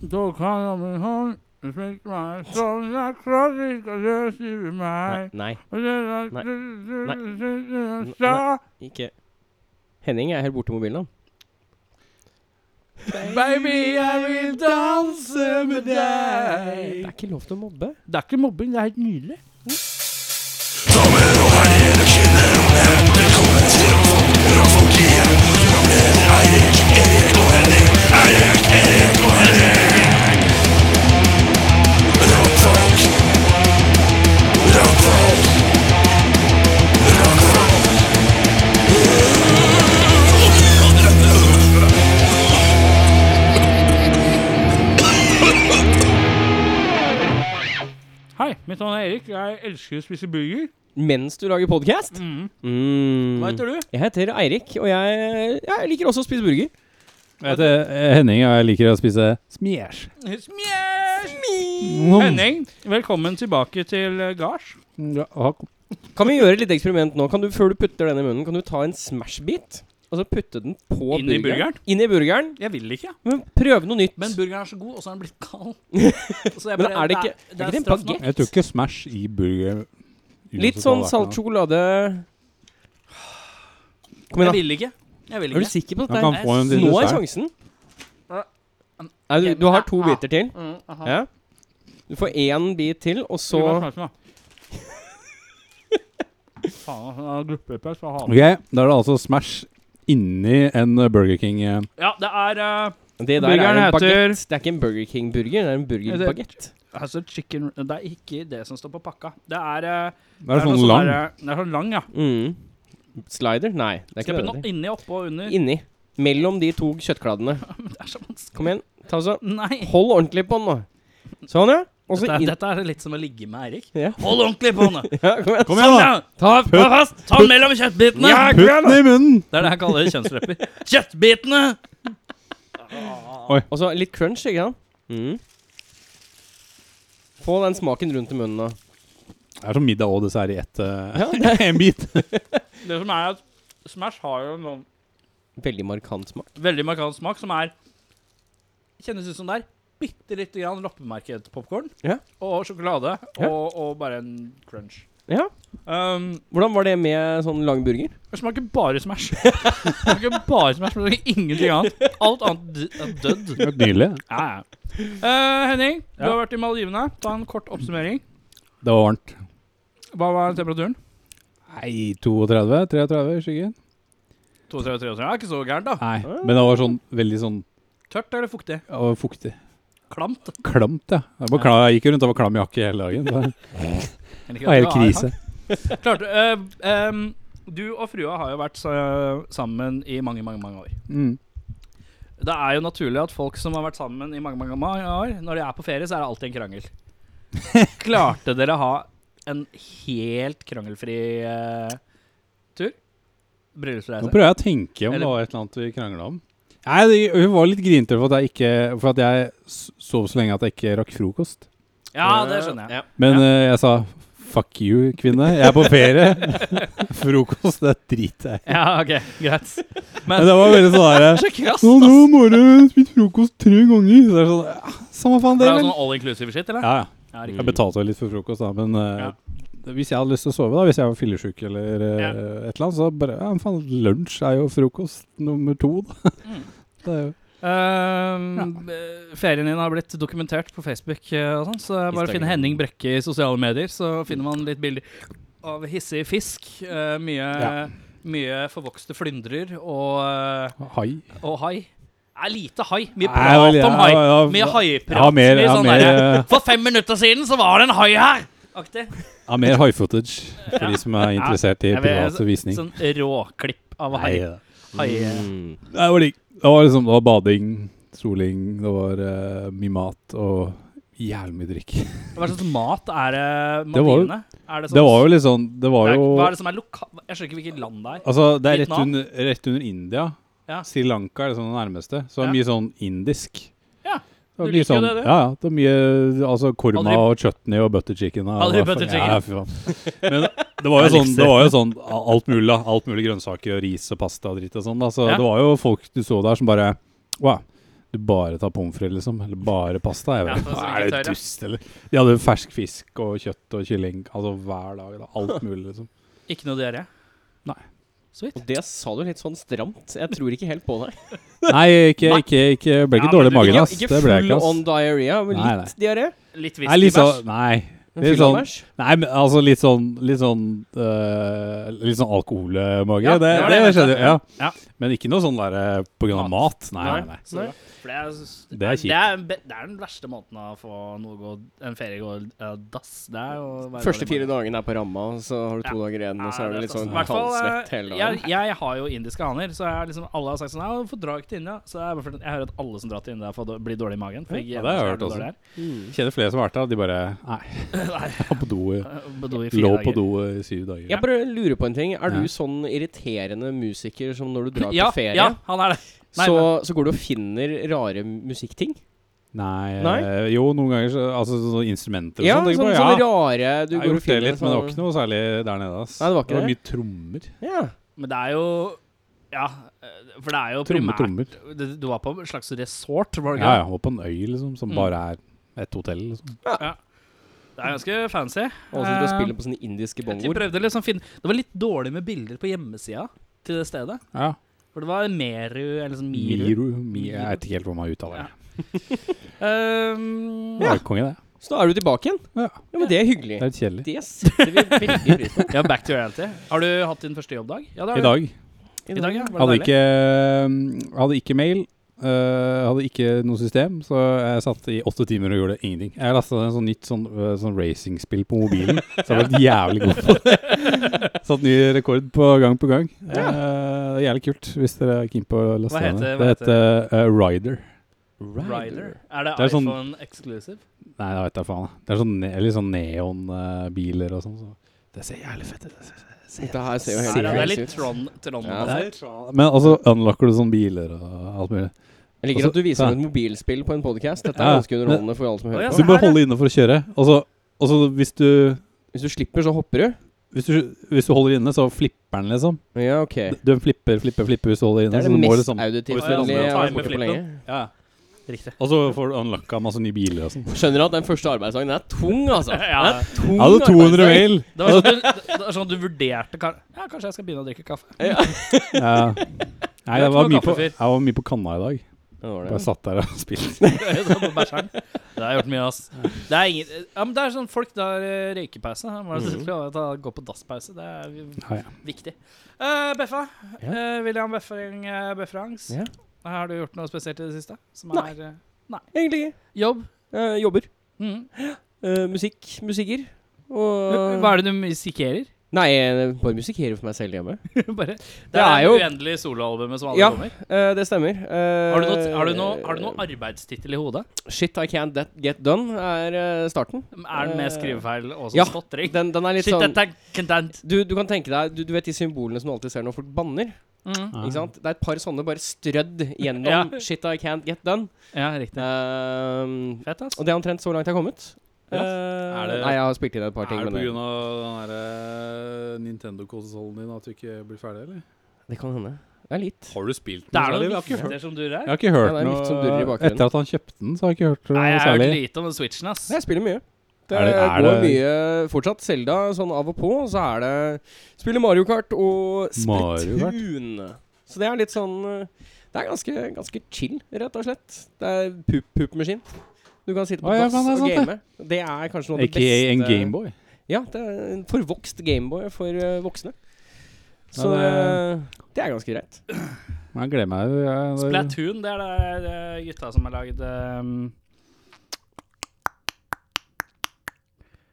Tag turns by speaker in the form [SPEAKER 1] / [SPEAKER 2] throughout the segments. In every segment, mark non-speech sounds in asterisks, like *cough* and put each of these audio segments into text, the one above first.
[SPEAKER 1] Da kan jeg bli hånd, smitt meg som jeg klarer ikke å løsrive
[SPEAKER 2] Nei,
[SPEAKER 1] meg.
[SPEAKER 2] nei,
[SPEAKER 1] Og det er-
[SPEAKER 2] Nei. Nei.
[SPEAKER 1] Sa-
[SPEAKER 2] ikke Henning er helt borte i mobilen, han.
[SPEAKER 1] Baby, jeg vil danse med
[SPEAKER 2] Det
[SPEAKER 1] deg.
[SPEAKER 2] er ikke lov til å mobbe.
[SPEAKER 1] Det er ikke mobbing, det er helt nydelig. Hei, mitt navn er Erik. Jeg elsker å spise burger.
[SPEAKER 2] Mens du lager podkast?
[SPEAKER 1] Mm.
[SPEAKER 2] Mm.
[SPEAKER 1] Hva heter du?
[SPEAKER 2] Jeg heter Eirik, og jeg, jeg liker også å spise burger.
[SPEAKER 3] Jeg heter eh, Henning, og jeg liker å spise smjæsj.
[SPEAKER 1] Smjæsj! Henning, velkommen tilbake til eh, gards.
[SPEAKER 3] Mm, Ja, og-
[SPEAKER 2] Kan vi gjøre et lite eksperiment nå? Kan du, Før du putter den i munnen, kan du ta en Smash-bit? Og så putte den på
[SPEAKER 1] Inn i burgeren?
[SPEAKER 2] Inn i burgeren.
[SPEAKER 1] Jeg vil ikke.
[SPEAKER 2] Men prøv noe nytt.
[SPEAKER 1] Men burgeren er så god, og så er den blitt *laughs* kald.
[SPEAKER 2] Men er det ikke- er ikke det en baguette?
[SPEAKER 3] Jeg tror ikke Smash i burger
[SPEAKER 2] Litt sånn salt sjokolade Kom
[SPEAKER 1] Jeg
[SPEAKER 2] igjen, da.
[SPEAKER 1] vil ikke. Jeg vil
[SPEAKER 2] Er du
[SPEAKER 1] ikke.
[SPEAKER 2] sikker på
[SPEAKER 3] Man
[SPEAKER 2] dette?
[SPEAKER 3] kan få en
[SPEAKER 2] her?
[SPEAKER 3] til
[SPEAKER 2] Nå er
[SPEAKER 3] dessert.
[SPEAKER 2] sjansen. Nei, du, du har to biter til.
[SPEAKER 1] Mm, aha.
[SPEAKER 2] Ja. Du får én bit til, og så
[SPEAKER 1] Gi meg smaken, da. *laughs* Faen, altså, det er gruppepress fra hanen.
[SPEAKER 3] Ok, da er det altså Smash inni en eh, Burger King. eh.
[SPEAKER 1] Ja, det er eh,
[SPEAKER 2] Det der
[SPEAKER 1] Burgeren
[SPEAKER 2] er en
[SPEAKER 1] heter-
[SPEAKER 2] baguette. Det er ikke en Burger King-burger, det er en
[SPEAKER 1] Det-
[SPEAKER 2] burgerbagett.
[SPEAKER 1] altså chicken Det er ikke det som står på pakka. Det er eh,
[SPEAKER 3] Da
[SPEAKER 1] noe
[SPEAKER 3] er det sånn
[SPEAKER 1] sånn
[SPEAKER 3] lang.
[SPEAKER 1] der, eh, Det er sånn lang, ja.
[SPEAKER 2] Mm. Slider? Nei, det er
[SPEAKER 1] Skal
[SPEAKER 2] ikke
[SPEAKER 1] jeg putte
[SPEAKER 2] det.
[SPEAKER 1] den inni, oppå og under?
[SPEAKER 2] Inni. Mellom de to kjøttkladdene.
[SPEAKER 1] Det er så vanskelig.
[SPEAKER 2] Kom igjen. Ta så.
[SPEAKER 1] Nei.
[SPEAKER 2] Hold ordentlig på den nå. Sånn, ja. Og så
[SPEAKER 1] Dette, er-
[SPEAKER 2] inn.
[SPEAKER 1] dette er litt som å ligge med Eirik.
[SPEAKER 2] Ja. *laughs*
[SPEAKER 1] Hold ordentlig på henne!
[SPEAKER 2] Ja, kom igjen.
[SPEAKER 1] Sånn,
[SPEAKER 3] Kom igjen, da!
[SPEAKER 1] Ta, ta
[SPEAKER 3] Putt-
[SPEAKER 1] fast! Ta den mellom kjøttbitene!
[SPEAKER 2] Ja,
[SPEAKER 3] Putt den i munnen!
[SPEAKER 1] Det er det jeg kaller kjønnsrepper. Kjøttbitene!
[SPEAKER 2] Og så litt crunch, ikke sant? Mm. Få den smaken rundt i munnen nå.
[SPEAKER 3] Det er som middag og dessert i ett. eh,
[SPEAKER 2] Ja,
[SPEAKER 3] *laughs*
[SPEAKER 2] det er
[SPEAKER 3] en bit.
[SPEAKER 1] Det som er at Smash har jo en sånn
[SPEAKER 2] Veldig markant smak.
[SPEAKER 1] veldig markant smak som er Kjennes ut som det er bitte lite grann loppemarkedpopkorn
[SPEAKER 2] Ja.
[SPEAKER 1] og sjokolade
[SPEAKER 2] Ja.
[SPEAKER 1] og, og bare en crunch.
[SPEAKER 2] Ja.
[SPEAKER 1] Um,
[SPEAKER 2] Hvordan var det med sånn lang burger?
[SPEAKER 1] det smaker bare Smash. *laughs* Det smaker bare Smash, men det smaker ingenting annet. Alt annet d- er dødd.
[SPEAKER 3] Det var Nydelig.
[SPEAKER 1] Ja, ja. Eh, Henning, du
[SPEAKER 3] Ja.
[SPEAKER 1] har vært i Maldivene. Ta en kort oppsummering.
[SPEAKER 3] Det var varmt.
[SPEAKER 1] Hva var temperaturen?
[SPEAKER 3] Nei, 32? 33 i skyggen?
[SPEAKER 1] 32-33. Det er ikke så gærent, da.
[SPEAKER 3] Nei, men det var sånn veldig sånn
[SPEAKER 1] Tørt eller fuktig?
[SPEAKER 3] det var fuktig.
[SPEAKER 1] Klamt.
[SPEAKER 3] Klamt, ja. Jeg, var klam, jeg gikk jo rundt og var klam i jakke hele dagen. så
[SPEAKER 1] Eller
[SPEAKER 3] Det
[SPEAKER 1] ikke,
[SPEAKER 3] var helt
[SPEAKER 1] det var-
[SPEAKER 3] krise.
[SPEAKER 1] Klart, eh, em, du og frua har jo vært sa- sammen i mange, mange mange år.
[SPEAKER 3] Mm.
[SPEAKER 1] Det er jo naturlig at folk som har vært sammen i mange, mange mange år, når de er på ferie, så er det alltid en
[SPEAKER 3] *laughs*
[SPEAKER 1] krangel. Klarte dere å ha en helt krangelfri eh, tur?
[SPEAKER 3] Nå
[SPEAKER 1] Bryllupsreise?
[SPEAKER 3] prøver jeg å tenke om
[SPEAKER 1] Altså, Eller-
[SPEAKER 3] det var et eller annet vi krangla om. Nei, det- Hun var litt grinete for at jeg ikke For at jeg s- sov så lenge at jeg ikke rakk frokost.
[SPEAKER 1] Ja, det skjønner jeg.
[SPEAKER 2] Ja.
[SPEAKER 3] Men eh, jeg sa fuck you, kvinne. Jeg er på ferie. frokost, det driter jeg i.
[SPEAKER 1] Ja, ok, greit.
[SPEAKER 3] *laughs* Men det var veldig sånn herre
[SPEAKER 1] Så krass,
[SPEAKER 3] Nå,
[SPEAKER 1] ass.
[SPEAKER 3] nå må du spise frokost tre ganger. Så det er sånn, ja, Samme faen,
[SPEAKER 1] Det
[SPEAKER 3] det,
[SPEAKER 1] er
[SPEAKER 3] vel.
[SPEAKER 1] sånn all inclusive shit, eller?
[SPEAKER 3] Ja, ja.
[SPEAKER 1] Ja, riktig.
[SPEAKER 3] Jeg betalte jo litt for frokost, da, men eh, hvis jeg hadde lyst til å sove, da, hvis jeg var fillesjuk eller eh,
[SPEAKER 1] Ja.
[SPEAKER 3] et eller annet, så bare ja, men faen, lunsj er jo frokost nummer to, da.
[SPEAKER 1] Mm.
[SPEAKER 3] *laughs* det er jo
[SPEAKER 1] Ehm, eh, Ferien din har blitt dokumentert på Facebook eh, og sånn, så det er bare å
[SPEAKER 2] Instagram.
[SPEAKER 1] finne Henning Brekke i sosiale medier, så finner man litt bilder av hissig fisk, eh, mye,
[SPEAKER 3] Ja.
[SPEAKER 1] mye forvokste flyndrer og, eh,
[SPEAKER 3] hai.
[SPEAKER 1] og hai. Det er lite hai. Mye
[SPEAKER 3] Nei,
[SPEAKER 1] prat
[SPEAKER 3] vel, ja,
[SPEAKER 1] om hai.
[SPEAKER 3] ja,
[SPEAKER 1] Mye haiprat.
[SPEAKER 3] Jeg har mer,
[SPEAKER 1] mye
[SPEAKER 3] jeg har
[SPEAKER 1] sånn
[SPEAKER 3] mer,
[SPEAKER 1] derre,
[SPEAKER 3] eh,
[SPEAKER 1] For fem minutter siden så var det en hai her! Aktig.
[SPEAKER 3] jeg har mer hai-footage for de
[SPEAKER 1] *laughs*
[SPEAKER 3] som er interessert i
[SPEAKER 1] Jeg vil-
[SPEAKER 3] privat visning.
[SPEAKER 1] Sånn råklipp av
[SPEAKER 3] Nei,
[SPEAKER 1] hai.
[SPEAKER 3] ja.
[SPEAKER 1] hai eh,
[SPEAKER 2] Mm.
[SPEAKER 3] Nei, Det var digg. Det var liksom det var bading, soling, det var eh, mye mat og jævlig mye drikk.
[SPEAKER 1] Hva slags mat er det?
[SPEAKER 3] Det var jo-
[SPEAKER 1] Maldivene? Er
[SPEAKER 3] Det var jo litt sånn Det var
[SPEAKER 1] Det er-
[SPEAKER 3] jo
[SPEAKER 1] Hva er det som er loka... Jeg skjønner ikke hvilket land det er.
[SPEAKER 3] Altså, det er rett
[SPEAKER 1] Vietnam?
[SPEAKER 3] under, rett under India.
[SPEAKER 1] Ja.
[SPEAKER 3] Sri Lanka er liksom det nærmeste. Så det
[SPEAKER 1] Ja.
[SPEAKER 3] er mye sånn indisk.
[SPEAKER 1] Ja,
[SPEAKER 3] Det var
[SPEAKER 1] du
[SPEAKER 3] mye
[SPEAKER 1] liker jo
[SPEAKER 3] sånn,
[SPEAKER 1] det, du.
[SPEAKER 3] Ja, ja. Det er mye altså korma
[SPEAKER 1] Aldri-
[SPEAKER 3] og chutney og butter chicken. og
[SPEAKER 1] Aldri
[SPEAKER 3] hva faen-
[SPEAKER 1] butter
[SPEAKER 3] Ja, fy faen. Men det
[SPEAKER 1] *laughs*
[SPEAKER 3] var jo sånn, det var jo sånn a- alt mulig, da. Alt mulig grønnsaker og ris og pasta og dritt og sånn. da. Så
[SPEAKER 1] Ja.
[SPEAKER 3] det var jo folk du så der som bare Wow. du bare tar pommes frites, liksom? Eller bare pasta? Jeg
[SPEAKER 1] Ja,
[SPEAKER 3] vet.
[SPEAKER 1] for som ikke
[SPEAKER 3] ikke. er det
[SPEAKER 1] tør, ja.
[SPEAKER 3] dust, eller? De hadde jo fersk fisk og kjøtt og kylling altså hver dag. Da. Alt mulig, liksom.
[SPEAKER 1] Ikke noe diaré?
[SPEAKER 3] Nei.
[SPEAKER 1] Så vidt.
[SPEAKER 2] Og det sa du litt sånn stramt. Jeg tror ikke helt på deg.
[SPEAKER 3] Nei, ikke,
[SPEAKER 1] Nei.
[SPEAKER 3] ikke, ikke ble ikke
[SPEAKER 1] Ja, men
[SPEAKER 3] dårlig i
[SPEAKER 1] du-
[SPEAKER 3] magen,
[SPEAKER 2] Ikke,
[SPEAKER 3] ass.
[SPEAKER 2] ikke
[SPEAKER 3] Det ble jeg
[SPEAKER 2] full
[SPEAKER 3] ikke,
[SPEAKER 2] on
[SPEAKER 3] ass.
[SPEAKER 2] diaré, men
[SPEAKER 3] Nei,
[SPEAKER 2] litt diaré.
[SPEAKER 1] Litt
[SPEAKER 3] Nei,
[SPEAKER 1] whiskybæsj.
[SPEAKER 3] litt sånn, nei. Litt
[SPEAKER 2] Fyll av
[SPEAKER 3] sånn,
[SPEAKER 2] bæsj.
[SPEAKER 3] nei, men altså litt sånn Litt sånn, øh, litt sånn alkoholmage.
[SPEAKER 1] Ja,
[SPEAKER 3] det,
[SPEAKER 1] det var
[SPEAKER 3] det,
[SPEAKER 1] det jeg
[SPEAKER 3] skjedde, ja.
[SPEAKER 1] Ja.
[SPEAKER 3] Men ikke noe sånn der øh, på grunn av mat. Nei, nei, nei.
[SPEAKER 1] Så, for det, er,
[SPEAKER 3] Det er kjipt.
[SPEAKER 1] Det er, be- det er den verste måten å få noe gå, en ferie gå eh, dass. Det er å være dårlig
[SPEAKER 2] Første
[SPEAKER 1] i
[SPEAKER 2] fire
[SPEAKER 1] magen.
[SPEAKER 2] dagene er på ramma, og så har du to dager igjen, og så
[SPEAKER 1] Ja,
[SPEAKER 2] er du litt
[SPEAKER 1] stas.
[SPEAKER 2] sånn
[SPEAKER 1] I hvert fall, eh,
[SPEAKER 2] halvsvett hele dagen.
[SPEAKER 1] Jeg, jeg har jo indiske haner, så jeg er liksom, alle har sagt sånn Ja, hvorfor drar ikke til India? Så jeg, er bare fordi- jeg hører at alle som drar til India, får, dår- blir dårlig i magen. For ikke
[SPEAKER 3] Ja, det har jeg hørt
[SPEAKER 1] jævla
[SPEAKER 3] også.
[SPEAKER 1] dårlig
[SPEAKER 2] Mm.
[SPEAKER 3] Kjenner flere som har vært der, og de bare Nei,
[SPEAKER 1] her.
[SPEAKER 3] *laughs*
[SPEAKER 1] Nei,
[SPEAKER 3] var på do, i-
[SPEAKER 1] på do Eh, i fire
[SPEAKER 3] lå
[SPEAKER 1] dager.
[SPEAKER 3] på do i syv dager.
[SPEAKER 2] Jeg bare lurer på en ting. Er
[SPEAKER 3] Ja.
[SPEAKER 2] du sånn irriterende musiker som når du drar
[SPEAKER 1] Ja,
[SPEAKER 2] på ferie,
[SPEAKER 1] ja, han er det. Nei,
[SPEAKER 2] så, så går du og finner rare musikkting?
[SPEAKER 3] Nei,
[SPEAKER 2] Nei?
[SPEAKER 3] eh, Jo, noen ganger så, altså, sånne instrumenter og
[SPEAKER 2] Ja, sånn,
[SPEAKER 3] sånn. tenker jeg
[SPEAKER 2] sånne
[SPEAKER 3] på, ja.
[SPEAKER 2] rare du
[SPEAKER 3] Jeg har
[SPEAKER 2] går og
[SPEAKER 3] gjort det
[SPEAKER 2] finner.
[SPEAKER 3] litt, men det var ikke noe særlig der nede. Ass.
[SPEAKER 2] Nei, det var ikke
[SPEAKER 3] det. mye trommer.
[SPEAKER 2] Ja.
[SPEAKER 1] Men det er jo Ja, eh, for det er jo primært
[SPEAKER 3] Tromme, trommer.
[SPEAKER 1] du, du var på en slags resort, var det
[SPEAKER 3] Ja,
[SPEAKER 1] ikke?
[SPEAKER 3] ja. Og på en øy, liksom, som
[SPEAKER 1] Mm.
[SPEAKER 3] bare er et hotell. Liksom.
[SPEAKER 1] Det er ganske fancy.
[SPEAKER 2] Og så
[SPEAKER 1] Eh,
[SPEAKER 2] spiller på sånne indiske
[SPEAKER 1] Jeg tror jeg
[SPEAKER 2] bongoer.
[SPEAKER 1] prøvde liksom å finne Det var litt dårlig med bilder på hjemmesida til det stedet.
[SPEAKER 3] Ja.
[SPEAKER 1] For det var Meru eller sånn Miru.
[SPEAKER 3] Miru. Mi, jeg vet ikke helt hva man uttaler det.
[SPEAKER 1] Ehm,
[SPEAKER 3] Det
[SPEAKER 1] ja.
[SPEAKER 3] var konge, det.
[SPEAKER 2] Så da er du tilbake igjen.
[SPEAKER 3] Ja.
[SPEAKER 2] Ja, men det er hyggelig.
[SPEAKER 3] Det er litt kjedelig.
[SPEAKER 2] Det setter vi veldig pris
[SPEAKER 1] *laughs*
[SPEAKER 2] på.
[SPEAKER 1] ja, back to reality. Har du hatt din første jobbdag? Ja, det har
[SPEAKER 3] I
[SPEAKER 1] du.
[SPEAKER 3] dag
[SPEAKER 1] *laughs* I dag ja. Var det
[SPEAKER 3] hadde
[SPEAKER 1] deilig?
[SPEAKER 3] ikke, mm, hadde ikke mail. eh, hadde ikke noe system, så jeg satt i åtte timer og gjorde ingenting. Jeg lasta ned en sånn nytt sånn, eh, sånn racingspill på mobilen, så jeg ble jævlig god på
[SPEAKER 1] *laughs*
[SPEAKER 3] det. Satt ny rekord på gang på gang. Eh, det er jævlig kult, hvis dere er keen på å laste
[SPEAKER 1] Hva
[SPEAKER 3] ned.
[SPEAKER 1] heter-
[SPEAKER 3] Det
[SPEAKER 1] hva
[SPEAKER 3] heter eh, Rider.
[SPEAKER 1] Rider. Er det,
[SPEAKER 3] Det er sånn-
[SPEAKER 1] iPhone exclusive?
[SPEAKER 3] Nei, det vet jeg faen. jeg. Det er sånn, ne eller sånn neonbiler og sånn. Så. Det ser jævlig fett ut. det ser-
[SPEAKER 2] Dette her ser jo
[SPEAKER 1] Nei,
[SPEAKER 2] helt
[SPEAKER 1] det er
[SPEAKER 2] crazy
[SPEAKER 1] litt
[SPEAKER 2] ut.
[SPEAKER 1] Tron. tron
[SPEAKER 2] Ja,
[SPEAKER 3] det er- Men altså, unlocker du sånne biler og alt mulig?
[SPEAKER 2] Jeg liker
[SPEAKER 3] Altså,
[SPEAKER 2] at du viser
[SPEAKER 3] ja.
[SPEAKER 2] meg et mobilspill på en podkast. Dette
[SPEAKER 3] Ja,
[SPEAKER 2] er ganske
[SPEAKER 3] men-
[SPEAKER 2] underholdende for alle som
[SPEAKER 1] Å, ja,
[SPEAKER 2] hører på.
[SPEAKER 3] Så
[SPEAKER 1] så-
[SPEAKER 3] du
[SPEAKER 1] her
[SPEAKER 3] bare
[SPEAKER 1] er-
[SPEAKER 3] holder inne for å kjøre. Og så, og så hvis, du,
[SPEAKER 2] Hvis du slipper, så hopper du.
[SPEAKER 3] hvis, du, hvis du holder inne, så flipper den, liksom.
[SPEAKER 2] Ja, ok.
[SPEAKER 3] Du flipper, flipper, flipper hvis du holder
[SPEAKER 2] Det
[SPEAKER 3] inne.
[SPEAKER 2] er
[SPEAKER 3] så
[SPEAKER 2] det
[SPEAKER 3] du må
[SPEAKER 2] mest
[SPEAKER 1] Og
[SPEAKER 3] liksom,
[SPEAKER 1] hvis det
[SPEAKER 2] auditivvennlige
[SPEAKER 1] lander,
[SPEAKER 2] jeg
[SPEAKER 1] så
[SPEAKER 2] har
[SPEAKER 1] er
[SPEAKER 2] gjort
[SPEAKER 1] det
[SPEAKER 2] på
[SPEAKER 1] med
[SPEAKER 2] lenge.
[SPEAKER 3] ja.
[SPEAKER 1] Riktig. *laughs*
[SPEAKER 3] Og så får du unlocka masse nye biler og sånn.
[SPEAKER 2] Skjønner at den første arbeidsdagen er tung, altså.
[SPEAKER 1] Ja.
[SPEAKER 2] Den er tung
[SPEAKER 3] Jeg hadde 200
[SPEAKER 2] arbeidsdag.
[SPEAKER 1] *laughs*
[SPEAKER 3] mail!
[SPEAKER 1] Det var sånn at du, det var sånn at du vurderte kan, Ja, kanskje jeg skal begynne å drikke kaffe.
[SPEAKER 3] Ja. Nei,
[SPEAKER 1] Du er
[SPEAKER 3] jeg var,
[SPEAKER 1] ikke noe
[SPEAKER 3] mye på,
[SPEAKER 1] kaffefyr.
[SPEAKER 3] jeg var mye på kanna i dag.
[SPEAKER 2] Det var
[SPEAKER 3] Bare
[SPEAKER 2] det.
[SPEAKER 3] satt der og *laughs* spilte.
[SPEAKER 1] Sånn på bæsjeren. Det har jeg gjort mye, ass. Det er, ingen, ja, men det er sånn folk tar eh, røykepause. da må
[SPEAKER 2] Mhm.
[SPEAKER 1] du ta- ta- Gå på dasspause. Det er vi-
[SPEAKER 3] Ja, ja.
[SPEAKER 1] viktig. Eh, Beffa.
[SPEAKER 2] Ja.
[SPEAKER 1] Eh, William Befferang eh, Befferangs.
[SPEAKER 2] Ja.
[SPEAKER 1] Har du gjort noe spesielt i det siste? Som
[SPEAKER 2] Nei.
[SPEAKER 1] er eh,
[SPEAKER 2] Egentlig ikke.
[SPEAKER 1] jobb?
[SPEAKER 2] Jeg jobber.
[SPEAKER 1] Mhm.
[SPEAKER 2] Eh, musikk. Musiker. Og
[SPEAKER 1] Hva er det du musikerer?
[SPEAKER 2] Nei, jeg bare musikerer for meg selv hjemme.
[SPEAKER 1] *laughs* Bare. Det,
[SPEAKER 2] Det
[SPEAKER 1] er,
[SPEAKER 2] er jo-
[SPEAKER 1] det uendelige soloalbumet som alle
[SPEAKER 2] Ja.
[SPEAKER 1] kommer.
[SPEAKER 2] Eh, det stemmer. Eh,
[SPEAKER 1] Har du noe, har du noe, har du noe arbeidstittel i hodet?
[SPEAKER 2] Shit I Can't That Get Done er eh, starten.
[SPEAKER 1] Er den med skrivefeil og
[SPEAKER 2] Eh, ja.
[SPEAKER 1] sånn stottering?
[SPEAKER 2] Den, den er litt
[SPEAKER 1] Shit,
[SPEAKER 2] sånn
[SPEAKER 1] dette er content.
[SPEAKER 2] du, du kan tenke deg Du, du vet de symbolene som du alltid ser når folk banner?
[SPEAKER 1] Mhm.
[SPEAKER 3] Ja.
[SPEAKER 2] Ikke sant? Det er et par sånne bare strødd gjennom
[SPEAKER 1] *laughs* Ja.
[SPEAKER 2] Shit I Can't Get Done.
[SPEAKER 1] Ja, riktig.
[SPEAKER 2] Eh,
[SPEAKER 1] Fett, ass.
[SPEAKER 2] og det er omtrent så langt jeg har kommet.
[SPEAKER 1] Ja.
[SPEAKER 2] Eh,
[SPEAKER 3] Er det-
[SPEAKER 2] nei, jeg har spilt inn et par ting.
[SPEAKER 3] Er det
[SPEAKER 2] men det,
[SPEAKER 3] pga. den derre Nintendo-konsollen din at du ikke blir ferdig, eller?
[SPEAKER 2] det kan hende. Det er litt.
[SPEAKER 3] Har du spilt
[SPEAKER 1] Det er
[SPEAKER 3] særlig?
[SPEAKER 1] noen
[SPEAKER 3] Jeg har ikke hørt-
[SPEAKER 1] vifter som durer her.
[SPEAKER 3] Jeg har ikke hørt
[SPEAKER 2] Ja, det er litt sånn durr i
[SPEAKER 3] noe
[SPEAKER 2] bakgrunnen.
[SPEAKER 3] Etter at han kjøpte den, så har jeg ikke hørt noe
[SPEAKER 1] Nei, jeg har
[SPEAKER 3] særlig.
[SPEAKER 1] hørt lite om den switchen, ass.
[SPEAKER 2] Jeg spiller mye. Det,
[SPEAKER 3] Er det- er
[SPEAKER 2] går
[SPEAKER 3] det-
[SPEAKER 2] mye fortsatt. Selda sånn av og på. og Så er det Spiller Mario Kart og
[SPEAKER 3] Mario Kart?
[SPEAKER 2] Splatoon. Så det er litt sånn eh, Det er ganske, ganske chill, rett og slett. Det er pup-pup-maskin. Du kan sitte på
[SPEAKER 3] Å, ja,
[SPEAKER 2] dass
[SPEAKER 3] faen, det er
[SPEAKER 2] og
[SPEAKER 3] sant,
[SPEAKER 2] game. Det er kanskje noe av det
[SPEAKER 3] AKA
[SPEAKER 2] beste
[SPEAKER 3] en Gameboy.
[SPEAKER 2] Ja, det er en forvokst Gameboy for eh, voksne. Så
[SPEAKER 3] Ja,
[SPEAKER 2] eh, det er ganske greit.
[SPEAKER 3] Jeg gleder meg. Jeg,
[SPEAKER 1] Splatoon, det er det det er gutta som har lagd ehm,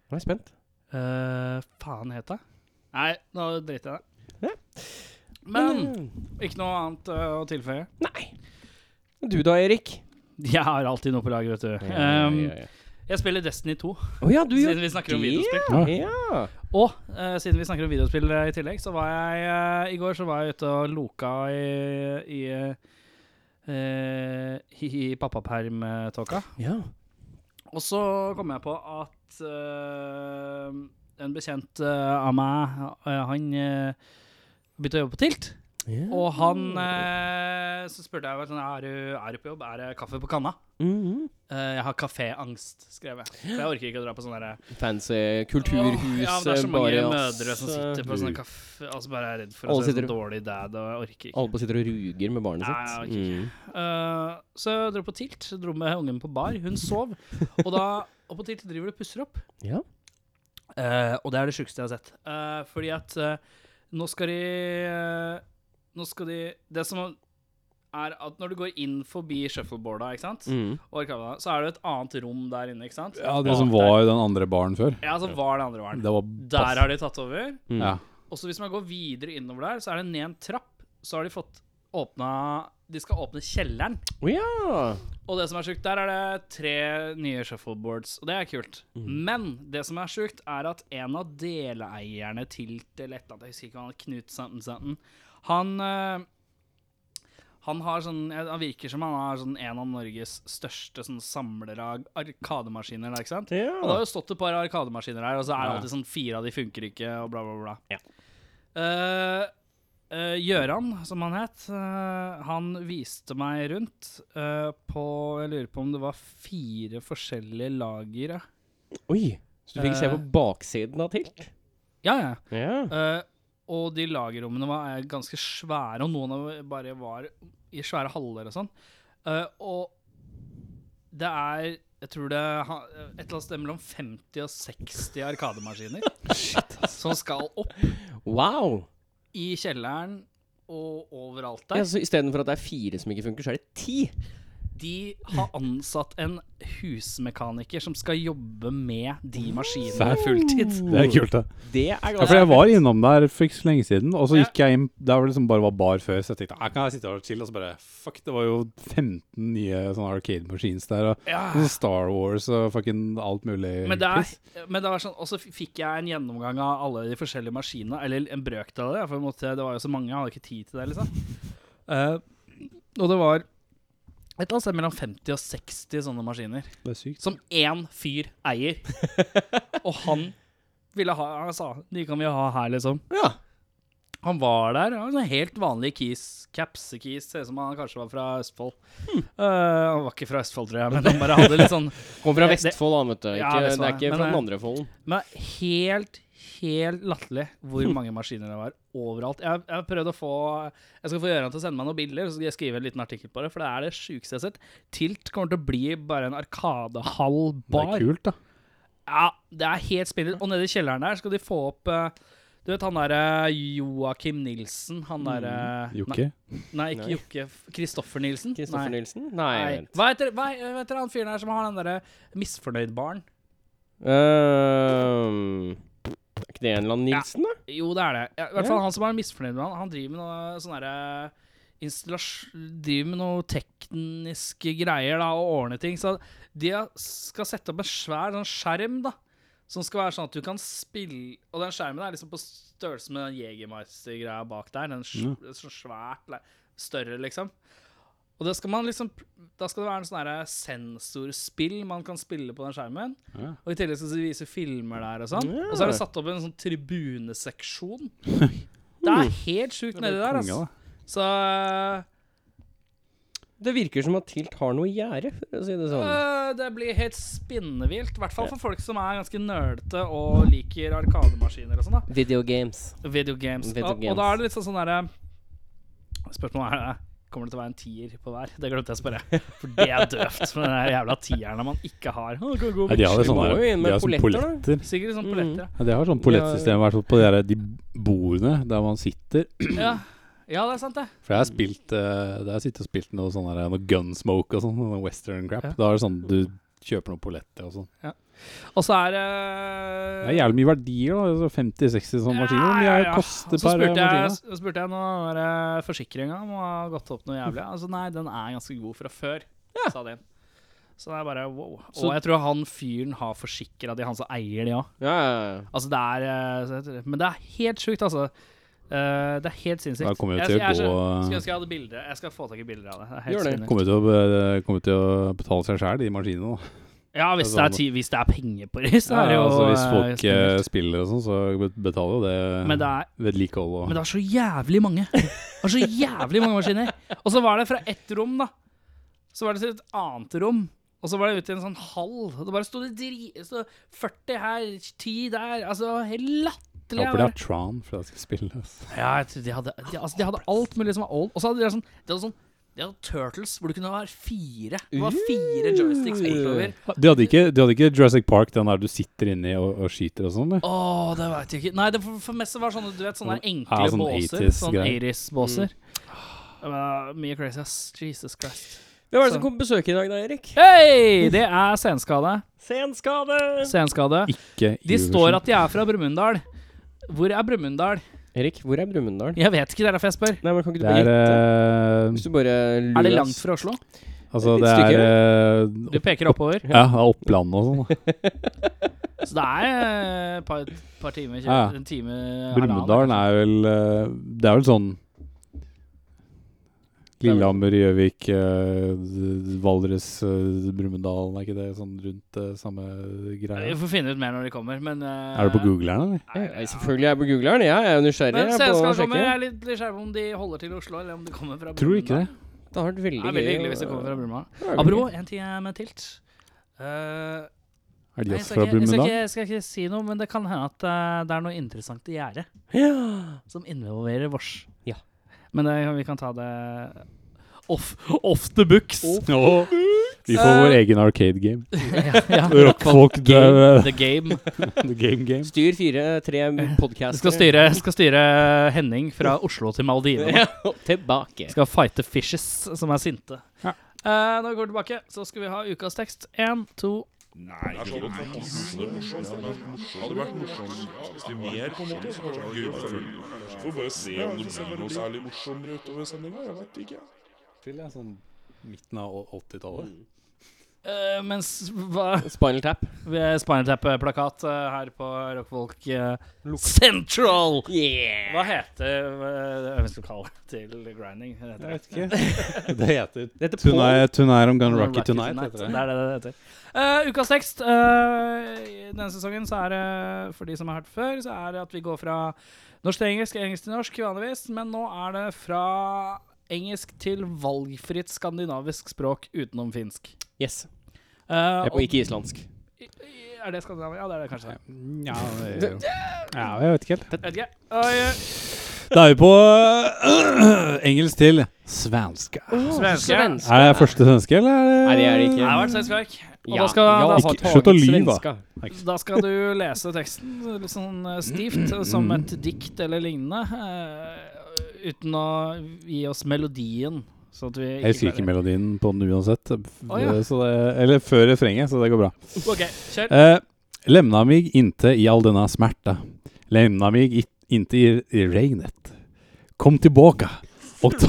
[SPEAKER 2] Nå er jeg spent.
[SPEAKER 1] eh, Faen het det? Nei, nå driter jeg i det. Men ikke noe annet eh, å tilføye.
[SPEAKER 2] Mm. Nei. Du da, Erik?
[SPEAKER 1] Jeg har alltid noe på lag, vet du. Ehm, jeg spiller Destiny 2,
[SPEAKER 2] Å ja, du gjør
[SPEAKER 1] siden vi snakker om
[SPEAKER 2] det,
[SPEAKER 1] videospill.
[SPEAKER 2] ja.
[SPEAKER 3] Ja.
[SPEAKER 2] ja.
[SPEAKER 1] Og eh, siden vi snakker om videospill eh, i tillegg, så var jeg eh, i går så var jeg ute og loka i, i eh, eh, hi-hi pappaperm-tåka.
[SPEAKER 2] Ja.
[SPEAKER 1] Og så kom jeg på at eh, en bekjent eh, av meg, eh, han eh, begynte å jobbe på Tilt.
[SPEAKER 2] Ja.
[SPEAKER 1] Og han eh, Så spurte jeg sånn, er, du, er du på jobb. Er det kaffe på kanna?
[SPEAKER 2] Mhm.
[SPEAKER 1] Eh, jeg har kaféangst, skrev jeg. For jeg orker ikke å dra på sånn derre
[SPEAKER 2] Fancy
[SPEAKER 1] Åh,
[SPEAKER 2] *gasps* kulturhus
[SPEAKER 1] Ja, men det er så mange
[SPEAKER 2] bare, eh, ass.
[SPEAKER 1] mødre som sitter på sånne kaffe Altså bare er redd for å
[SPEAKER 2] Alle
[SPEAKER 1] se
[SPEAKER 2] sitter-
[SPEAKER 1] sånn dårlig dad, og jeg orker ikke.
[SPEAKER 2] Alle bare sitter og ruger med barnet
[SPEAKER 1] Nei,
[SPEAKER 2] sitt.
[SPEAKER 1] jeg
[SPEAKER 2] Mm.
[SPEAKER 1] Eh, så jeg dro på tilt, dro med ungen på bar. Hun sov. Og da Og på tilt driver du og pusser opp.
[SPEAKER 2] Ja.
[SPEAKER 1] Eh, og det er det sjukeste jeg har sett. Eh, fordi at eh, nå skal de eh, Nå skal de Det som er at når du går inn forbi shuffleboarda, ikke sant,
[SPEAKER 2] Mm.
[SPEAKER 1] og arkadene, så er det et annet rom der inne, ikke sant?
[SPEAKER 3] Ja, det som
[SPEAKER 1] Bak
[SPEAKER 3] var den andre baren før.
[SPEAKER 1] der. Ja, som var det andre baren.
[SPEAKER 3] Det var
[SPEAKER 1] Der har de tatt over.
[SPEAKER 2] Mm.
[SPEAKER 3] Ja.
[SPEAKER 1] Og så hvis man går videre innover der, så er det ned en trapp. Så har de fått åpna De skal åpne kjelleren.
[SPEAKER 2] Å ja!
[SPEAKER 1] Og det som er sjukt, der er det tre nye shuffleboards, og det er kult. Men det som er sjukt, er at en av deleierne til det lette, jeg husker ikke hva han het, Knut Santen Santen, han eh, han har sånn, han virker som han er sånn en av Norges største sånn samlere av arkademaskiner. Der, ikke sant? Og det
[SPEAKER 2] ja.
[SPEAKER 1] har jo stått et par arkademaskiner her, og så er det
[SPEAKER 3] Ja.
[SPEAKER 1] alltid sånn fire av de funker ikke, og bla, bla, bla.
[SPEAKER 2] Ja.
[SPEAKER 1] Eh, eh, Gjøran, som han het, eh, han viste meg rundt eh, på Jeg lurer på om det var fire forskjellige lagre.
[SPEAKER 2] Oi! Så du fikk se på
[SPEAKER 1] Eh.
[SPEAKER 2] baksiden av tilt?
[SPEAKER 1] Ja, ja.
[SPEAKER 2] Ja.
[SPEAKER 1] Eh, og de lagerrommene var eh, ganske svære, og noen av dem bare var i svære haller og sånn. Eh, og det er jeg tror det er ha- et eller annet sted mellom 50 og 60 arkademaskiner
[SPEAKER 3] *laughs*
[SPEAKER 1] som skal opp
[SPEAKER 2] Wow!
[SPEAKER 1] i kjelleren og overalt
[SPEAKER 2] Ja,
[SPEAKER 1] der.
[SPEAKER 2] så Istedenfor at det er fire som ikke funker, så er det ti.
[SPEAKER 1] De har ansatt en husmekaniker som skal jobbe med de maskinene
[SPEAKER 3] Serr?
[SPEAKER 1] fulltid.
[SPEAKER 3] Det er kult, det.
[SPEAKER 2] Det er
[SPEAKER 3] Ja,
[SPEAKER 2] ganske
[SPEAKER 3] for jeg var innom der for ikke så lenge siden, og så
[SPEAKER 1] Ja.
[SPEAKER 3] gikk jeg inn der hvor det liksom bare var bar før, så jeg tenkte jeg kan jeg sitte her og chille, og så bare fuck, det var jo 15 nye sånne arcade machines der, og,
[SPEAKER 1] Ja.
[SPEAKER 3] og så Star Wars og fucking alt mulig.
[SPEAKER 1] Men det,
[SPEAKER 3] piss.
[SPEAKER 1] er, men det var sånn, Og så f- fikk jeg en gjennomgang av alle de forskjellige maskinene, eller en brøkdel av det, for jeg måtte, det var jo så mange, jeg hadde ikke tid til det, liksom. Eh, og det var et eller annet sted mellom 50 og 60 sånne maskiner,
[SPEAKER 3] Det er sykt.
[SPEAKER 1] som én fyr eier. og han ville ha Han sa de kan vi ha her, liksom.
[SPEAKER 2] Ja.
[SPEAKER 1] Han var der. Han var sånn helt vanlig keys, capse-keys. Ser ut som han kanskje var fra Østfold. Eh, han var ikke fra Østfold, tror jeg, men han bare hadde litt sånn
[SPEAKER 2] Kommer fra
[SPEAKER 1] Det- det-
[SPEAKER 2] Vestfold, han, vet du. Ikke,
[SPEAKER 1] Ja, Vestfold,
[SPEAKER 2] det er ikke
[SPEAKER 1] men,
[SPEAKER 2] fra den
[SPEAKER 1] eh,
[SPEAKER 2] andre folden.
[SPEAKER 1] Men helt, helt latterlig hvor mange maskiner det var overalt. Jeg, jeg har prøvd å få Jeg skal få Gøran til å sende meg noen bilder, så skal jeg skrive en liten artikkel på det. For det er det sjukeste jeg har sett. Tilt kommer til å bli bare en arkadehall
[SPEAKER 3] Det
[SPEAKER 1] bar.
[SPEAKER 3] er kult, da.
[SPEAKER 1] Ja, det er helt spinnert. Og nede i kjelleren der skal de få opp eh, du vet han derre Joakim Nilsen? Han derre nei,
[SPEAKER 3] Jokke.
[SPEAKER 1] nei, ikke
[SPEAKER 2] Nei.
[SPEAKER 1] Jokke. Kristoffer Nilsen?
[SPEAKER 2] Kristoffer
[SPEAKER 1] Nei.
[SPEAKER 2] Nilsen? Nei.
[SPEAKER 1] Nei.
[SPEAKER 2] vent.
[SPEAKER 1] Hva heter, hva, hva heter han fyren her som har den eh, derre misfornøyd-baren?
[SPEAKER 2] Øhm, Ehm, er ikke det en eller annen
[SPEAKER 1] Ja.
[SPEAKER 2] Nilsen, da?
[SPEAKER 1] Jo, det er det. Ja, I hvert
[SPEAKER 2] Ja.
[SPEAKER 1] fall han som er misfornøyd med han, han driver med noe sånn derre installasj- Driver med noe tekniske greier da, og ordner ting. Så de har- skal sette opp en svær sånn skjerm, da. Som skal være sånn at du kan spille Og den skjermen er liksom på størrelse med den Jegermeister-greia bak der. Den sj- sånn svært le- større, liksom. Og da skal man liksom Da skal det være en sånn derre sensorspill man kan spille på den skjermen.
[SPEAKER 3] Ja.
[SPEAKER 1] Og i tillegg skal de vise filmer der og sånn.
[SPEAKER 2] Ja.
[SPEAKER 1] Og så er det satt opp en sånn tribuneseksjon. Det er helt sjukt nedi der,
[SPEAKER 3] Konge,
[SPEAKER 1] altså.
[SPEAKER 3] da.
[SPEAKER 1] Så
[SPEAKER 2] Det virker som at Tilt har noe i gjære, for å si det sånn.
[SPEAKER 1] øh, det blir helt spinnevilt. I hvert fall for folk som er ganske nerdete og liker arkademaskiner og sånn, da.
[SPEAKER 2] Video games.
[SPEAKER 1] Videogames.
[SPEAKER 2] Video
[SPEAKER 1] og, og da er det litt sånn sånn derre Spørsmålet er eh, Kommer det til å være en tier på hver? Det glemte jeg å spørre. For det er døvt med den der jævla tieren man ikke har. Å, det kan gå
[SPEAKER 3] Nei, de har jo
[SPEAKER 2] Vi må
[SPEAKER 3] sånne,
[SPEAKER 2] jo inn med
[SPEAKER 3] de har sånne
[SPEAKER 2] polletter, da.
[SPEAKER 3] polletter.
[SPEAKER 1] Sikkert sånn
[SPEAKER 2] Mm.
[SPEAKER 1] polletter.
[SPEAKER 3] Ja, de har sånn pollettsystem, i hvert fall på de, der, de bordene der man sitter.
[SPEAKER 1] Ja. ja, det er sant, det.
[SPEAKER 3] For jeg har spilt eh, Der sitter og spilt noe sånn der, noe gunsmoke og sånn, noe western crap.
[SPEAKER 1] Ja.
[SPEAKER 3] Da er det sånn du kjøper noen polletter og sånn.
[SPEAKER 1] Og så er eh, det
[SPEAKER 3] Det er jævlig mye verdier, da. altså 50-60 sånne maskiner. men De er,
[SPEAKER 1] Så
[SPEAKER 3] koster per
[SPEAKER 1] spurte jeg,
[SPEAKER 3] maskine.
[SPEAKER 1] så spurte jeg noe der, forsikringa må ha gått opp noe jævlig. Altså nei, den er ganske god fra før, sa de. Så det er bare wow.
[SPEAKER 2] Så-
[SPEAKER 1] og jeg tror han fyren har forsikra de, han som eier de òg.
[SPEAKER 2] Ja, ja, ja.
[SPEAKER 1] Altså det er eh, så heter det- Men det er helt sjukt, altså. Eh, det er helt sinnssykt.
[SPEAKER 3] Da kommer vi
[SPEAKER 1] Jeg-
[SPEAKER 3] til å
[SPEAKER 1] jeg,
[SPEAKER 3] gå-
[SPEAKER 1] skjønner- Skulle ønske jeg hadde bilder. Jeg skal få tak i bilder av det. det, er helt
[SPEAKER 2] Gjør det.
[SPEAKER 1] sinnssykt.
[SPEAKER 3] Kommer til, å, be- kommer til å betale seg sjæl, de maskinene. da.
[SPEAKER 1] Ja, hvis det, er, ti- hvis det er penger på det, så er det
[SPEAKER 3] Altså, Ja,
[SPEAKER 1] jo
[SPEAKER 3] altså, hvis
[SPEAKER 1] eh,
[SPEAKER 3] folk eh,
[SPEAKER 1] skummelt.
[SPEAKER 3] spiller og sånn, så bet- betaler jo det
[SPEAKER 1] Men det er
[SPEAKER 3] vedlikehold
[SPEAKER 1] Men
[SPEAKER 3] og
[SPEAKER 1] det er så jævlig mange. Det var så jævlig mange maskiner. Og så var det fra ett rom, da. Så var det til et annet rom. Og så var det ut i en sånn hall. Og det bare stod det dri... Så 40 her, 10 der. Altså, helt
[SPEAKER 3] Jeg
[SPEAKER 1] latterlig.
[SPEAKER 3] håper de har Tron for at jeg skal spille. Altså.
[SPEAKER 1] Ja, jeg tror de hadde, de, altså, de hadde alt mulig som var old. Og så hadde de sånn, de hadde sånn de hadde Turtles, hvor du kunne ha fire. Det var fire joysticks bortover.
[SPEAKER 3] Du hadde, ikke, du hadde ikke Jurassic Park, den der du sitter inni og, og skyter og sånn? du?
[SPEAKER 1] Å, det veit jeg ikke. Nei, det for, for mest var sånne du vet, sånne der enkle
[SPEAKER 3] Ja, sånn
[SPEAKER 1] båser.
[SPEAKER 3] 80s
[SPEAKER 1] Sånn
[SPEAKER 3] greier. Mm.
[SPEAKER 1] 80s-båser. Det var Mye crazy, ass. Jesus Christ.
[SPEAKER 2] Hvem er det som kom på besøk i dag, da, Erik?
[SPEAKER 1] Hei! Det er senskade.
[SPEAKER 2] Senskade!
[SPEAKER 1] Senskade.
[SPEAKER 3] Ikke
[SPEAKER 1] De står at de er fra Brumunddal. Hvor er Brumunddal?
[SPEAKER 2] Erik, hvor er Brumunddal?
[SPEAKER 1] Jeg vet ikke, det er derfor jeg spør.
[SPEAKER 2] Nei, men kan ikke du
[SPEAKER 3] Det
[SPEAKER 2] bare
[SPEAKER 3] er
[SPEAKER 2] gjette?
[SPEAKER 3] eh,
[SPEAKER 2] Hvis du bare lurer
[SPEAKER 1] Er det langt
[SPEAKER 2] oss.
[SPEAKER 1] fra Oslo?
[SPEAKER 3] Altså,
[SPEAKER 2] Et
[SPEAKER 3] det
[SPEAKER 2] stykke.
[SPEAKER 3] er eh,
[SPEAKER 1] Du peker oppover.
[SPEAKER 3] Ja, det er Oppland og sånn. da.
[SPEAKER 1] Så det er et par, par timer. kjø-
[SPEAKER 3] Ja.
[SPEAKER 1] En time
[SPEAKER 3] Brumunddal
[SPEAKER 1] halvannen,
[SPEAKER 3] er vel eh, Det er vel sånn Lillehammer, Gjøvik, eh, Valdres, uh, Brumunddal Er ikke det sånn rundt eh, samme
[SPEAKER 1] kanskje. Vi
[SPEAKER 3] greia?
[SPEAKER 1] får finne ut mer når de kommer, men eh,
[SPEAKER 3] Er det på Google her,
[SPEAKER 1] nei,
[SPEAKER 3] eller?
[SPEAKER 2] Ja, selvfølgelig er jeg på googleren. Ja, jeg er jo nysgjerrig.
[SPEAKER 1] Men
[SPEAKER 2] jeg er
[SPEAKER 1] se,
[SPEAKER 2] på
[SPEAKER 1] skal
[SPEAKER 2] å
[SPEAKER 1] de komme. Jeg
[SPEAKER 2] sjekke.
[SPEAKER 1] er litt nysgjerrig på om de holder til i Oslo, eller om de kommer fra
[SPEAKER 3] Tror du ikke det?
[SPEAKER 2] Det har vært
[SPEAKER 1] Det er veldig
[SPEAKER 2] veldig, gøy å-
[SPEAKER 1] hyggelig hvis de kommer fra Brumma.
[SPEAKER 2] Det var veldig
[SPEAKER 1] Apropos, en ting jeg er med tilt. Eh,
[SPEAKER 3] Er
[SPEAKER 1] nei,
[SPEAKER 3] de
[SPEAKER 1] jeg, skal ikke, jeg,
[SPEAKER 3] også fra
[SPEAKER 1] skal ikke,
[SPEAKER 3] Brumunddal?
[SPEAKER 1] jeg skal ikke si noe, men det kan hende at eh, det er noe interessant i gjerdet
[SPEAKER 2] gøy. Ja.
[SPEAKER 1] som involverer vårs.
[SPEAKER 2] Ja.
[SPEAKER 1] Men det, vi kan ta det off, off the books.
[SPEAKER 3] Åh, Vi får vår egen arcade game.
[SPEAKER 1] *laughs* ja,
[SPEAKER 3] *laughs*
[SPEAKER 1] ja.
[SPEAKER 3] Rockfolk
[SPEAKER 1] Eh. Game, the
[SPEAKER 3] The
[SPEAKER 1] game.
[SPEAKER 3] *laughs* Game Game.
[SPEAKER 2] Styr fire, tre
[SPEAKER 1] Jeg
[SPEAKER 2] podcaster.
[SPEAKER 1] skal styre, skal styre Henning fra Oslo til Maldivene.
[SPEAKER 2] Ja, og tilbake.
[SPEAKER 1] Skal fighte fishes, som er sinte.
[SPEAKER 3] Ja.
[SPEAKER 1] Eh, når vi går tilbake, så skal vi ha ukas tekst. Én, to
[SPEAKER 4] Får bare se om det blir noe særlig morsommere utover sendinga. Jeg vet ikke.
[SPEAKER 3] sånn Midten av 80-tallet.
[SPEAKER 1] eh, Mens hva
[SPEAKER 2] Spinal Tap.
[SPEAKER 1] vi har Spinal Tap-plakat eh, her på Rockfolk eh, Central!
[SPEAKER 2] Yeah!
[SPEAKER 1] Hva heter eh, Hva skal vi kalle det til grinding? Det heter
[SPEAKER 3] Jeg vet ikke. *laughs* Det heter
[SPEAKER 2] Det heter Paul.
[SPEAKER 3] Tonight, tonight I'm gonna rock
[SPEAKER 1] Rocky
[SPEAKER 3] it tonight.
[SPEAKER 1] Tonight.
[SPEAKER 3] heter
[SPEAKER 1] Det
[SPEAKER 3] det.
[SPEAKER 1] er det det heter. Eh, ukas tekst. eh, I denne sesongen så er det, for de som har hørt før, så er det at vi går fra norsk til engelsk, engelsk til norsk vanligvis, men nå er det fra engelsk til valgfritt skandinavisk språk utenom finsk.
[SPEAKER 2] Yes.
[SPEAKER 1] Eh,
[SPEAKER 2] Og ikke islandsk.
[SPEAKER 1] og- Er det Skandinavia? Ja, det er det kanskje.
[SPEAKER 3] Ja, det er jo- ja, jeg vet ikke helt.
[SPEAKER 1] Jeg vet ikke. Og, eh,
[SPEAKER 3] Da er vi på øh, engelsk til svenska.
[SPEAKER 1] Svenske.
[SPEAKER 2] svensk.
[SPEAKER 3] Er det første svenske, eller?
[SPEAKER 2] Nei, det er det ikke.
[SPEAKER 1] Det har vært svensk Og da skal, da,
[SPEAKER 3] Ikke- slutt å lyve, da.
[SPEAKER 1] da skal du lese teksten litt sånn eh, stivt, som et dikt eller lignende, eh, uten å gi oss melodien. Sånn at vi
[SPEAKER 3] Jeg husker ikke
[SPEAKER 1] klarer-
[SPEAKER 3] melodien på den uansett.
[SPEAKER 1] Å, ja.
[SPEAKER 3] så det, eller før refrenget, så det går bra.
[SPEAKER 1] Ok, kjør.
[SPEAKER 3] Eh, lämna mig inte i all denna smärta. Lämna mig i, inte i, i regnet. Kom tillbaka. Och
[SPEAKER 1] *laughs*
[SPEAKER 3] ta,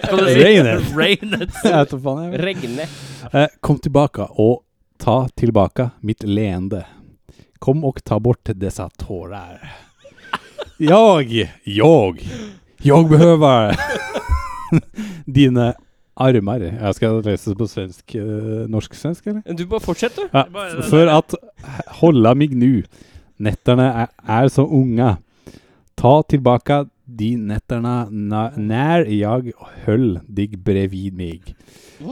[SPEAKER 1] Kan du si
[SPEAKER 3] Rainet.
[SPEAKER 1] Rainet.
[SPEAKER 3] jag vet inte fan jag vet.
[SPEAKER 2] Regne.
[SPEAKER 3] Eh, kom tillbaka och ta tillbaka mitt leende. Kom och ta bort dessa tårar. Jag, jag, jag *laughs* behöver dina armar. Jag ska läsa det på svensk, eh, norsk-svensk eller?
[SPEAKER 2] Du bare fortsett, du.
[SPEAKER 3] Ja,
[SPEAKER 1] Bare det
[SPEAKER 3] for at Hålla mig nu. Nätterna är, är så unga. Ta tillbaka de nätterna na, när jag höll dig bredvid mig.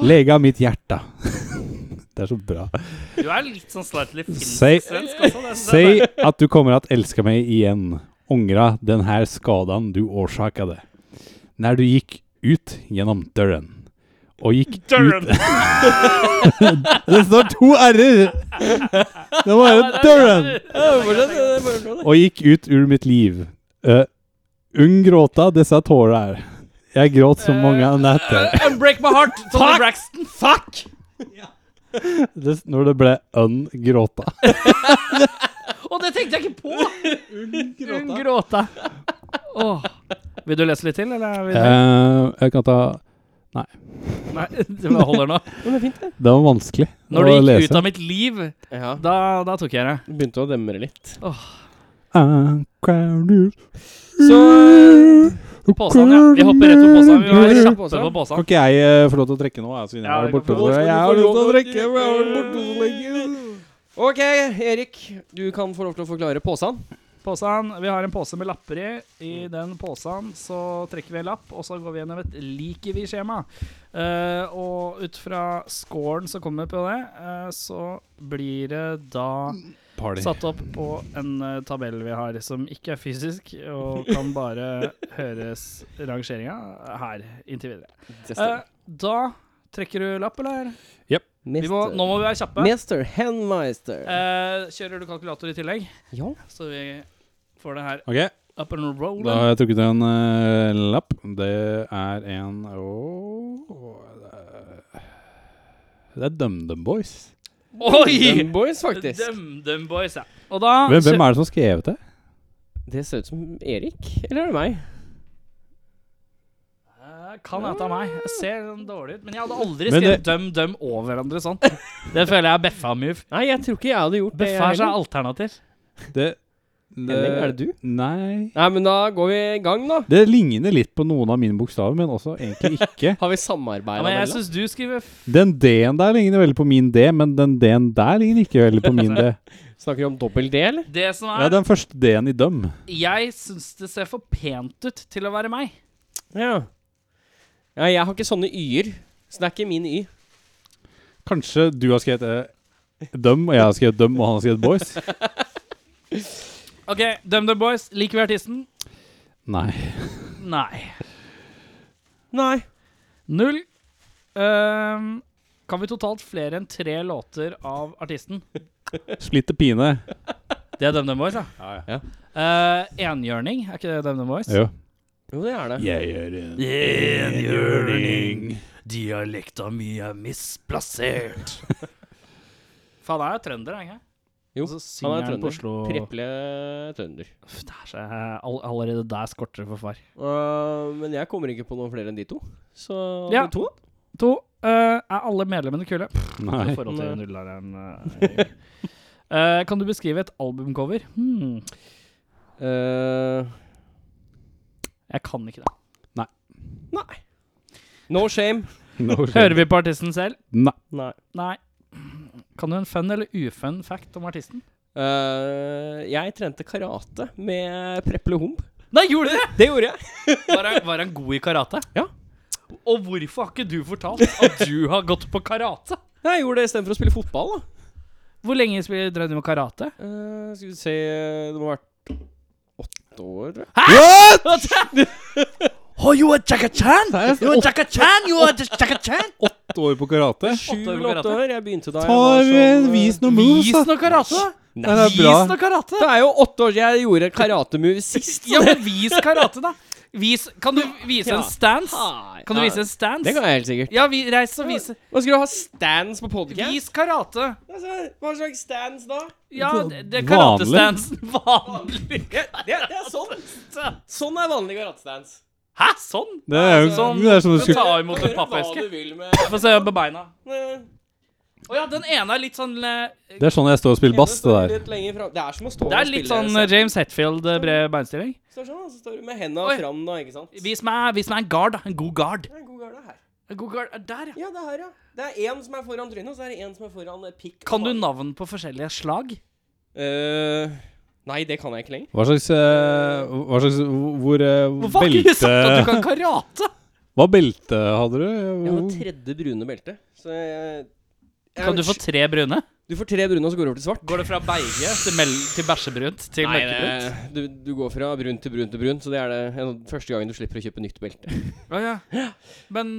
[SPEAKER 3] Lägga mitt hjärta. *laughs* det är så bra.
[SPEAKER 1] Du er litt sånn slightly
[SPEAKER 3] Säg,
[SPEAKER 1] finsk også. det-
[SPEAKER 3] säg att du kommer att älska mig igen. Ångra den här skadan du orsakade. När du gick ut genom dörren. Och gick ut... det står två r Det var ju dörren! Og gikk ut ur mitt liv. Uh, ung gråta disse tårer. Jeg gråt så mange netter.
[SPEAKER 1] Eh, Unbreak my heart, Tony
[SPEAKER 3] Fuck!
[SPEAKER 1] Braxton. Fuck!
[SPEAKER 3] Det, når det ble un gråta.
[SPEAKER 1] Og det tenkte jeg ikke på! Hun gråta. Åh. Vil du lese litt til, eller? er vi-
[SPEAKER 3] Eh, jeg kan ta
[SPEAKER 1] Nei, *laughs* det bare holder nå.
[SPEAKER 3] Det var vanskelig
[SPEAKER 1] Når
[SPEAKER 3] å
[SPEAKER 1] du gikk ut
[SPEAKER 3] lese.
[SPEAKER 1] av mitt liv,
[SPEAKER 2] Ja.
[SPEAKER 1] da, da tok jeg det.
[SPEAKER 2] Det begynte å demre litt.
[SPEAKER 3] I'm crowded.
[SPEAKER 1] Så Påsan, ja. Vi hopper rett på påsan. Vi var kjappe på påsan.
[SPEAKER 3] Kan ikke jeg eh, få lov til å trekke nå? Jeg, siden jeg
[SPEAKER 1] Ja,
[SPEAKER 3] var
[SPEAKER 1] det kan
[SPEAKER 3] borte
[SPEAKER 1] få lov.
[SPEAKER 3] så-
[SPEAKER 2] Skal du
[SPEAKER 3] Jeg
[SPEAKER 2] få
[SPEAKER 3] har lyst til å
[SPEAKER 2] lov til å
[SPEAKER 3] trekke, men jeg har vært borte så lenge.
[SPEAKER 2] OK, Erik. Du kan få lov til å forklare påsen.
[SPEAKER 1] Påsen, Vi har en pose med lapper i. I den posen så trekker vi en lapp, og så går vi gjennom et liker vi-skjema. Eh, og ut fra scoren som kommer på det, eh, så blir det da
[SPEAKER 3] Party.
[SPEAKER 1] satt opp på en eh, tabell vi har, som ikke er fysisk, og kan
[SPEAKER 2] *laughs*
[SPEAKER 1] bare høres rangeringa her inntil videre.
[SPEAKER 2] Det stemmer.
[SPEAKER 1] Eh, da trekker du lapp, eller? Vi må,
[SPEAKER 2] Mister-
[SPEAKER 1] nå må vi være kjappe.
[SPEAKER 2] Mister Henmeister.
[SPEAKER 1] Eh, kjører du kalkulator i tillegg,
[SPEAKER 2] ja.
[SPEAKER 1] så vi får det her
[SPEAKER 3] Ok,
[SPEAKER 1] up and rolling?
[SPEAKER 3] da har jeg trukket en eh, lapp. Det er en Åh, det er- Det er DumDum Boys.
[SPEAKER 1] Oi!
[SPEAKER 2] Dem Boys, faktisk.
[SPEAKER 1] DumDum Boys, ja. Og da
[SPEAKER 2] Ah,
[SPEAKER 3] Hvem, hvem er det som har skrevet det?
[SPEAKER 2] Det ser ut som Erik. Eller er det meg?
[SPEAKER 1] Eh, Kan jeg ta meg? Jeg ser sånn dårlig ut. Men jeg hadde aldri
[SPEAKER 3] Men
[SPEAKER 1] skrevet DumDum over hverandre sånn. Det føler jeg er Beffa-move.
[SPEAKER 2] Nei, jeg tror ikke jeg hadde gjort det. jeg
[SPEAKER 1] Beffa er
[SPEAKER 2] heller.
[SPEAKER 1] seg alternativ.
[SPEAKER 3] det,
[SPEAKER 2] Henning, er det du?
[SPEAKER 3] Nei.
[SPEAKER 2] Nei, men da går vi i gang, da.
[SPEAKER 3] Det ligner litt på noen av mine bokstaver, men også egentlig ikke.
[SPEAKER 2] Har vi
[SPEAKER 1] Ja,
[SPEAKER 2] samarbeida
[SPEAKER 1] men jeg
[SPEAKER 2] vel, da?
[SPEAKER 1] syns du skriver f...
[SPEAKER 3] Den D-en der ligner veldig på min D, men den D-en der ligner ikke veldig på min D.
[SPEAKER 2] Snakker vi om dobbel D, eller?
[SPEAKER 1] Det som
[SPEAKER 3] Ja,
[SPEAKER 1] er
[SPEAKER 3] den første D-en i døm.
[SPEAKER 1] Jeg syns det ser for pent ut til å være meg.
[SPEAKER 2] Ja. ja. Jeg har ikke sånne y-er. Så det er ikke min y.
[SPEAKER 3] Kanskje du har skrevet eh, døm, og jeg har skrevet døm, og han har skrevet boys?
[SPEAKER 1] OK, DumDum Boys, liker vi artisten?
[SPEAKER 3] Nei.
[SPEAKER 1] Nei.
[SPEAKER 2] Nei.
[SPEAKER 1] Null. Ehm, kan vi totalt flere enn tre låter av artisten?
[SPEAKER 3] Splitter pine.
[SPEAKER 1] Det er DumDum Boys, ja.
[SPEAKER 2] ja.
[SPEAKER 1] Eh, enhjørning, er ikke det DumDum Boys?
[SPEAKER 3] Jo.
[SPEAKER 2] Jo, det er det.
[SPEAKER 3] Jeg gjør en
[SPEAKER 1] Enhjørning, dialekta mi er misplassert. *laughs* Faen, han er jo trønder, er han ikke?
[SPEAKER 2] Jo,
[SPEAKER 1] Og så
[SPEAKER 2] Han
[SPEAKER 1] synger
[SPEAKER 2] er
[SPEAKER 1] han på
[SPEAKER 2] trønder.
[SPEAKER 1] Oslo
[SPEAKER 2] Preple trønder.
[SPEAKER 1] Uff, det er så, all, Allerede der skorter det for far.
[SPEAKER 2] Øh, men jeg kommer ikke på noen flere enn de to. Så
[SPEAKER 1] Ja.
[SPEAKER 2] de to?
[SPEAKER 1] To. eh, er alle medlemmene kule?
[SPEAKER 3] *laughs* Nei.
[SPEAKER 1] I forhold til nulleren. eh, eh, kan du beskrive et albumcover? Hmm,
[SPEAKER 2] Øh,
[SPEAKER 1] jeg kan ikke det.
[SPEAKER 2] nei. No shame.
[SPEAKER 3] No
[SPEAKER 1] Hører vi på artisten selv?
[SPEAKER 3] Nei.
[SPEAKER 2] Nei.
[SPEAKER 1] Nei. Kan du en fun eller ufun fact om artisten?
[SPEAKER 2] Øh, jeg trente karate med Preple Humb.
[SPEAKER 1] Nei, gjorde du det?!
[SPEAKER 2] Det gjorde jeg.
[SPEAKER 1] *laughs* Var han, var han god i karate?
[SPEAKER 2] Ja.
[SPEAKER 1] Og hvorfor har ikke du fortalt at du har gått på karate?
[SPEAKER 2] Jeg gjorde det istedenfor å spille fotball, da.
[SPEAKER 1] Hvor lenge spil- drev du med *laughs* karate?
[SPEAKER 2] Øh, skal vi se Det må ha vært åtte år, tror jeg.
[SPEAKER 1] Oh, you are Chaka Chan! You are Chaka Chan! You are Chaka Chan! *laughs*
[SPEAKER 3] Åtte år på karate.
[SPEAKER 1] Åtte år med
[SPEAKER 2] Sju eller åtte
[SPEAKER 1] karate?
[SPEAKER 2] år. Jeg begynte da jeg var
[SPEAKER 3] Tar
[SPEAKER 2] sånn,
[SPEAKER 3] eh,
[SPEAKER 2] øh,
[SPEAKER 3] vis noen moves,
[SPEAKER 1] Vis
[SPEAKER 3] da.
[SPEAKER 1] noe karate, da!
[SPEAKER 3] Det er bra.
[SPEAKER 1] Vis noe karate!
[SPEAKER 2] Det er jo åtte år siden jeg gjorde karatemove sist.
[SPEAKER 1] *laughs* Ja, men vis karate, da! Vis, kan du vise en
[SPEAKER 2] Ja.
[SPEAKER 1] stance?
[SPEAKER 2] Nei,
[SPEAKER 1] Kan du
[SPEAKER 2] nei.
[SPEAKER 1] vise en stance?
[SPEAKER 2] Det kan jeg helt sikkert.
[SPEAKER 1] Ja, vi, reis og vis.
[SPEAKER 2] Hva skal du ha stands på podcast?
[SPEAKER 1] Vis karate.
[SPEAKER 2] Altså, Hva slags stands da?
[SPEAKER 1] Ja, det det er sånn
[SPEAKER 3] Vanlig.
[SPEAKER 1] karatestansen. *laughs* Vanlig.
[SPEAKER 2] Ja, det, det er sånn. Sånn er vanlig karatestans.
[SPEAKER 1] Hæ, sånn?
[SPEAKER 3] Det er jo
[SPEAKER 1] Sånn,
[SPEAKER 3] det er som du
[SPEAKER 1] du
[SPEAKER 3] skulle
[SPEAKER 1] tar imot en pappeske.
[SPEAKER 2] Hva du vil med
[SPEAKER 1] Få se på beina.
[SPEAKER 2] med-
[SPEAKER 1] Å ja, den ene er litt sånn eh,
[SPEAKER 3] Det er sånn jeg står og spiller bass, det der.
[SPEAKER 2] Litt lenger fram. Det er som å stå
[SPEAKER 1] Det
[SPEAKER 2] og
[SPEAKER 1] er litt
[SPEAKER 2] spille
[SPEAKER 1] sånn
[SPEAKER 2] selv.
[SPEAKER 1] James Hetfield-bred beinstilling.
[SPEAKER 2] Står sånn, og så står du med henda
[SPEAKER 1] Oi.
[SPEAKER 2] fram nå, ikke sant?
[SPEAKER 1] Vis meg, vis meg en guard, da. En god guard.
[SPEAKER 2] Det er en god garde her.
[SPEAKER 1] En god guard er der, ja.
[SPEAKER 2] Ja, det er her, ja. Det er én som er foran trynet, og så er det én som er foran eh, pikk.
[SPEAKER 1] Kan du navn på forskjellige slag?
[SPEAKER 2] Eh, nei, det kan jeg ikke lenger.
[SPEAKER 3] Hva slags, eh, hva slags Hvor eh,
[SPEAKER 1] Hvorfor har ikke du sagt at du
[SPEAKER 3] belte
[SPEAKER 1] kan karate?
[SPEAKER 3] Hva belte hadde du?
[SPEAKER 2] Jeg har
[SPEAKER 3] Hvor-
[SPEAKER 2] tredje brune belte. Så jeg, jeg,
[SPEAKER 1] *laughs* Mm. Kan du få tre brune?
[SPEAKER 2] du får tre brune, og så går du over til svart.
[SPEAKER 1] Går det fra beige til, mel til bæsjebrunt til
[SPEAKER 2] Nei, det,
[SPEAKER 1] mørkebrunt?
[SPEAKER 2] du, du går fra brunt til brunt til brunt, så det er det en- første gangen du slipper å kjøpe nytt belte.
[SPEAKER 1] Å, ja. Men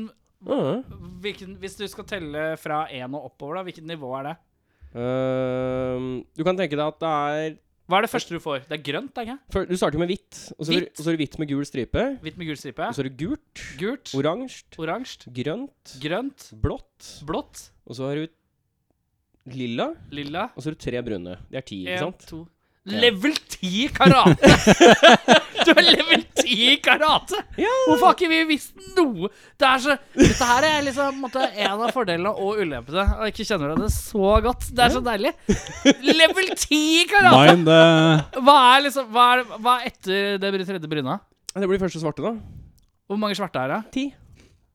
[SPEAKER 1] hvilken, hvis du skal telle fra én og oppover, da, hvilket nivå er det?
[SPEAKER 2] Ehm, du kan tenke deg at det er
[SPEAKER 1] Hva er det første du får? Det er grønt, er det ikke?
[SPEAKER 2] før- Du starter med hvitt, og så, er,
[SPEAKER 1] Hvitt?
[SPEAKER 2] og så er det hvitt med gul stripe.
[SPEAKER 1] Hvitt med gul stripe.
[SPEAKER 2] Og så er det gult,
[SPEAKER 1] Gult.
[SPEAKER 2] oransje,
[SPEAKER 1] Oransje.
[SPEAKER 2] grønt,
[SPEAKER 1] Grønt.
[SPEAKER 2] blått.
[SPEAKER 1] Blått.
[SPEAKER 2] Og så har du lilla,
[SPEAKER 1] Lilla.
[SPEAKER 2] og så har du tre brune. Det er ti, ikke
[SPEAKER 1] En,
[SPEAKER 2] sant?
[SPEAKER 1] to Level 10 karate!
[SPEAKER 2] *laughs*
[SPEAKER 1] du er level 10 karate! Hvorfor har ikke vi visst noe? Det er så, dette her er liksom på en måte, en av fordelene og ulempene. Og jeg ikke kjenner deg det så godt. Det er så deilig. Level 10 karate!
[SPEAKER 3] Mind eh, *laughs*
[SPEAKER 1] Hva er liksom Hva er, hva er etter det tredje bryna?
[SPEAKER 2] Det blir første svarte, da.
[SPEAKER 1] Hvor mange svarte er det?
[SPEAKER 2] Ti.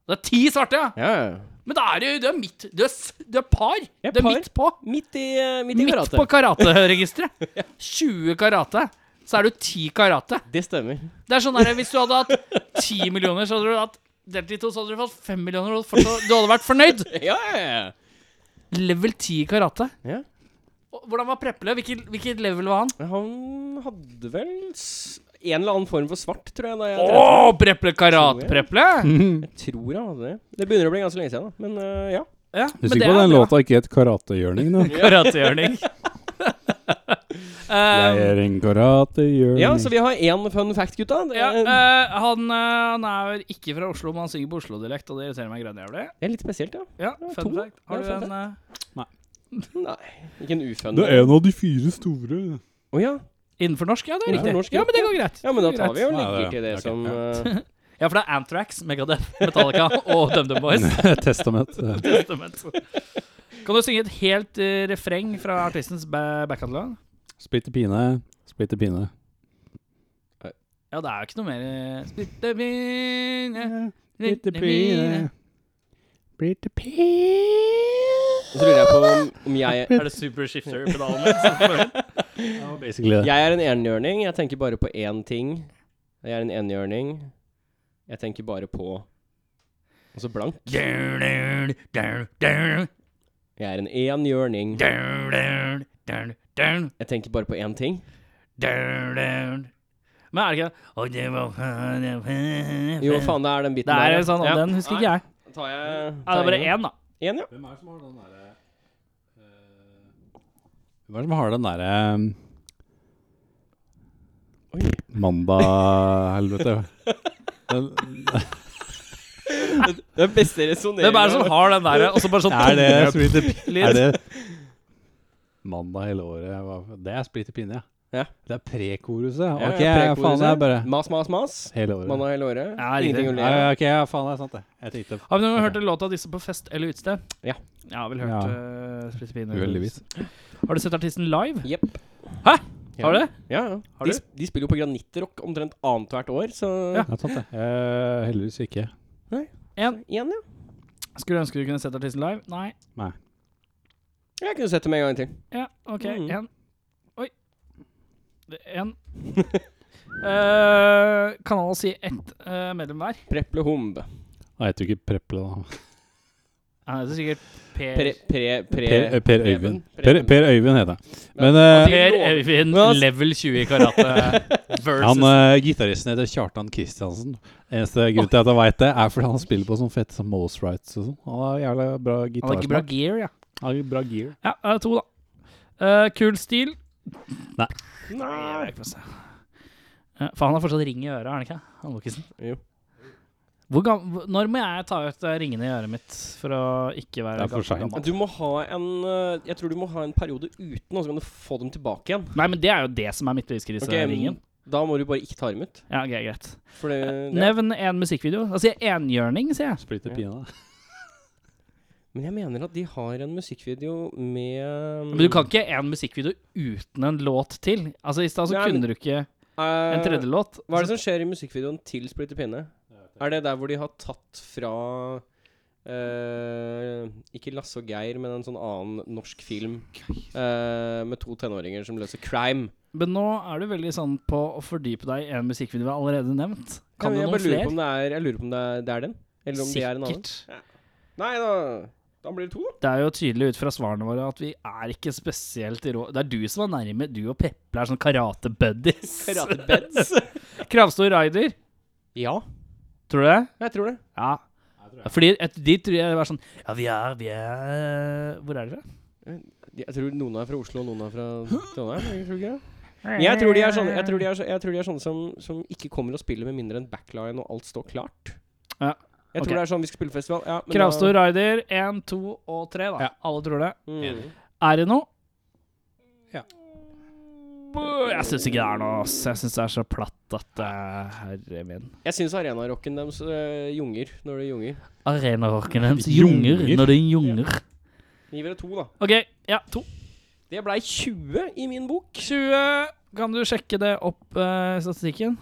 [SPEAKER 1] Det er ti svarte, ja!
[SPEAKER 2] Ja, ja.
[SPEAKER 1] Men da er det jo Du er midt Du er, s- du er par!
[SPEAKER 2] Jeg er
[SPEAKER 1] Du er
[SPEAKER 2] par.
[SPEAKER 1] midt på.
[SPEAKER 2] Midt i, eh, midt i
[SPEAKER 1] Midt
[SPEAKER 2] karate. *laughs*
[SPEAKER 1] på karateregisteret. 20 karate. så er du ti karate.
[SPEAKER 2] Det stemmer.
[SPEAKER 1] Det er sånn der, Hvis du hadde hatt ti millioner, så hadde du hatt delt i to, så hadde du fått fem millioner. Og fortsatt, du hadde vært fornøyd.
[SPEAKER 2] Ja, ja, ja.
[SPEAKER 1] Level 10 i karate.
[SPEAKER 2] Ja.
[SPEAKER 1] Og Hvordan var Preppeløv? Hvilket, hvilket level var han?
[SPEAKER 2] Han hadde vel s en eller annen form for svart, tror jeg. Da jeg
[SPEAKER 1] Å, Preple karat-Preple!
[SPEAKER 2] Jeg tror han hadde det. Det begynner å bli ganske lenge siden, da. Men øh, ja.
[SPEAKER 1] Ja,
[SPEAKER 3] Du er sikker på at den låta ikke het Karatehjørning? *laughs* nå?
[SPEAKER 1] *laughs* Karatehjørning. Eh,
[SPEAKER 3] Jeg er en karatehjørning.
[SPEAKER 2] ja, så vi har én fun fact, gutta. Det
[SPEAKER 1] ja,
[SPEAKER 2] er,
[SPEAKER 1] eh, han, eh, han er vel ikke fra Oslo, men han synger på Oslo-dialekt, og det irriterer meg grønn jævlig.
[SPEAKER 2] det er litt spesielt, ja.
[SPEAKER 1] Ja,
[SPEAKER 2] to.
[SPEAKER 1] fun fact. Har
[SPEAKER 2] Ja,
[SPEAKER 1] du en
[SPEAKER 2] fun
[SPEAKER 1] eh,
[SPEAKER 2] Nei, ikke en ufun.
[SPEAKER 3] Det er en av de fire store.
[SPEAKER 2] Å ja.
[SPEAKER 1] eh, innenfor norsk? Ja, det er
[SPEAKER 2] Innenfor
[SPEAKER 1] riktig.
[SPEAKER 2] norsk, ja.
[SPEAKER 1] ja, men det går greit.
[SPEAKER 2] ja, men da
[SPEAKER 1] Det går
[SPEAKER 2] tar vi
[SPEAKER 1] greit.
[SPEAKER 2] og
[SPEAKER 3] Ja, det
[SPEAKER 2] legger
[SPEAKER 3] er-
[SPEAKER 2] til det
[SPEAKER 3] ok,
[SPEAKER 2] som
[SPEAKER 3] ja. *laughs*
[SPEAKER 2] øh,
[SPEAKER 1] Ja, for det er Anthrax, Megadeth, Metallica og DumDum Boys.
[SPEAKER 3] *laughs* Testament. eh.
[SPEAKER 1] Testament. Kan du synge et helt eh, refreng fra artistens ba- backcatalog?
[SPEAKER 3] Splitter pine, splitter pine.
[SPEAKER 1] Ja, det er jo ikke noe mer eh, Splitter mine,
[SPEAKER 3] Splitter
[SPEAKER 1] splitter mine.
[SPEAKER 3] Splitter pine
[SPEAKER 2] Og så lurer jeg på om, om jeg
[SPEAKER 1] Er det Super Shifter-pedalen min? som får- liksom? *laughs*
[SPEAKER 3] Ja, basically det.
[SPEAKER 2] Jeg er en enhjørning. Jeg tenker bare på én ting. Jeg er en enhjørning. Jeg tenker bare på Og så blank.
[SPEAKER 1] Dun, dun, dun,
[SPEAKER 2] Jeg er en enhjørning.
[SPEAKER 1] dun, dun, dun, dun,
[SPEAKER 2] Jeg tenker bare på én ting.
[SPEAKER 1] dun, dun. Men er det ikke Og det var
[SPEAKER 2] Jo, faen, det er den biten
[SPEAKER 1] Det
[SPEAKER 2] der.
[SPEAKER 1] er
[SPEAKER 2] ja.
[SPEAKER 1] en sånn, og
[SPEAKER 2] Ja.
[SPEAKER 1] den husker ikke jeg.
[SPEAKER 2] Nei, Tar jeg
[SPEAKER 1] Ja, det er bare én, da.
[SPEAKER 2] Én, ja.
[SPEAKER 3] Hvem er det som har den derre eh, Hvem er det som har den derre
[SPEAKER 2] Oi.
[SPEAKER 3] Mandag-helvete? Den-
[SPEAKER 2] Det er beste resonneringa.
[SPEAKER 1] Hvem er det som har den der, og så bare sånn
[SPEAKER 3] *laughs* Er det
[SPEAKER 1] tommel
[SPEAKER 3] splitter
[SPEAKER 1] opp
[SPEAKER 3] pine?
[SPEAKER 1] lyd?
[SPEAKER 3] Er det mandag hele året? jeg var- Det er splitter pine, ja.
[SPEAKER 2] Ja.
[SPEAKER 3] Det er prekoruset?
[SPEAKER 2] Ja,
[SPEAKER 3] Ok,
[SPEAKER 2] ja,
[SPEAKER 3] faen, det er
[SPEAKER 2] prekoruset.
[SPEAKER 3] bare
[SPEAKER 2] Mas, mas, mas.
[SPEAKER 3] hele året.
[SPEAKER 2] Mandag hele året.
[SPEAKER 1] Ja, riktig.
[SPEAKER 2] Ingenting å le
[SPEAKER 3] Ja,
[SPEAKER 2] av.
[SPEAKER 3] ja, ok, ja, faen, det er sant, det. Jeg tenkte
[SPEAKER 1] Har vi noen gang hørt låta disse på fest eller utested?
[SPEAKER 2] Ja.
[SPEAKER 1] Jeg har vel hørt
[SPEAKER 3] Ja.
[SPEAKER 1] eh, Splitter Pine.
[SPEAKER 3] Uheldigvis.
[SPEAKER 1] Har du sett artisten live?
[SPEAKER 2] Jepp.
[SPEAKER 1] Hæ?
[SPEAKER 2] Ja.
[SPEAKER 1] Har du det?
[SPEAKER 2] Ja, ja.
[SPEAKER 1] Har
[SPEAKER 2] De,
[SPEAKER 1] du?
[SPEAKER 2] sp- de spiller jo på Granittrock omtrent annethvert år, så
[SPEAKER 1] Ja.
[SPEAKER 3] Det er sant, det. Eh, heldigvis ikke.
[SPEAKER 1] En.
[SPEAKER 2] Én, ja.
[SPEAKER 1] Skulle ønske du kunne sett artisten live. Nei.
[SPEAKER 3] Nei.
[SPEAKER 2] Jeg kunne sett dem en gang til.
[SPEAKER 1] Ja, OK.
[SPEAKER 2] Mm.
[SPEAKER 1] En. Oi. Det er *laughs* En. Eh, kan alle si ett eh, medlem hver?
[SPEAKER 2] Preple Humb.
[SPEAKER 3] Jeg heter jo ikke Preple, da.
[SPEAKER 1] Nei, det er sikkert Per
[SPEAKER 2] Pre... Pre... Pre...
[SPEAKER 3] Per, eh, per
[SPEAKER 2] Preben.
[SPEAKER 3] Øyvind. Per,
[SPEAKER 2] Preben.
[SPEAKER 3] per Øyvind heter han. Men eh,
[SPEAKER 1] Per Øyvind,
[SPEAKER 2] Men ass-
[SPEAKER 1] level 20 i
[SPEAKER 3] *laughs*
[SPEAKER 1] karate versus
[SPEAKER 3] han eh, gitaristen heter Kjartan Kristiansen. Eneste grunn til at jeg veit det, er fordi han spiller på sånn fett som Most Rights og sånn. Han har jævla bra
[SPEAKER 1] Han er ikke bra
[SPEAKER 3] gitarsmak.
[SPEAKER 1] gear, ja.
[SPEAKER 3] Han har bra gear.
[SPEAKER 1] Ja, det er to, da. Eh, kul stil.
[SPEAKER 2] Nei.
[SPEAKER 1] Nei, jeg vet ikke hva jeg sa. Ja, For han har fortsatt ring i øret, er han ikke? Han Lokisen.
[SPEAKER 2] Jo.
[SPEAKER 1] Hvor gam hvor- når må jeg ta ut eh, ringene i øret mitt for å ikke være
[SPEAKER 3] Det er for
[SPEAKER 1] gam-
[SPEAKER 3] sent.
[SPEAKER 1] gammel?
[SPEAKER 2] Du må ha en øh, Jeg tror du må ha en periode uten, og så kan du få dem tilbake igjen.
[SPEAKER 1] Nei, men det er jo det Eh, som er midtlivskriseringen.
[SPEAKER 2] men Da må du bare ikke ta dem ut.
[SPEAKER 1] Ja, ok, greit.
[SPEAKER 2] For det, det.
[SPEAKER 1] Nevn én musikkvideo. Da sier jeg enhjørning, sier jeg.
[SPEAKER 3] Splitter pina.
[SPEAKER 2] Men jeg mener at de har en musikkvideo med
[SPEAKER 1] Men du kan ikke én musikkvideo uten en låt til. Altså I stad så
[SPEAKER 2] Nei, men-
[SPEAKER 1] kunne du ikke en tredje låt.
[SPEAKER 2] eh, Hva er det som skjer i musikkvideoen til Splitter pinne? Er det der hvor de har tatt fra eh, Ikke Lasse og Geir, men en sånn annen norsk film eh, med to tenåringer som løser crime.
[SPEAKER 1] Men nå er du veldig sånn på å fordype deg i en musikkvideo vi har allerede nevnt. Kan
[SPEAKER 2] Ja,
[SPEAKER 1] du noen
[SPEAKER 2] jeg bare lurer på
[SPEAKER 1] flere?
[SPEAKER 2] om det er, jeg lurer på om det er, det er den? Eller om det er en annen?
[SPEAKER 1] Sikkert.
[SPEAKER 2] Nei da, da blir det to, da.
[SPEAKER 1] Det er jo tydelig ut fra svarene våre at vi er ikke spesielt rå. Det er du som er nærme. Du og Peple er sånn
[SPEAKER 2] *laughs*
[SPEAKER 1] karate-buddies.
[SPEAKER 2] Karatebeds.
[SPEAKER 1] Kravstor rider.
[SPEAKER 2] ja,
[SPEAKER 1] Tror du det?
[SPEAKER 2] jeg tror det.
[SPEAKER 1] Ja. Fordi et, de tror jeg var sånn Ja, vi er, vi er Hvor er dere fra?
[SPEAKER 2] Jeg tror noen er fra Oslo, og noen er fra Trondheim. Jeg tror ikke det. Men Jeg tror de er sånne, jeg tror de er, så- jeg tror de er sånne som, som ikke kommer og spiller med mindre enn backline og alt står klart.
[SPEAKER 1] Ja, ok.
[SPEAKER 2] Jeg tror det er sånn vi skal spille festival. Ja, men da-
[SPEAKER 1] Kravstor rider én, to og tre, da.
[SPEAKER 3] Ja.
[SPEAKER 1] Alle tror det.
[SPEAKER 2] Mm.
[SPEAKER 1] Er det noe?
[SPEAKER 3] Ja.
[SPEAKER 1] Bø, Jeg syns ikke det er noe, ass. Jeg syns det er så platt at eh, Herre min.
[SPEAKER 2] Jeg syns arenarocken deres øh, junger når det junger.
[SPEAKER 1] Arenarocken hennes
[SPEAKER 3] Junger.
[SPEAKER 1] junger når den junger.
[SPEAKER 2] Gi dere to, da.
[SPEAKER 1] OK, ja, to.
[SPEAKER 2] Det blei 20 i min bok.
[SPEAKER 1] 20. Kan du sjekke det opp eh, statistikken?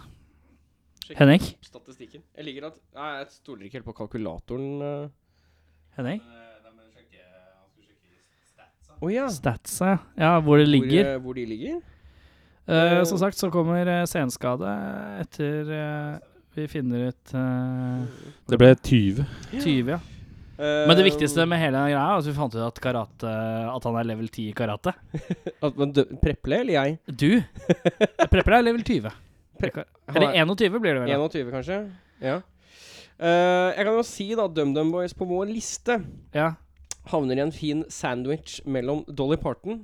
[SPEAKER 1] Henning?
[SPEAKER 2] Statistikken. Jeg ligger at Nei, jeg stoler ikke helt på kalkulatoren. øh.
[SPEAKER 1] Henning?
[SPEAKER 2] Å ja.
[SPEAKER 1] Statsa, ja. Hvor det ligger.
[SPEAKER 2] Hvor, øh, hvor de eh, ligger?
[SPEAKER 1] Eh, som sagt så kommer eh, senskade etter eh, vi finner ut eh,
[SPEAKER 3] Det ble 20.
[SPEAKER 1] 20, ja. Men det viktigste med hele den greia er at vi fant ut at, karate, at han er level 10 i karate.
[SPEAKER 2] Eh, At man dø- Preple eller jeg?
[SPEAKER 1] Du prepper deg level 20. Eller 21 blir det vel. da.
[SPEAKER 2] 21, kanskje? Ja. Eh, jeg kan jo si, da, DumDum Boys på vår liste
[SPEAKER 1] Ja.
[SPEAKER 2] havner i en fin sandwich mellom Dolly Parton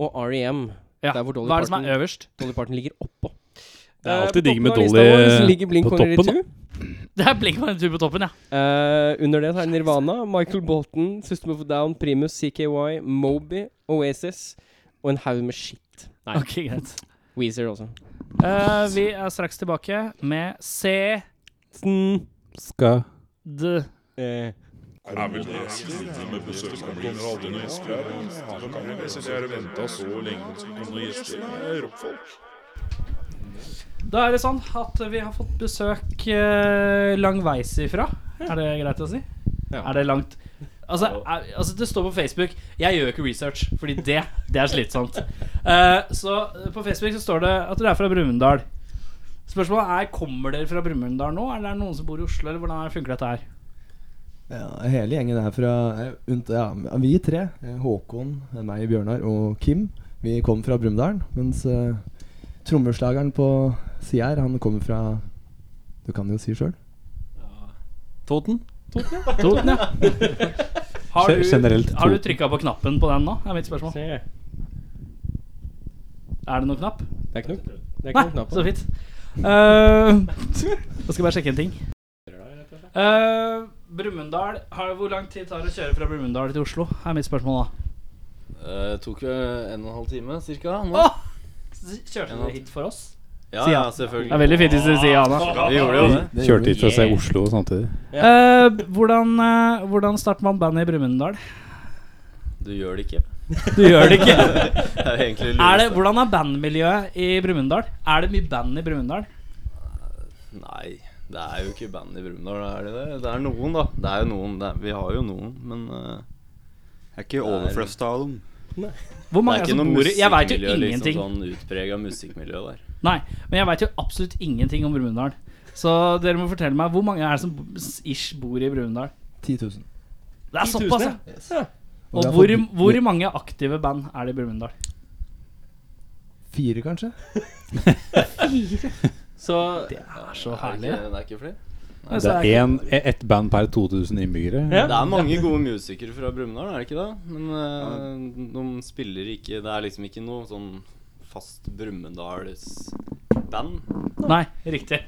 [SPEAKER 2] og REM.
[SPEAKER 1] Ja.
[SPEAKER 2] Der hvor Dolly
[SPEAKER 1] Hva er det som
[SPEAKER 2] Parton-
[SPEAKER 1] er øverst? *laughs*
[SPEAKER 2] Dolly Parton ligger oppå.
[SPEAKER 3] Det er
[SPEAKER 2] Eh,
[SPEAKER 3] alltid
[SPEAKER 2] på
[SPEAKER 3] digg med
[SPEAKER 2] toppen av
[SPEAKER 3] Dolly,
[SPEAKER 2] lista vår så
[SPEAKER 3] eh,
[SPEAKER 2] ligger Blink
[SPEAKER 3] på toppen,
[SPEAKER 2] 182.
[SPEAKER 1] Det er blink på en tur på toppen, ja.
[SPEAKER 2] Eh, under det så er det Nirvana, Michael Bolton, System of a Down, Primus, CKY, Moby, Oasis og en haug med shit. Nei,
[SPEAKER 1] Ok, greit.
[SPEAKER 2] Weezer også.
[SPEAKER 1] Eh, vi er straks tilbake med C.
[SPEAKER 2] Sn.
[SPEAKER 3] Skal
[SPEAKER 1] D.
[SPEAKER 2] Eh,
[SPEAKER 4] Er det vel det siste med besøkskommer? Aldri noen gjester her. Hvem kan jeg sitte her og vente så lenge på at det skal komme noen gjester? Det er rockfolk.
[SPEAKER 1] Da er det sånn at vi har fått besøk eh, langveis ifra. Er det greit å si?
[SPEAKER 2] Ja.
[SPEAKER 1] Er det langt altså, er, altså, det står på Facebook Jeg gjør jo ikke research, fordi det, det er slitsomt. Eh, så eh, på Facebook så står det at dere er fra Brumunddal. Spørsmålet er kommer dere fra Brumunddal nå, eller er det noen som bor i Oslo, eller hvordan funker dette her?
[SPEAKER 5] Ja, hele gjengen er fra eh, unnta- ja, Vi tre, eh, Håkon, eh, meg, Bjørnar og Kim, vi kom fra Brumunddal. Mens eh, trommeslageren på sida her, han kommer fra Du kan jo si sjøl.
[SPEAKER 3] Toten?
[SPEAKER 1] Toten, ja. *laughs* Har
[SPEAKER 3] Gen- generelt
[SPEAKER 1] du, har du
[SPEAKER 3] Toten.
[SPEAKER 1] trykka på knappen på den nå? Er mitt spørsmål.
[SPEAKER 2] se.
[SPEAKER 1] Er det noen knapp?
[SPEAKER 2] Det er ikke noe det er ikke
[SPEAKER 1] Nei,
[SPEAKER 2] noe knapp på
[SPEAKER 1] så
[SPEAKER 2] det.
[SPEAKER 1] fint. Eh, *laughs* jeg skal bare sjekke en ting. Uh, Brumunddal har- Hvor lang tid tar det å kjøre fra Brumunddal til Oslo? Er mitt spørsmål da.
[SPEAKER 6] Eh, tok jo en og en halv time, cirka. Nå.
[SPEAKER 1] Åh! S- Kjørte dere hit for oss?
[SPEAKER 6] ja,
[SPEAKER 1] sier
[SPEAKER 6] ja,
[SPEAKER 1] han.
[SPEAKER 6] selvfølgelig.
[SPEAKER 1] Det er veldig fint hvis du sier Anna.
[SPEAKER 6] Vi gjorde jo det.
[SPEAKER 3] Kjørte hit for å se Oslo samtidig.
[SPEAKER 1] Eh, hvordan, eh, hvordan starter man bandet i Brumunddal?
[SPEAKER 6] Du gjør det ikke. *laughs*
[SPEAKER 1] Du gjør det ikke.
[SPEAKER 6] Det er jo
[SPEAKER 1] *laughs* Er
[SPEAKER 6] egentlig
[SPEAKER 1] det,
[SPEAKER 6] lureste.
[SPEAKER 1] hvordan er bandmiljøet i Brumunddal? Er det mye band i Brumunddal?
[SPEAKER 6] Nei, det er jo ikke band i Brumunddal, er det det? Det er noen, da. Det er jo noen. Det er, vi har jo noen, men eh,
[SPEAKER 7] Jeg er ikke overflusta av dem.
[SPEAKER 1] Hvor
[SPEAKER 6] det
[SPEAKER 1] mange
[SPEAKER 6] er
[SPEAKER 1] er det
[SPEAKER 6] ikke
[SPEAKER 1] som
[SPEAKER 6] noe
[SPEAKER 1] bor i Jeg veit jo
[SPEAKER 6] musikkmiljø,
[SPEAKER 1] ingenting.
[SPEAKER 6] liksom sånn utprega musikkmiljø der.
[SPEAKER 1] Nei, men jeg veit jo absolutt ingenting om Brumunddal. Så dere må fortelle meg hvor mange er det som b- s- ish bor i Brumunddal?
[SPEAKER 5] 10 000.
[SPEAKER 1] Det er
[SPEAKER 2] 10 000,
[SPEAKER 1] såpass, ja.
[SPEAKER 2] ja. Ja.
[SPEAKER 5] Og vi
[SPEAKER 1] Og
[SPEAKER 5] har
[SPEAKER 1] hvor,
[SPEAKER 5] fått-
[SPEAKER 1] hvor mange aktive band er det i Brumunddal?
[SPEAKER 5] Fire, kanskje?
[SPEAKER 2] Så
[SPEAKER 1] Det er så
[SPEAKER 6] Er
[SPEAKER 1] herlig.
[SPEAKER 6] det ikke, det er ikke flere?
[SPEAKER 1] Nei,
[SPEAKER 3] Det
[SPEAKER 1] så
[SPEAKER 3] er en, ett band per 2000 innbyggere.
[SPEAKER 2] Ja.
[SPEAKER 6] Det er mange gode musikere fra Brumunddal, er det ikke det? Men eh, de spiller ikke Det er liksom ikke noe sånn fast Brumunddals-band.
[SPEAKER 1] ikke- Nei, riktig.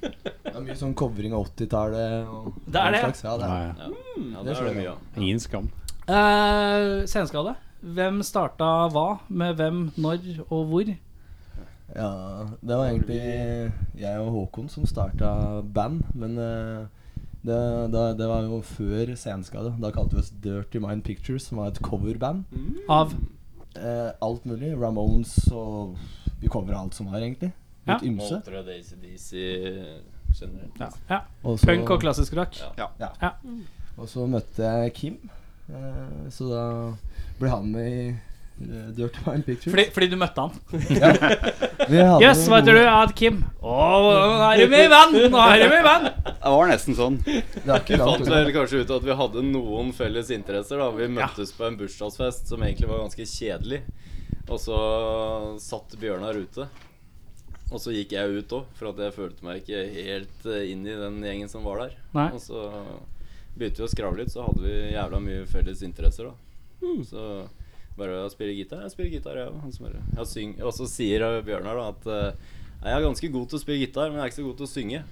[SPEAKER 5] Det er mye sånn covring av 80-tallet. og
[SPEAKER 1] Det er
[SPEAKER 5] den
[SPEAKER 1] det, ja.
[SPEAKER 5] slags. Ja, det er.
[SPEAKER 3] Nei,
[SPEAKER 6] Ja,
[SPEAKER 5] det
[SPEAKER 6] det er
[SPEAKER 5] skjønner
[SPEAKER 6] det
[SPEAKER 5] jeg.
[SPEAKER 6] mye av.
[SPEAKER 3] ingen skam.
[SPEAKER 1] Eh, senskade. Hvem starta hva, med hvem, når og hvor?
[SPEAKER 5] Ja, det var egentlig jeg og Håkon som starta band, men eh, det, da, det var jo før senskade. Da kalte vi oss Dirty Mind Pictures, som var et coverband.
[SPEAKER 1] Av
[SPEAKER 5] Eh, alt mulig. Ramones og Vi kom fra alt som var, egentlig. Litt ymse.
[SPEAKER 6] Molter og Daisy Deasy generelt.
[SPEAKER 5] Og så-
[SPEAKER 1] punk og klassisk rock.
[SPEAKER 5] Og så møtte jeg Kim, eh, så da ble han med i eh, Dirty Mind Pictures.
[SPEAKER 1] Fordi, fordi du møtte han.
[SPEAKER 5] Vi
[SPEAKER 1] Jøss,
[SPEAKER 5] hadde
[SPEAKER 1] yes,
[SPEAKER 5] noen
[SPEAKER 1] hva heter du? Jeg heter Kim. Å, nå er du med i band! Nå er du med i band!
[SPEAKER 7] Det var nesten sånn.
[SPEAKER 5] gode- Det er ikke
[SPEAKER 6] Vi fant
[SPEAKER 5] langt unna.
[SPEAKER 6] vel kanskje ut at vi hadde noen felles interesser. da Vi møttes på en bursdagsfest som egentlig var ganske kjedelig. Og så satt Bjørnar ute. Og så gikk jeg ut òg, for at jeg følte meg ikke helt eh, inn i den gjengen som var der.
[SPEAKER 1] Nei.
[SPEAKER 6] Og så begynte vi å skravle litt, så hadde vi jævla mye felles interesser, da.
[SPEAKER 5] Mm.
[SPEAKER 6] Så bare jeg spiller gitar, jeg spiller gitar, jeg òg. Og så sier eh, Bjørnar da at eh, «Nei, jeg er ganske god til å spille gitar, men jeg er ikke så god til å synge.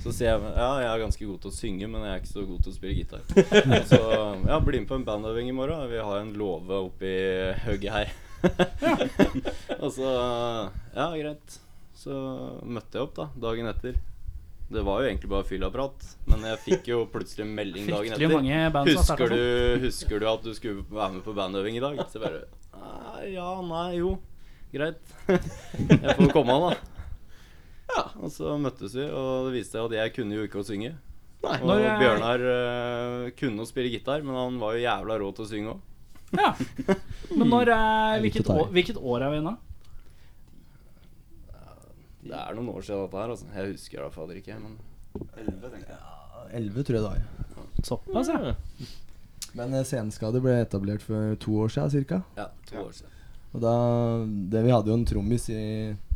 [SPEAKER 6] Så sier jeg ja, jeg er ganske god til å synge, men jeg er ikke så god til å spille gitar.
[SPEAKER 1] *laughs*
[SPEAKER 6] Og Så ja, bli med på en bandøving i morgen. Vi har en låve oppi hugget her. *laughs* og så ja, greit. Så møtte jeg opp da, dagen etter. Det var jo egentlig bare fyllaprat, men jeg fikk jo plutselig en melding dagen
[SPEAKER 1] Fryktelig
[SPEAKER 6] etter.
[SPEAKER 1] mange band som har starta
[SPEAKER 6] Husker
[SPEAKER 1] sånn.
[SPEAKER 6] du, husker du at du skulle være med på bandøving i dag? Så jeg bare «Nei, Ja, nei, jo. Greit. Jeg får komme, da. *laughs* Ja, Og så møttes vi, og det viste seg at jeg kunne jo ikke å synge. og
[SPEAKER 1] Når jeg-
[SPEAKER 6] Bjørnar eh, kunne å spille gitar, men han var jo jævla rå til å synge òg.
[SPEAKER 1] Ja. Men når, eh,
[SPEAKER 5] Jeg
[SPEAKER 1] hvilket,
[SPEAKER 5] likte deg.
[SPEAKER 1] år, hvilket år er vi inne?
[SPEAKER 6] Det er noen år siden dette her, altså. Jeg husker da fader ikke, men
[SPEAKER 5] Elleve, tror jeg det var.
[SPEAKER 1] Såpass, ja.
[SPEAKER 5] Men eh, senskade ble etablert for to år siden ca.
[SPEAKER 6] ja, to år siden.
[SPEAKER 5] Og da det, Vi hadde jo en trommis i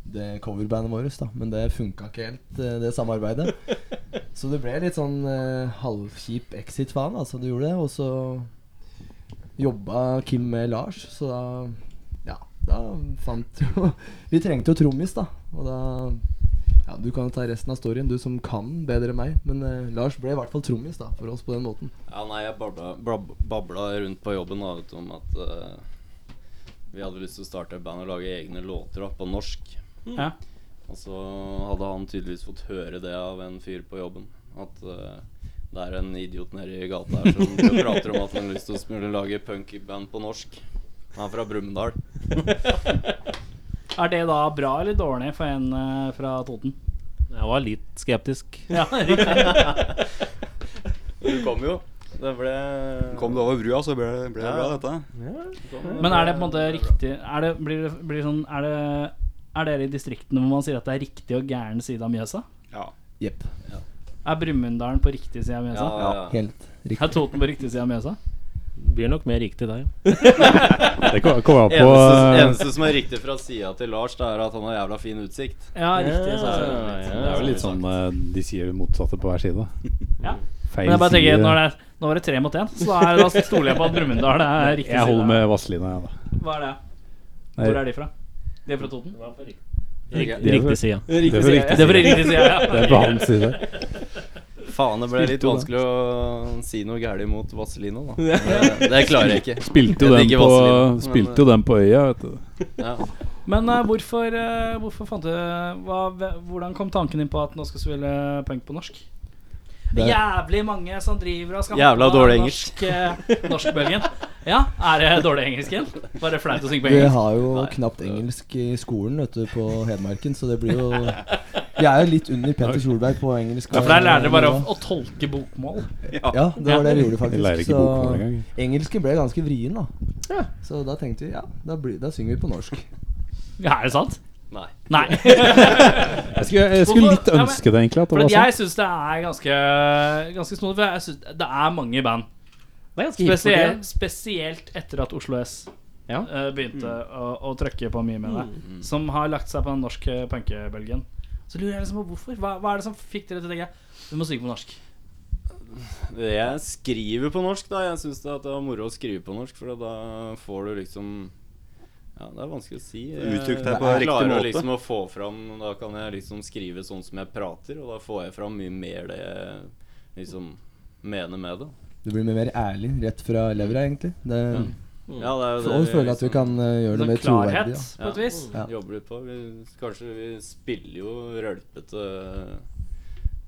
[SPEAKER 5] det coverbandet vårt, da, men det funka ikke helt, eh, det samarbeidet. Så det ble litt sånn eh, halvkjip exit faen, altså. Det gjorde det. Og så jobba Kim med Lars, så da Ja, da fant jo *laughs* Vi trengte jo trommis, da. Og da ja, Du kan jo ta resten av storyen, du som kan bedre enn meg. Men eh, Lars ble i hvert fall trommis da, for oss på den måten.
[SPEAKER 6] Ja, nei, jeg babla, blab, babla rundt på jobben da, vet du, om at eh, vi hadde lyst til å starte et band og lage egne låter da, på norsk.
[SPEAKER 8] Mm.
[SPEAKER 1] Ja.
[SPEAKER 6] Og så hadde han tydeligvis fått høre det av en fyr på jobben. At eh, det er en idiot nede i gata her som driver og prater om at han har lyst til å smule lage punkband på norsk. Han er fra Brumunddal.
[SPEAKER 1] Er det da bra eller dårlig for en eh, fra Toten?
[SPEAKER 8] Jeg var litt skeptisk. *laughs*
[SPEAKER 1] Ja, riktig.
[SPEAKER 6] *laughs* Du kom jo. Det ble
[SPEAKER 7] Kom det over brua, så ble, ble det
[SPEAKER 6] Ja.
[SPEAKER 7] bra, dette.
[SPEAKER 1] Men er det på en måte riktig Er det, blir det, blir det sånn Er det er dere i distriktene hvor man sier at det er riktig og gæren side av Mjøsa?
[SPEAKER 7] Ja.
[SPEAKER 5] Jepp.
[SPEAKER 1] Er Brumunddalen på riktig side av
[SPEAKER 6] Ja,
[SPEAKER 1] Mjøsa?
[SPEAKER 6] ja, ja.
[SPEAKER 5] Helt riktig.
[SPEAKER 1] Er Toten på riktig side av Mjøsa?
[SPEAKER 8] Blir nok mer riktig der.
[SPEAKER 3] Det kom, kom jeg på
[SPEAKER 6] Eneste,
[SPEAKER 3] eh,
[SPEAKER 6] eneste som er riktig fra sida til Lars, det er at han har jævla fin utsikt.
[SPEAKER 1] *laughs* Ja, riktig. Så er det.
[SPEAKER 3] Det er jo litt sånn eh, de sier det motsatte på hver side.
[SPEAKER 1] Ja.
[SPEAKER 3] Feil
[SPEAKER 1] Men jeg bare tenker,
[SPEAKER 3] side.
[SPEAKER 1] når det er, nå var det tre mot én, så da, er, da stoler jeg på at Brumunddal er riktig.
[SPEAKER 3] Jeg holder
[SPEAKER 1] side.
[SPEAKER 3] med Vazelina, jeg, da.
[SPEAKER 1] Hva er det?
[SPEAKER 3] Nei,
[SPEAKER 1] Hvor er de fra? De er fra Toten?
[SPEAKER 6] Ok.
[SPEAKER 3] Det er
[SPEAKER 8] Riktig
[SPEAKER 3] vel-
[SPEAKER 8] side.
[SPEAKER 3] det er vel riktig.
[SPEAKER 1] Det er fra riktig side, ja.
[SPEAKER 3] Det er på hans side.
[SPEAKER 6] Faen, det ble litt vanskelig å si noe galt mot Vazelina,
[SPEAKER 7] *laughs*
[SPEAKER 6] da. Det, det klarer jeg ikke.
[SPEAKER 3] Spilte jo
[SPEAKER 6] Jeg
[SPEAKER 3] den
[SPEAKER 6] digger
[SPEAKER 3] på,
[SPEAKER 6] Vazelina, men-
[SPEAKER 1] eh,
[SPEAKER 3] spilte jo den på øya, vet du.
[SPEAKER 6] Ja.
[SPEAKER 1] Men eh, hvorfor, eh, hvorfor fant du hva, Hvordan kom tanken din på at nå skal spille punk på norsk? Det er jævlig mange som driver og skal
[SPEAKER 6] Jævla
[SPEAKER 1] ha på
[SPEAKER 6] dårlig
[SPEAKER 1] norsk, eh, Norskbølgen. Ja, er det dårlig engelsk igjen? Var det flaut å synge på
[SPEAKER 5] Vi
[SPEAKER 1] engelsk?
[SPEAKER 5] har jo knapt engelsk i skolen vet du, på Hedmarken, så det blir jo Vi er jo litt under Peter Solberg på engelsk.
[SPEAKER 1] Ja, for der lærer dere bare å, å tolke bokmål.
[SPEAKER 5] Ja, det var det vi gjorde,
[SPEAKER 3] Jeg lærer
[SPEAKER 5] faktisk.
[SPEAKER 3] ikke bokmål engang.
[SPEAKER 5] Så engelsken ble ganske vrien, da. Så da tenkte vi ja, da, blir, da synger vi på norsk.
[SPEAKER 1] Ja, er det sant?
[SPEAKER 6] Nei.
[SPEAKER 1] Nei.
[SPEAKER 3] Jeg skulle, jeg skulle
[SPEAKER 1] Hvorfor-
[SPEAKER 3] litt
[SPEAKER 1] Ja, men-
[SPEAKER 3] ønske det, egentlig. At det
[SPEAKER 1] For
[SPEAKER 3] var
[SPEAKER 1] at
[SPEAKER 3] sånn.
[SPEAKER 1] jeg syns det er ganske, ganske snodig. For jeg synes det er mange band.
[SPEAKER 8] Det er ganske hipt for
[SPEAKER 1] Spesielt,
[SPEAKER 8] tida.
[SPEAKER 1] spesielt etter at Oslo S
[SPEAKER 8] Ja.
[SPEAKER 1] eh, begynte
[SPEAKER 5] Mm.
[SPEAKER 1] å, å trøkke på mye med det. Som har lagt seg på den norske punkebølgen. Så lurer jeg liksom på hvorfor. Hva, hva er det som fikk dere til å tenke du må synge på norsk?
[SPEAKER 6] Jeg skriver på norsk, da. Jeg syns det at det var moro å skrive på norsk, for da får du liksom ja, Det er vanskelig å si. Jeg-
[SPEAKER 7] Uttrykt deg på
[SPEAKER 6] jeg
[SPEAKER 7] riktig
[SPEAKER 6] klarer å
[SPEAKER 7] måte.
[SPEAKER 6] liksom å få fram Da kan jeg liksom skrive sånn som jeg prater, og da får jeg fram mye mer det jeg liksom mener med det.
[SPEAKER 5] Du blir mye mer ærlig rett fra levra, egentlig. Det,
[SPEAKER 7] Mm.
[SPEAKER 6] Ja, det er jo det liksom-
[SPEAKER 5] og
[SPEAKER 6] vi
[SPEAKER 5] føler at du kan eh, gjøre det
[SPEAKER 1] Sånn
[SPEAKER 5] mer troverdig.
[SPEAKER 1] klarhet,
[SPEAKER 5] Da.
[SPEAKER 1] på et vis.
[SPEAKER 5] Ja.
[SPEAKER 6] jobber litt på. Vi, kanskje vi spiller jo rølpete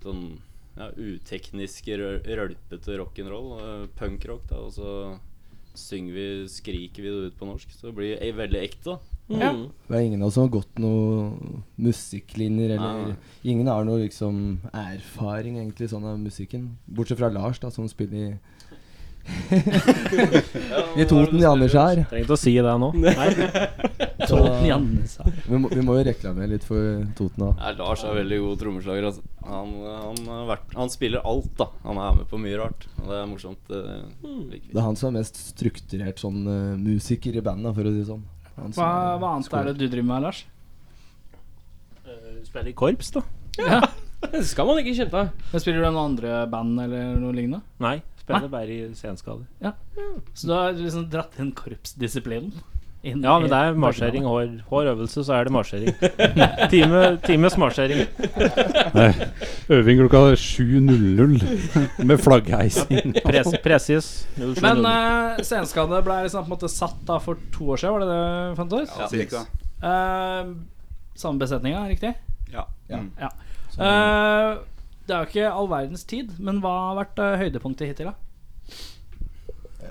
[SPEAKER 6] Sånn ja, utekniske, rø- rølpete rock'n'roll. eh, Punkrock, da. Og så synger vi, skriker vi det ut på norsk. Så det blir eh, veldig ekte, da.
[SPEAKER 2] Mm.
[SPEAKER 5] Det er ingen av oss som har gått noen musikklinjer, eller
[SPEAKER 1] Ah.
[SPEAKER 6] Nei.
[SPEAKER 5] Ingen har noe liksom erfaring, egentlig, sånn av musikken. Bortsett fra Lars, da, som spiller i I Toten i Anderskjær.
[SPEAKER 8] Trengte å si det nå.
[SPEAKER 6] *laughs*
[SPEAKER 5] Så
[SPEAKER 1] Janne,
[SPEAKER 5] vi, må- vi må jo reklamere litt for Toten òg.
[SPEAKER 6] Nei, Lars er veldig god trommeslager. Altså. Han, eh, han, har vært, han spiller alt, da. Han er med på mye rart. Og det er morsomt. eh,
[SPEAKER 7] Hmm.
[SPEAKER 6] liker
[SPEAKER 5] Det er han som er mest strukturert sånn eh, musiker i bandet, for å si det sånn. Han som
[SPEAKER 1] Hva,
[SPEAKER 5] er-
[SPEAKER 1] hva annet er det du driver med, Lars?
[SPEAKER 8] Spille i korps, da.
[SPEAKER 2] Det skal man ikke kjenne.
[SPEAKER 1] Men Spiller du i noen andre band eller noe lignende?
[SPEAKER 8] Nei. Spiller bare i senskader.
[SPEAKER 1] Så du har liksom dratt inn korpsdisiplinen? inn
[SPEAKER 8] Ja, men
[SPEAKER 1] i
[SPEAKER 8] det er marsjering. Hår, hår øvelse, så er det marsjering. *laughs* Time, times marsjering.
[SPEAKER 3] Øving klokka 7.00 med flaggheising.
[SPEAKER 8] Pres, presis.
[SPEAKER 1] Men eh, senskade ble liksom på en måte satt da for to år siden, var det det du fant ut?
[SPEAKER 7] Ja, cirka.
[SPEAKER 1] Eh, samme besetninga, riktig?
[SPEAKER 7] Ja. Mm.
[SPEAKER 1] Ja. Eh, det er jo ikke all verdens tid, men hva har vært eh, høydepunktet hittil? da?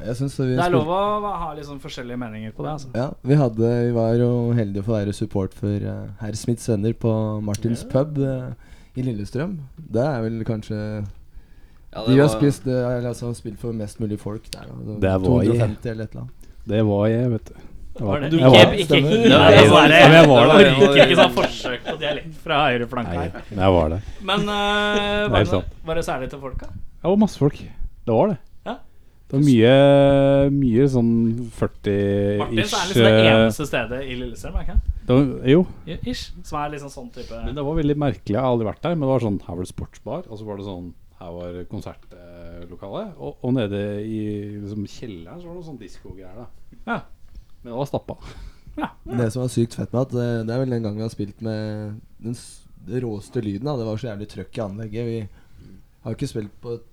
[SPEAKER 5] Jeg synes vi
[SPEAKER 1] Det er
[SPEAKER 5] spilte-
[SPEAKER 1] lov å va- ha litt sånn forskjellige meninger på det. altså
[SPEAKER 5] Ja, vi, hadde, vi var jo heldige å få være support for eh, herr Smiths venner på Martins pub eh, i Lillestrøm. Det er vel kanskje
[SPEAKER 6] Ja,
[SPEAKER 5] De vi har
[SPEAKER 6] var-
[SPEAKER 5] spist, eh, eller altså, spilt for mest mulig folk der. da.
[SPEAKER 3] Det var i-
[SPEAKER 5] 250 eller et eller annet.
[SPEAKER 3] Det var jeg, vet du. Jeg var-
[SPEAKER 1] det?
[SPEAKER 3] jeg var-
[SPEAKER 1] Ikke- ikke-
[SPEAKER 5] Stemmer.
[SPEAKER 1] ikke-
[SPEAKER 5] Ja,
[SPEAKER 1] det er
[SPEAKER 3] jeg var
[SPEAKER 1] bare-
[SPEAKER 3] der. sånn- Ja, men jeg var der.
[SPEAKER 1] Jeg orker ikke sånn forsøk på dialekt fra høyre flanke
[SPEAKER 3] Nei,
[SPEAKER 1] her.
[SPEAKER 3] men jeg var der.
[SPEAKER 1] Men eh,
[SPEAKER 3] Det er
[SPEAKER 1] var,
[SPEAKER 3] sant.
[SPEAKER 1] det, var det særlig til folka?
[SPEAKER 3] Det var masse folk. Det var det.
[SPEAKER 1] Ja.
[SPEAKER 3] Det var mye, mye sånn 40-ish
[SPEAKER 1] Martin så er liksom det
[SPEAKER 3] eh,
[SPEAKER 1] eneste stedet i Lillestrøm, er ikke det?
[SPEAKER 3] det var- Jo.
[SPEAKER 1] Ish, som er liksom sånn type
[SPEAKER 3] Men det var veldig merkelig. Jeg har aldri vært der, men det var sånn Her var det sportsbar, og så var det sånn Her var konsertlokalet, og, og nede i liksom, kjelleren så var det noe sånn diskogreier, da.
[SPEAKER 1] Ja.
[SPEAKER 3] Men det var stappa.
[SPEAKER 5] Det som var sykt fett med at eh, Det er vel den gangen vi har spilt med den s- den råeste lyden. Da. Det var så jævlig trøkk i anlegget. Vi har jo ikke spilt på et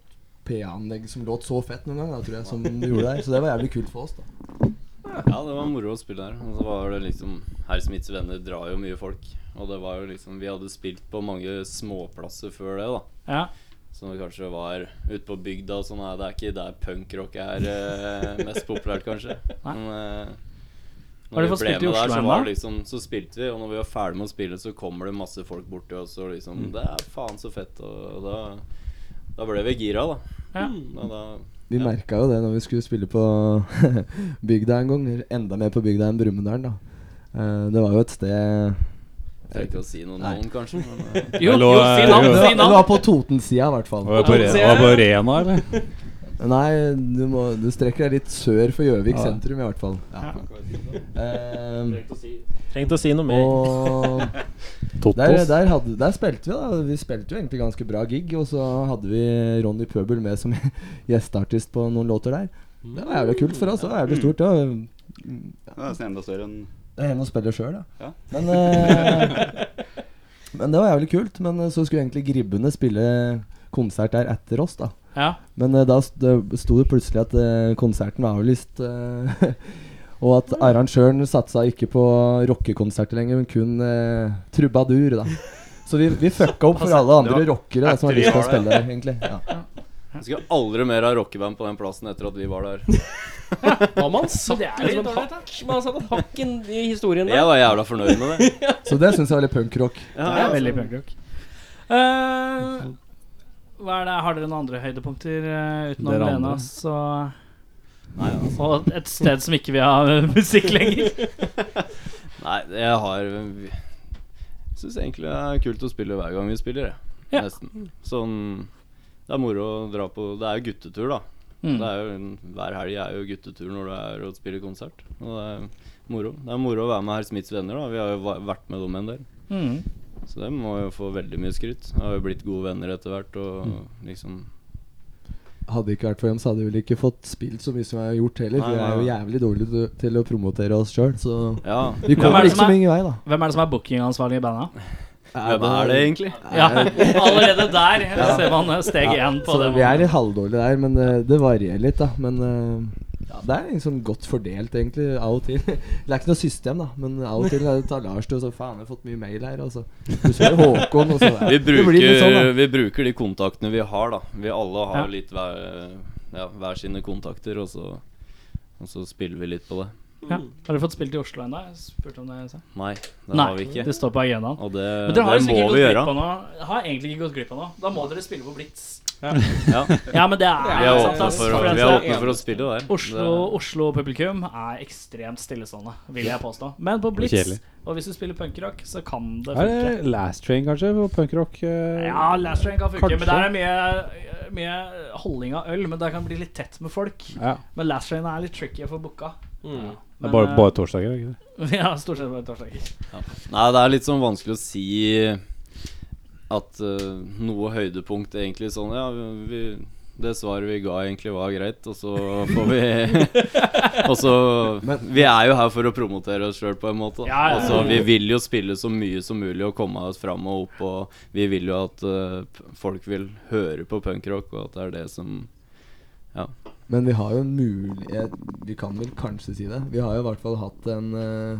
[SPEAKER 5] PA-anlegg som låt så fett noen gang, da, tror jeg, som det gjorde der. Så det var jævlig kult for oss, da.
[SPEAKER 6] Ja, det var moro å spille her. Og så var det liksom Herr Smiths venner drar jo mye folk. Og det var jo liksom Vi hadde spilt på mange småplasser før det, da.
[SPEAKER 1] Ja.
[SPEAKER 6] Som det kanskje var ute på bygda og sånn. Nei, det er ikke der punkrock er eh, mest populært, kanskje.
[SPEAKER 1] *laughs* Nei.
[SPEAKER 6] Men eh,
[SPEAKER 1] Har du
[SPEAKER 6] når vi
[SPEAKER 1] fått
[SPEAKER 6] ble
[SPEAKER 1] spilt i
[SPEAKER 6] med der,
[SPEAKER 1] Oslo
[SPEAKER 6] så, var
[SPEAKER 1] ennå?
[SPEAKER 6] det liksom, så spilte vi. Og når vi var ferdig med å spille, så kommer det masse folk bort til oss og liksom
[SPEAKER 1] Mm.
[SPEAKER 6] Det er faen så fett. Og, og da, da ble vi gira, da. Mm,
[SPEAKER 1] Ja.
[SPEAKER 6] Og da
[SPEAKER 5] Vi
[SPEAKER 6] Ja.
[SPEAKER 5] merket merka jo det når vi skulle spille på *laughs* bygda en gang. Enda mer på bygda enn Brumunddal, da. Eh, det var jo et sted
[SPEAKER 6] trenger ikke å si noe
[SPEAKER 5] Nei.
[SPEAKER 6] navn, kanskje. Men, eh,
[SPEAKER 1] Jo,
[SPEAKER 3] lå-
[SPEAKER 1] jo, si
[SPEAKER 5] det
[SPEAKER 1] navn!
[SPEAKER 5] var,
[SPEAKER 1] Si
[SPEAKER 5] det
[SPEAKER 1] navn!
[SPEAKER 5] var på Toten-sida, i hvert fall.
[SPEAKER 3] Var det
[SPEAKER 2] Ja,
[SPEAKER 3] på, Re-
[SPEAKER 2] se.
[SPEAKER 3] var det på Rena, eller?
[SPEAKER 5] Nei, du, må, du strekker deg litt sør for Gjøvik
[SPEAKER 3] Ja.
[SPEAKER 5] sentrum, i hvert fall. Ja. Eh,
[SPEAKER 8] Trengte å si noe mer.
[SPEAKER 5] og der,
[SPEAKER 3] Totos.
[SPEAKER 5] der, hadde, der spilte vi, da. Vi spilte jo egentlig ganske bra gig. Og så hadde vi Ronny Pøbel med som *laughs* gjesteartist på noen låter der. Det var jævlig kult for oss. Det var jævlig stort. Det var
[SPEAKER 7] Det er nesten enda større enn
[SPEAKER 5] Det er hjemme og spiller sjøl, da.
[SPEAKER 7] Ja.
[SPEAKER 5] Men, eh, *laughs* men det var jævlig kult. Men eh, så skulle egentlig Gribbene spille konsert der etter oss, da.
[SPEAKER 1] Ja.
[SPEAKER 5] Men eh, da st- det sto det plutselig at eh, konserten var avlyst. eh, *laughs* og at arrangøren satsa ikke på rockekonserter lenger, men kun eh, trubadur, da. Så vi, vi fucka opp for alle andre rockere da, som har lyst til å spille der, egentlig. Ja.
[SPEAKER 6] Jeg skal aldri mer ha rockeband på den plassen etter at vi var der.
[SPEAKER 2] Hva man satt
[SPEAKER 1] det er
[SPEAKER 2] liksom
[SPEAKER 1] litt
[SPEAKER 2] en
[SPEAKER 1] dårlig,
[SPEAKER 2] hakk Man har satt en hakk inn i historien der.
[SPEAKER 6] Jeg var jævla fornøyd med
[SPEAKER 1] *laughs*
[SPEAKER 6] det.
[SPEAKER 5] Så det syns jeg var litt punkrock.
[SPEAKER 6] Ja,
[SPEAKER 1] Det er veldig punkrock. altså. Eh, hva er det, har dere noen andre høydepunkter eh, utenom
[SPEAKER 3] Dere andre?
[SPEAKER 1] Lena? Så altså, og et sted som ikke vil ha *laughs* musikk lenger.
[SPEAKER 6] Nei, jeg har Jeg syns egentlig det er kult å spille hver gang vi spiller, jeg.
[SPEAKER 1] Ja.
[SPEAKER 6] Nesten. Sånn Det er moro å dra på Det er jo guttetur, da.
[SPEAKER 1] Mm.
[SPEAKER 6] Det er jo, en- hver helg er jo guttetur når du er og spiller konsert. Og det er moro. Det er moro å være med Herr Smiths venner, da. Vi har jo va- vært med dem en del.
[SPEAKER 1] Mm.
[SPEAKER 6] Så dem må jo få veldig mye skryt. Har jo blitt gode venner etter hvert,
[SPEAKER 1] Mm.
[SPEAKER 6] og liksom
[SPEAKER 5] Hadde det ikke vært for dem, så hadde vi vel ikke fått spilt så mye som vi har gjort heller. for
[SPEAKER 6] Nei,
[SPEAKER 5] Vi er
[SPEAKER 6] nei,
[SPEAKER 5] jo
[SPEAKER 6] nei.
[SPEAKER 5] jævlig dårlige til, til å promotere oss sjøl, så
[SPEAKER 6] Ja.
[SPEAKER 5] vi
[SPEAKER 1] Hvem er
[SPEAKER 5] kommer
[SPEAKER 1] det
[SPEAKER 5] ikke
[SPEAKER 1] som
[SPEAKER 5] så
[SPEAKER 1] er-
[SPEAKER 5] mye vei, da.
[SPEAKER 1] Hvem er det som er bookingansvarlig i bandet?
[SPEAKER 6] Hvem er det egentlig?
[SPEAKER 1] Ja, allerede
[SPEAKER 6] *laughs*
[SPEAKER 1] der ser man eh, steg
[SPEAKER 5] Ja,
[SPEAKER 1] én på
[SPEAKER 5] så
[SPEAKER 1] det.
[SPEAKER 5] vi er litt halvdårlige der, men eh, det varierer litt, da. Men eh, ja, det er liksom godt fordelt, egentlig, av og til. *laughs* Det er ikke noe system, da, men av og til eh, tar Lars til og så Faen, jeg har fått mye mail her, altså. og så plutselig Håkon, og så *laughs*
[SPEAKER 1] *laughs*
[SPEAKER 5] ja.
[SPEAKER 6] Vi
[SPEAKER 5] Det blir litt
[SPEAKER 6] bruker,
[SPEAKER 5] sånn, da.
[SPEAKER 6] vi bruker de kontaktene vi har, da. Vi alle har
[SPEAKER 1] Ja.
[SPEAKER 6] litt hver, ja, hver sine kontakter, og så, og så spiller vi litt på det.
[SPEAKER 1] Ja. Har du fått spilt i Oslo ennå? Jeg spurte om det. i stad.
[SPEAKER 6] Nei, det
[SPEAKER 1] Nei,
[SPEAKER 6] har vi ikke.
[SPEAKER 1] det står på agendaen.
[SPEAKER 6] Og det,
[SPEAKER 1] Men
[SPEAKER 6] det
[SPEAKER 1] dere har jo
[SPEAKER 6] må
[SPEAKER 1] sikkert gått
[SPEAKER 6] vi
[SPEAKER 1] glipp
[SPEAKER 6] gjøre.
[SPEAKER 1] av noe. Har egentlig ikke gått glipp av noe. Da må dere spille på Blitz.
[SPEAKER 6] Ja,
[SPEAKER 1] Ja, men det er,
[SPEAKER 2] Ja,
[SPEAKER 6] vi er
[SPEAKER 1] sant,
[SPEAKER 6] åpne
[SPEAKER 1] ass.
[SPEAKER 6] for, å-
[SPEAKER 1] For den
[SPEAKER 6] vi er
[SPEAKER 1] som-
[SPEAKER 6] åpne for å spille der.
[SPEAKER 1] Oslo, Oslo publikum er ekstremt stillestående, vil jeg påstå. Men på
[SPEAKER 3] Det er
[SPEAKER 1] Blitz,
[SPEAKER 3] kjedelig.
[SPEAKER 1] og hvis du spiller punkrock, så kan det
[SPEAKER 3] Er
[SPEAKER 1] funke.
[SPEAKER 3] det Last Train, kanskje? på Punkrock? eh?
[SPEAKER 1] Ja, Last Train kan funke,
[SPEAKER 3] Kanskje.
[SPEAKER 1] men der er mye, mye holdning av øl. Men der kan det bli litt tett med folk.
[SPEAKER 3] ja.
[SPEAKER 1] Men Last Train er litt tricky å få booka.
[SPEAKER 2] Mm.
[SPEAKER 3] Det
[SPEAKER 1] Men,
[SPEAKER 3] er bare,
[SPEAKER 1] eh,
[SPEAKER 3] bare torsdager, er det ikke det?
[SPEAKER 1] *laughs* Ja, stort sett bare torsdager.
[SPEAKER 6] Nei, det er litt sånn vanskelig å si at eh, noe høydepunkt egentlig sånn Ja, vi, det svaret vi ga egentlig var greit, og så får
[SPEAKER 1] *laughs*
[SPEAKER 6] vi *laughs* Og så Vi er jo her for å promotere oss sjøl på en måte. da.
[SPEAKER 1] Ja, ja, ja.
[SPEAKER 6] Altså, vi vil jo spille så mye som mulig og komme oss fram og opp, og vi vil jo at eh, p- folk vil høre på punkrock, og at det er det som
[SPEAKER 5] Men vi har jo en mulighet Vi kan vel kanskje si det. Vi har jo i hvert fall hatt en eh,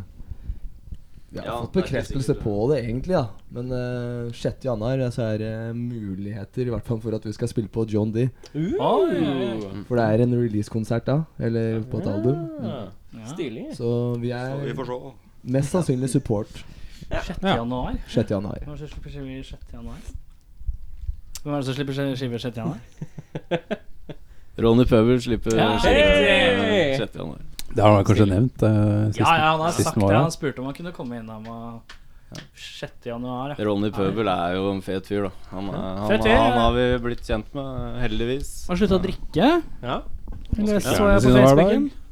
[SPEAKER 5] Vi har
[SPEAKER 6] Ja,
[SPEAKER 5] fått
[SPEAKER 6] det er ikke
[SPEAKER 5] bekreftelse
[SPEAKER 6] sikkert.
[SPEAKER 5] på det, egentlig, da. Men eh, 6. januar eh, så er det muligheter, i hvert fall for at vi skal spille på John D.
[SPEAKER 1] Oi.
[SPEAKER 5] For det er en releasekonsert da, eller på et album. Mm.
[SPEAKER 1] Ja.
[SPEAKER 2] Stilig.
[SPEAKER 5] Så vi er
[SPEAKER 7] Så vi får se.
[SPEAKER 5] mest sannsynlig support
[SPEAKER 1] 6. januar.
[SPEAKER 5] 6.
[SPEAKER 1] Hvem
[SPEAKER 5] januar.
[SPEAKER 1] er det som slipper skive 6. januar? Hvem er det som slipper skive 6. januar?
[SPEAKER 6] Ronny Pøbel slipper
[SPEAKER 1] Ja,
[SPEAKER 6] skive
[SPEAKER 1] hei!
[SPEAKER 6] 6. januar.
[SPEAKER 3] Det har jeg kanskje nevnt eh, sist.
[SPEAKER 1] Ja, ja, han har
[SPEAKER 3] sist
[SPEAKER 1] sagt
[SPEAKER 3] den var
[SPEAKER 1] det.
[SPEAKER 3] her.
[SPEAKER 1] Han spurte om han kunne komme innom og 6. januar. Ja.
[SPEAKER 6] Ronny Pøbel er jo en fet fyr, da. Han, er, han,
[SPEAKER 1] Fet fyr, ja.
[SPEAKER 6] han har vi blitt kjent med, heldigvis.
[SPEAKER 1] Han slutta å drikke.
[SPEAKER 2] Ja.
[SPEAKER 1] Eller så
[SPEAKER 3] gjerne
[SPEAKER 1] jeg på
[SPEAKER 3] siden hver dag.
[SPEAKER 1] Facebooken. Ja,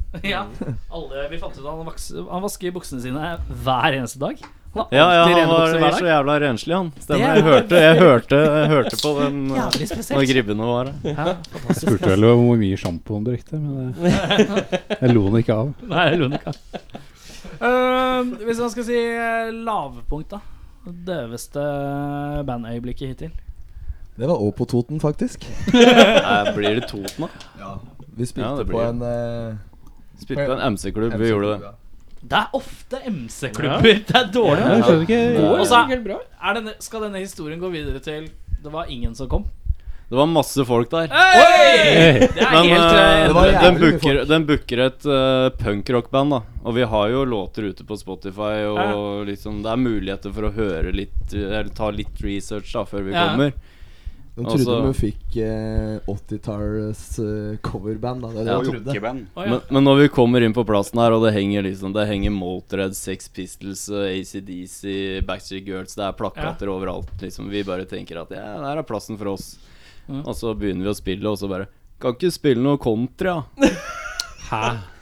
[SPEAKER 1] Mm. *laughs* alle vi fant ut at han, vaks, han vasker buksene sine hver eneste dag. Han har alltid
[SPEAKER 6] Ja, ja, han
[SPEAKER 1] rene
[SPEAKER 6] var
[SPEAKER 1] bukser hver
[SPEAKER 6] så
[SPEAKER 1] dag.
[SPEAKER 6] jævla renslig, han.
[SPEAKER 1] Det
[SPEAKER 6] Stemmer. Jeg
[SPEAKER 1] er-
[SPEAKER 6] hørte, jeg hørte, jeg hørte på den
[SPEAKER 1] *laughs*
[SPEAKER 6] eh,
[SPEAKER 1] Jævlig
[SPEAKER 6] når
[SPEAKER 1] spesielt.
[SPEAKER 6] gribbene
[SPEAKER 1] *laughs*
[SPEAKER 6] var her.
[SPEAKER 1] Ja,
[SPEAKER 3] Jeg spurte vel om hvor mye sjampo han brukte, men det, jeg lo han ikke av.
[SPEAKER 1] Nei, jeg lo nok av. Ehm, hvis man skal si eh, lavpunkt, da. Det Døveste bandøyeblikket hittil.
[SPEAKER 5] Det var òg på Toten, faktisk.
[SPEAKER 6] Nei, Blir det Toten, da?
[SPEAKER 5] Vi spilte
[SPEAKER 6] det blir
[SPEAKER 5] på
[SPEAKER 6] det.
[SPEAKER 5] en eh,
[SPEAKER 6] Spilte på en MC-klubb, vi gjorde det.
[SPEAKER 1] Det er ofte MC-klubber. *laughs* Det er dårlig.
[SPEAKER 3] Jeg skjønner ikke
[SPEAKER 1] Og
[SPEAKER 2] Går
[SPEAKER 1] så
[SPEAKER 2] sikkert bra.
[SPEAKER 1] er denne, skal denne historien gå videre til Det var ingen som kom?
[SPEAKER 6] Det var masse folk der.
[SPEAKER 3] Hey!
[SPEAKER 1] Det er
[SPEAKER 6] Men
[SPEAKER 1] helt
[SPEAKER 6] eh,
[SPEAKER 1] eh,
[SPEAKER 5] det var
[SPEAKER 6] den- den
[SPEAKER 5] jævlig mye
[SPEAKER 6] booker, den booker et uh, punkrockband, da. Og vi har jo låter ute på Spotify, og
[SPEAKER 1] Ja.
[SPEAKER 6] liksom det er muligheter for å høre litt eh, Eller ta litt research da før vi
[SPEAKER 1] Ja.
[SPEAKER 6] kommer.
[SPEAKER 5] De trodde
[SPEAKER 6] Altså-
[SPEAKER 5] de fikk eh, 80-tallets eh, coverband. Da. Det er det
[SPEAKER 6] Ja.
[SPEAKER 5] de trodde.
[SPEAKER 7] Rockeband.
[SPEAKER 1] Å, ja.
[SPEAKER 6] Men, men når vi kommer inn på plassen her, og det henger liksom Det henger Motorhead, Sex Pistols, eh, ACDC, Backstreet Girls Det er plakater overalt. liksom Vi bare tenker at ja, der er plassen for oss.
[SPEAKER 8] Mm.
[SPEAKER 1] Ja.
[SPEAKER 6] Og så begynner vi å spille, og så bare Kan ikke spille noe country, da.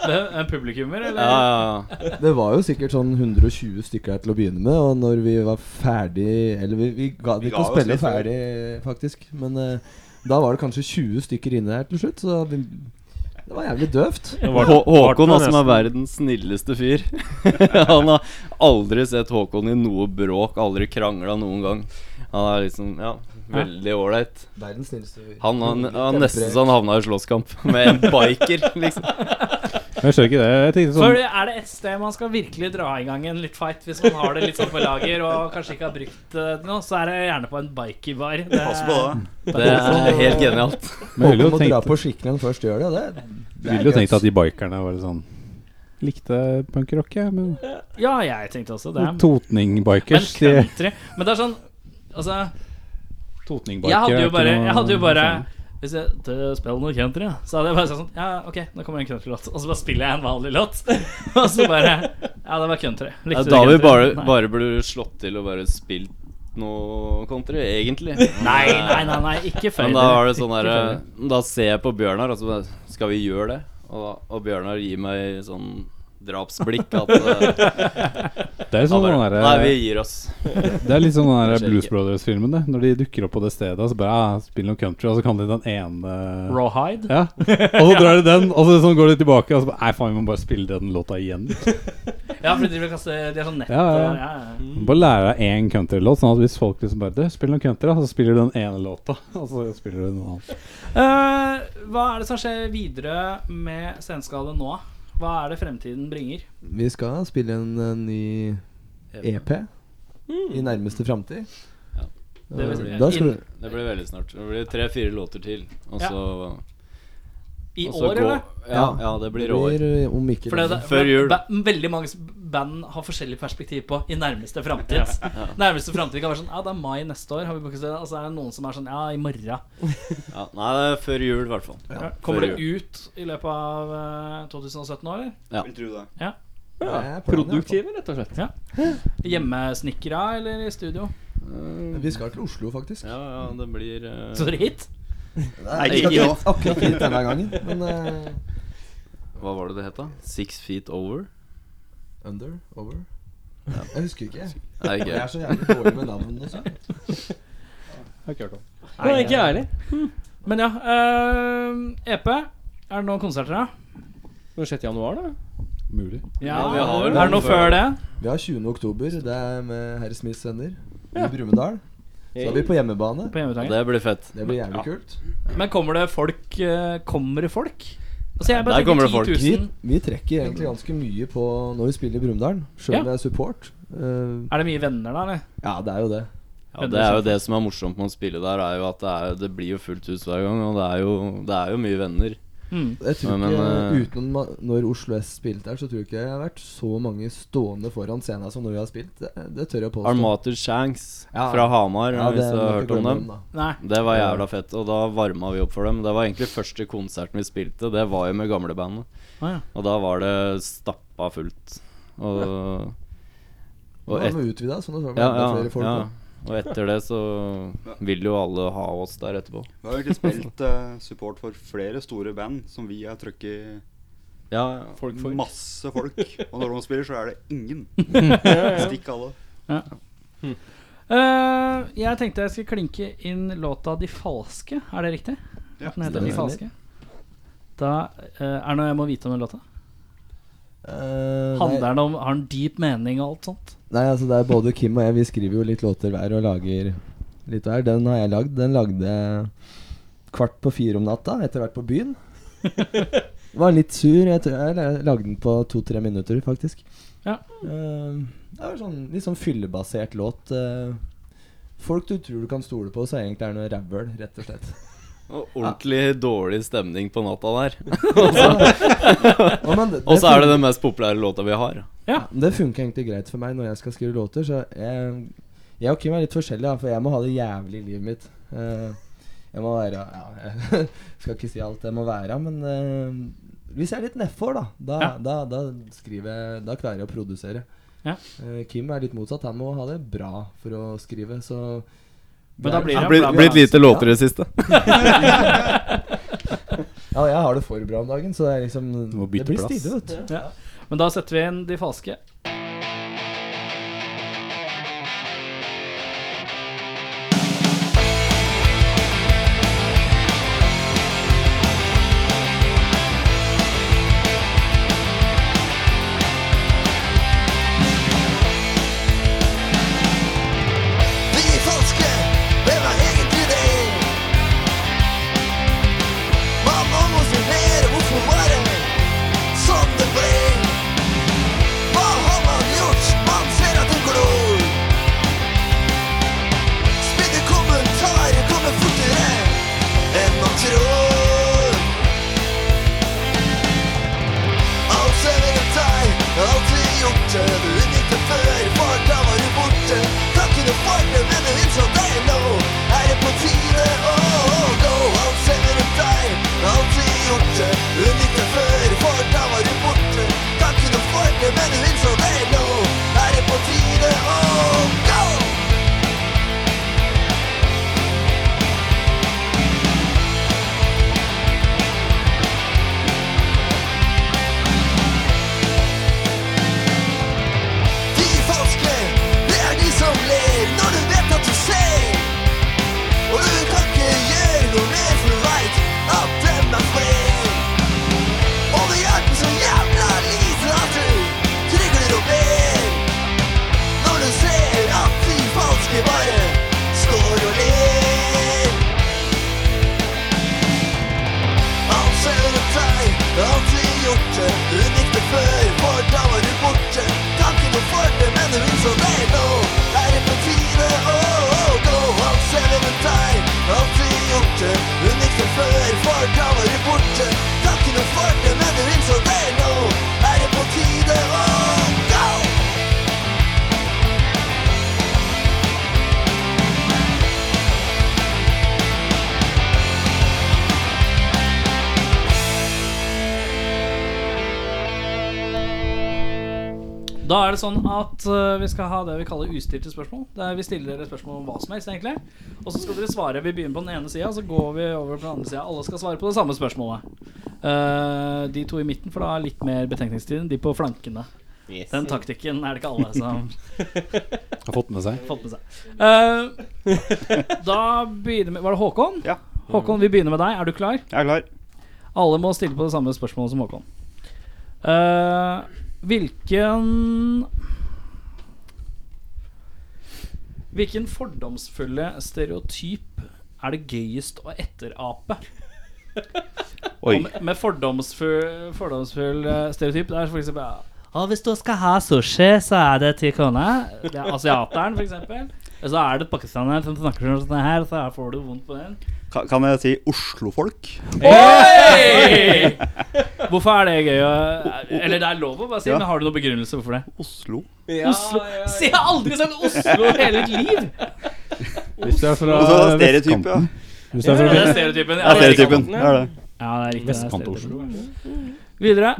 [SPEAKER 1] Det er En publikummer, eller?
[SPEAKER 6] *laughs* Ja, ja, ja.
[SPEAKER 5] Det var jo sikkert sånn 120 stykker her til å begynne med, og når vi var ferdig Eller vi, vi ga
[SPEAKER 7] Vi
[SPEAKER 5] det ikke
[SPEAKER 7] ga
[SPEAKER 5] å
[SPEAKER 7] oss
[SPEAKER 5] spille
[SPEAKER 7] litt før.
[SPEAKER 5] ferdig, faktisk, men eh, da var det kanskje 20 stykker inne her til slutt, så vi, det var jævlig døvt.
[SPEAKER 8] Var-
[SPEAKER 6] Hå- Håkon, da,
[SPEAKER 8] var det
[SPEAKER 6] som er
[SPEAKER 8] nesten-
[SPEAKER 6] verdens snilleste fyr. *laughs* han har aldri sett Håkon i noe bråk, aldri krangla noen gang. Han er liksom ja, veldig ålreit.
[SPEAKER 5] Verdens snilleste fyr.
[SPEAKER 6] Han, han, han nesten så han havna i slåsskamp med en
[SPEAKER 8] *laughs*
[SPEAKER 6] biker, liksom.
[SPEAKER 3] Jeg skjønner ikke det. Jeg tenkte
[SPEAKER 1] For
[SPEAKER 3] sånn
[SPEAKER 1] er det et sted man skal virkelig dra i gang en litt fight, hvis man har det litt sånn på lager og kanskje ikke har brukt det nå, så er det gjerne på en bikerbar. Det-
[SPEAKER 7] Pass på det.
[SPEAKER 6] Det er helt
[SPEAKER 1] *laughs*
[SPEAKER 6] genialt.
[SPEAKER 3] sånn, Men jeg ville
[SPEAKER 5] Håkon
[SPEAKER 3] jo
[SPEAKER 5] må dra
[SPEAKER 3] tenkt,
[SPEAKER 5] på skikkelen først, gjør det det?
[SPEAKER 3] jeg ville jo tenkt at de bikerne var litt sånn Likte punkrock, jeg, men
[SPEAKER 1] Ja, jeg tenkte også det. Men
[SPEAKER 3] Totning-bikers de-
[SPEAKER 1] country Men det er sånn Altså,
[SPEAKER 3] Totning-biker
[SPEAKER 1] jeg hadde
[SPEAKER 3] er
[SPEAKER 1] jo
[SPEAKER 3] ikke
[SPEAKER 1] bare,
[SPEAKER 3] noe-
[SPEAKER 1] jeg hadde jo bare
[SPEAKER 3] sånn.
[SPEAKER 1] Hvis jeg t- spiller noe country, ja, så hadde jeg bare sagt sånn Ja, OK, nå kommer en countrylåt. Og så bare spiller jeg en vanlig låt. *laughs* Og så bare Ja, det var country.
[SPEAKER 6] Ja,
[SPEAKER 1] Likte du
[SPEAKER 6] da vi
[SPEAKER 1] country?
[SPEAKER 6] bare,
[SPEAKER 1] Nei.
[SPEAKER 6] bare burde slått til og bare spilt noe country, egentlig.
[SPEAKER 1] Nei, nei, nei, nei ikke før.
[SPEAKER 6] Men da var det sånn
[SPEAKER 1] Ikke
[SPEAKER 6] der,
[SPEAKER 1] før.
[SPEAKER 6] Da ser jeg på Bjørnar, og så bare, skal vi gjøre det? Og, og Bjørnar gir meg sånn
[SPEAKER 1] *laughs*
[SPEAKER 6] drapsblikk at eh,
[SPEAKER 3] Det er
[SPEAKER 6] han
[SPEAKER 3] sånn
[SPEAKER 6] bare,
[SPEAKER 3] den
[SPEAKER 6] Nei, vi
[SPEAKER 3] der-
[SPEAKER 6] gir oss.
[SPEAKER 3] det er litt sånn den der
[SPEAKER 6] skjer
[SPEAKER 3] Blues
[SPEAKER 6] ikke.
[SPEAKER 3] Brothers-filmen, det. Når de dukker opp på det stedet, og så bare ah, Spill noe country, og så kan de den ene
[SPEAKER 1] Rawhide.
[SPEAKER 3] Ja. Og så drar de den, og så sånn går de tilbake, og så bare Nei, faen, vi må bare spille den låta igjen.
[SPEAKER 1] Ja, fordi de vil kaste De er sånn nett.
[SPEAKER 3] Ja, ja, ja.
[SPEAKER 1] og- ja, ja.
[SPEAKER 3] Bare lære deg én countrylåt, sånn at hvis folk liksom bare Du, spill noen country, da. Så spiller du den ene låta, *laughs* og så spiller du noe annet.
[SPEAKER 1] Eh, hva er det som skjer videre med Senskalet nå? Hva er det fremtiden bringer?
[SPEAKER 5] Vi skal spille en, eh, ny EP i nærmeste framtid.
[SPEAKER 6] Ja.
[SPEAKER 5] Eh,
[SPEAKER 1] Det vil si-
[SPEAKER 5] Da skal du
[SPEAKER 6] Det blir veldig snart. Det blir tre-fire låter til, og
[SPEAKER 1] Ja.
[SPEAKER 6] så
[SPEAKER 1] I
[SPEAKER 6] og så
[SPEAKER 1] år,
[SPEAKER 6] Altså, gå-
[SPEAKER 1] eller?
[SPEAKER 6] Ja, ja, det blir år.
[SPEAKER 5] eh, om ikke
[SPEAKER 1] For det,
[SPEAKER 5] lenge.
[SPEAKER 1] det,
[SPEAKER 6] Før jul.
[SPEAKER 1] ba- veldig mange s- band har forskjellig perspektiv på i nærmeste
[SPEAKER 6] *laughs*
[SPEAKER 1] framtid. *laughs* Nærmeste framtid kan være sånn Ja, det er mai neste år, har vi booket det. Og så er det noen som er sånn Ja, i morgen.
[SPEAKER 6] Ja, nei, det er før jul, i hvert fall.
[SPEAKER 1] Kommer
[SPEAKER 6] Før
[SPEAKER 1] det ut i løpet av eh, 2017 nå, eller?
[SPEAKER 6] Ja.
[SPEAKER 7] Vil tro det.
[SPEAKER 5] Ja, det er planen,
[SPEAKER 2] Produktive, rett og slett.
[SPEAKER 1] Hjemmesnekra eller i studio?
[SPEAKER 5] i hvert fall. Vi skal til Oslo, faktisk.
[SPEAKER 6] Ja, ja, det blir eh,
[SPEAKER 1] Så dere hit?
[SPEAKER 5] Nei,
[SPEAKER 7] ikke
[SPEAKER 5] vi skal
[SPEAKER 7] nå.
[SPEAKER 5] ikke akkurat hit denne gangen, men eh,
[SPEAKER 6] Hva var det det het, da? Six Feet Over?
[SPEAKER 5] Under? Over? Jeg husker ikke.
[SPEAKER 6] Nei,
[SPEAKER 5] Jeg
[SPEAKER 6] ikke.
[SPEAKER 5] er så jævlig dårlig med navn liksom. også.
[SPEAKER 2] Nei, ikke jeg heller.
[SPEAKER 1] Men ja. eh, EP. Er det noen konserter, da?
[SPEAKER 2] Det var 6. januar, da.
[SPEAKER 3] Mulig.
[SPEAKER 6] Ja, vi har vel
[SPEAKER 1] er det noe
[SPEAKER 6] noen
[SPEAKER 1] før
[SPEAKER 6] før.
[SPEAKER 1] det?
[SPEAKER 5] Vi har 20. oktober. Det er med Herre Smiths venner i Brumunddal. Så er vi på hjemmebane.
[SPEAKER 1] På hjemmetangen?
[SPEAKER 6] Det blir fett.
[SPEAKER 5] Det blir jævlig kult.
[SPEAKER 1] Men kommer det folk eh, Kommer det folk? Altså, jeg bare
[SPEAKER 6] Der kommer det
[SPEAKER 1] tenker 10
[SPEAKER 6] folk.
[SPEAKER 5] Vi,
[SPEAKER 1] 000.
[SPEAKER 5] vi trekker egentlig ganske mye på når vi spiller i Brumunddal, sjøl
[SPEAKER 1] Ja.
[SPEAKER 5] om vi er support. Eh,
[SPEAKER 1] Er det mye venner da, eller?
[SPEAKER 5] ja, det er jo det.
[SPEAKER 6] Ja, det er jo det som er morsomt med å spille der, er jo at det, er, det blir jo fullt hus hver gang, og det er jo, det er jo mye venner.
[SPEAKER 1] Mm.
[SPEAKER 5] Jeg tror
[SPEAKER 6] Ja, men,
[SPEAKER 5] ikke
[SPEAKER 6] eh,
[SPEAKER 5] Utenom ma- når Oslo S spilte her, så tror jeg ikke jeg har vært så mange stående foran scenen som når vi har spilt. Det, det tør jeg påstå.
[SPEAKER 6] Armater Shanks
[SPEAKER 5] Ja.
[SPEAKER 6] fra Hamar,
[SPEAKER 5] Ja,
[SPEAKER 6] hvis du
[SPEAKER 5] må
[SPEAKER 6] har
[SPEAKER 5] ikke
[SPEAKER 6] hørt om
[SPEAKER 5] glemme
[SPEAKER 6] dem.
[SPEAKER 5] da.
[SPEAKER 1] Nei.
[SPEAKER 6] Det var jævla fett, og da varma vi opp for dem. Det var egentlig første konserten vi spilte, det var jo med gamlebandet.
[SPEAKER 1] Å, ja.
[SPEAKER 6] Og da var det stappa fullt. Og, og
[SPEAKER 5] Og
[SPEAKER 6] et,
[SPEAKER 5] et... utvida, sånn at det var
[SPEAKER 6] ja,
[SPEAKER 5] enda
[SPEAKER 6] ja,
[SPEAKER 5] flere folk.
[SPEAKER 6] ja.
[SPEAKER 5] da.
[SPEAKER 6] og etter det så vil jo alle ha oss der etterpå.
[SPEAKER 7] Vi har jo egentlig spilt eh, support for flere store band som vi har trykket
[SPEAKER 6] Ja,
[SPEAKER 7] folk for. Masse folk. Og når de spiller, så er det *laughs* ingen. Stikk alle.
[SPEAKER 1] Eh, jeg tenkte jeg skulle klinke inn låta 'De falske'. Er det riktig?
[SPEAKER 7] Ja.
[SPEAKER 1] At den heter 'De falske'? Da eh, Er det noe jeg må vite om den låta?
[SPEAKER 5] Eh,
[SPEAKER 1] Handler
[SPEAKER 5] nei,
[SPEAKER 1] den om Har den dyp mening og alt sånt?
[SPEAKER 5] nei, altså det er både Kim og jeg, vi skriver jo litt låter hver og lager litt hver. Den har jeg lagd. Den lagde jeg kvart på fire om natta, etter hvert på byen. Var litt sur. Jeg, tror, jeg lagde den på to-tre minutter, faktisk.
[SPEAKER 1] Ja.
[SPEAKER 5] Eh, det er jo sånn litt sånn fyllebasert låt. eh. folk du tror du kan stole på, så egentlig er det noe rævøl, rett og slett.
[SPEAKER 6] Og ordentlig dårlig stemning på natta der.
[SPEAKER 5] Og men det-
[SPEAKER 6] Og så er det den mest populære låta vi har.
[SPEAKER 5] Ja, men Det funker egentlig greit for meg når jeg skal skrive låter. Så jeg, jeg og Kim er litt forskjellige, da, for jeg må ha det jævlig i livet mitt. Eh, jeg må være Ja, jeg *laughs* skal ikke si alt jeg må være, men eh, hvis jeg er litt nedfor, da, da,
[SPEAKER 1] Ja.
[SPEAKER 5] da, da skriver jeg Da klarer jeg å produsere.
[SPEAKER 1] Ja.
[SPEAKER 5] Eh, Kim er litt motsatt. Han må ha det bra for å skrive, så
[SPEAKER 1] Men da blir
[SPEAKER 6] Det
[SPEAKER 1] det
[SPEAKER 6] har blitt, blitt lite låter i det siste.
[SPEAKER 5] Ja, jeg har det for bra om dagen, så det er liksom
[SPEAKER 3] Du må bytte
[SPEAKER 5] Det blir
[SPEAKER 3] plass.
[SPEAKER 5] stille, vet du.
[SPEAKER 1] Ja. Men da setter vi inn de falske.
[SPEAKER 9] De falske, hvem er egentlig det? Hva må man si mer, hvorfor var det som det ble? Hva har man gjort? Man ser at det glor. Spidde kommentarer kommer fortere enn man tror. Alt ser rundt deg, alltid gjort det. Du unngikk det før, for da var du borte. Takken og farten, men du innså deg nå. Er det på tide å gå? Alt ser rundt deg, alltid gjort det. Du unngikk det før, for da var du borte. Takken og farten, men du innså deg nå. Er det på tide å gå? De falske, det er de som ler når du vet at du ser. Og du kan ikke gjøre noe mer, for du veit at dem er flere. Og det hjelper så jævla lite at du trygler og ber. Når du ser at de falske bare står og ler. Alt ser rundt deg, alltid gjort det. Unikt det før, for da var du borte. Kan ikke noe for det, men hun så deg nå. Er det på tide å gå? Alt ser rundt deg, alltid gjort det. Unikt det før, for da var du borte. Kan ikke noe for det, men hun så deg nå. Er det på tide å gå?
[SPEAKER 1] Da er det sånn at eh, vi skal ha det vi kaller ustilte spørsmål. Der vi stiller dere spørsmål om hva som helst, egentlig. Og så skal dere svare. Vi begynner på den ene sida, så går vi over på den andre sida. Alle skal svare på det samme spørsmålet. Eh, de to i midten får da litt mer betenkningstid enn de på flankene. Den taktikken er det ikke alle som
[SPEAKER 3] Har fått med seg.
[SPEAKER 1] har fått med seg. Eh, da begynner vi Var det Håkon?
[SPEAKER 7] Ja.
[SPEAKER 1] Håkon, vi begynner med deg. Er du klar?
[SPEAKER 7] Jeg er klar.
[SPEAKER 1] Alle må stille på det samme spørsmålet som Håkon. Eh, hvilken Hvilken fordomsfulle stereotyp er det gøyest å etterape? Og
[SPEAKER 7] Oi.
[SPEAKER 1] Med, med fordomsfull, fordomsfull eh, stereotyp Det er for eksempel ja, «Å, Hvis du skal ha sushi, så er det ti kroner. Det er
[SPEAKER 8] *laughs*
[SPEAKER 1] asiateren, for eksempel. Og så er det pakistaneren som snakker sånn her, så her får du vondt på den.
[SPEAKER 7] Kan, kan jeg si Oslofolk?
[SPEAKER 1] Oi! Hvorfor er det gøy å Eller det er lov å bare si,
[SPEAKER 7] Ja.
[SPEAKER 1] men har du noen begrunnelse hvorfor det?
[SPEAKER 7] Oslo?
[SPEAKER 1] Oslo Se, jeg har aldri sagt Oslo i hele mitt liv!
[SPEAKER 3] Hvis du er fra
[SPEAKER 7] Og så stereotyp, ja.
[SPEAKER 3] Hvis du er
[SPEAKER 1] Det
[SPEAKER 3] fra
[SPEAKER 1] er stereotypen.
[SPEAKER 7] Det er
[SPEAKER 1] Ja,
[SPEAKER 7] stereotypen. Det er det.
[SPEAKER 1] Ja, det er riktig. det er
[SPEAKER 3] Vestkant-Oslo.
[SPEAKER 1] stereotypen. Videre.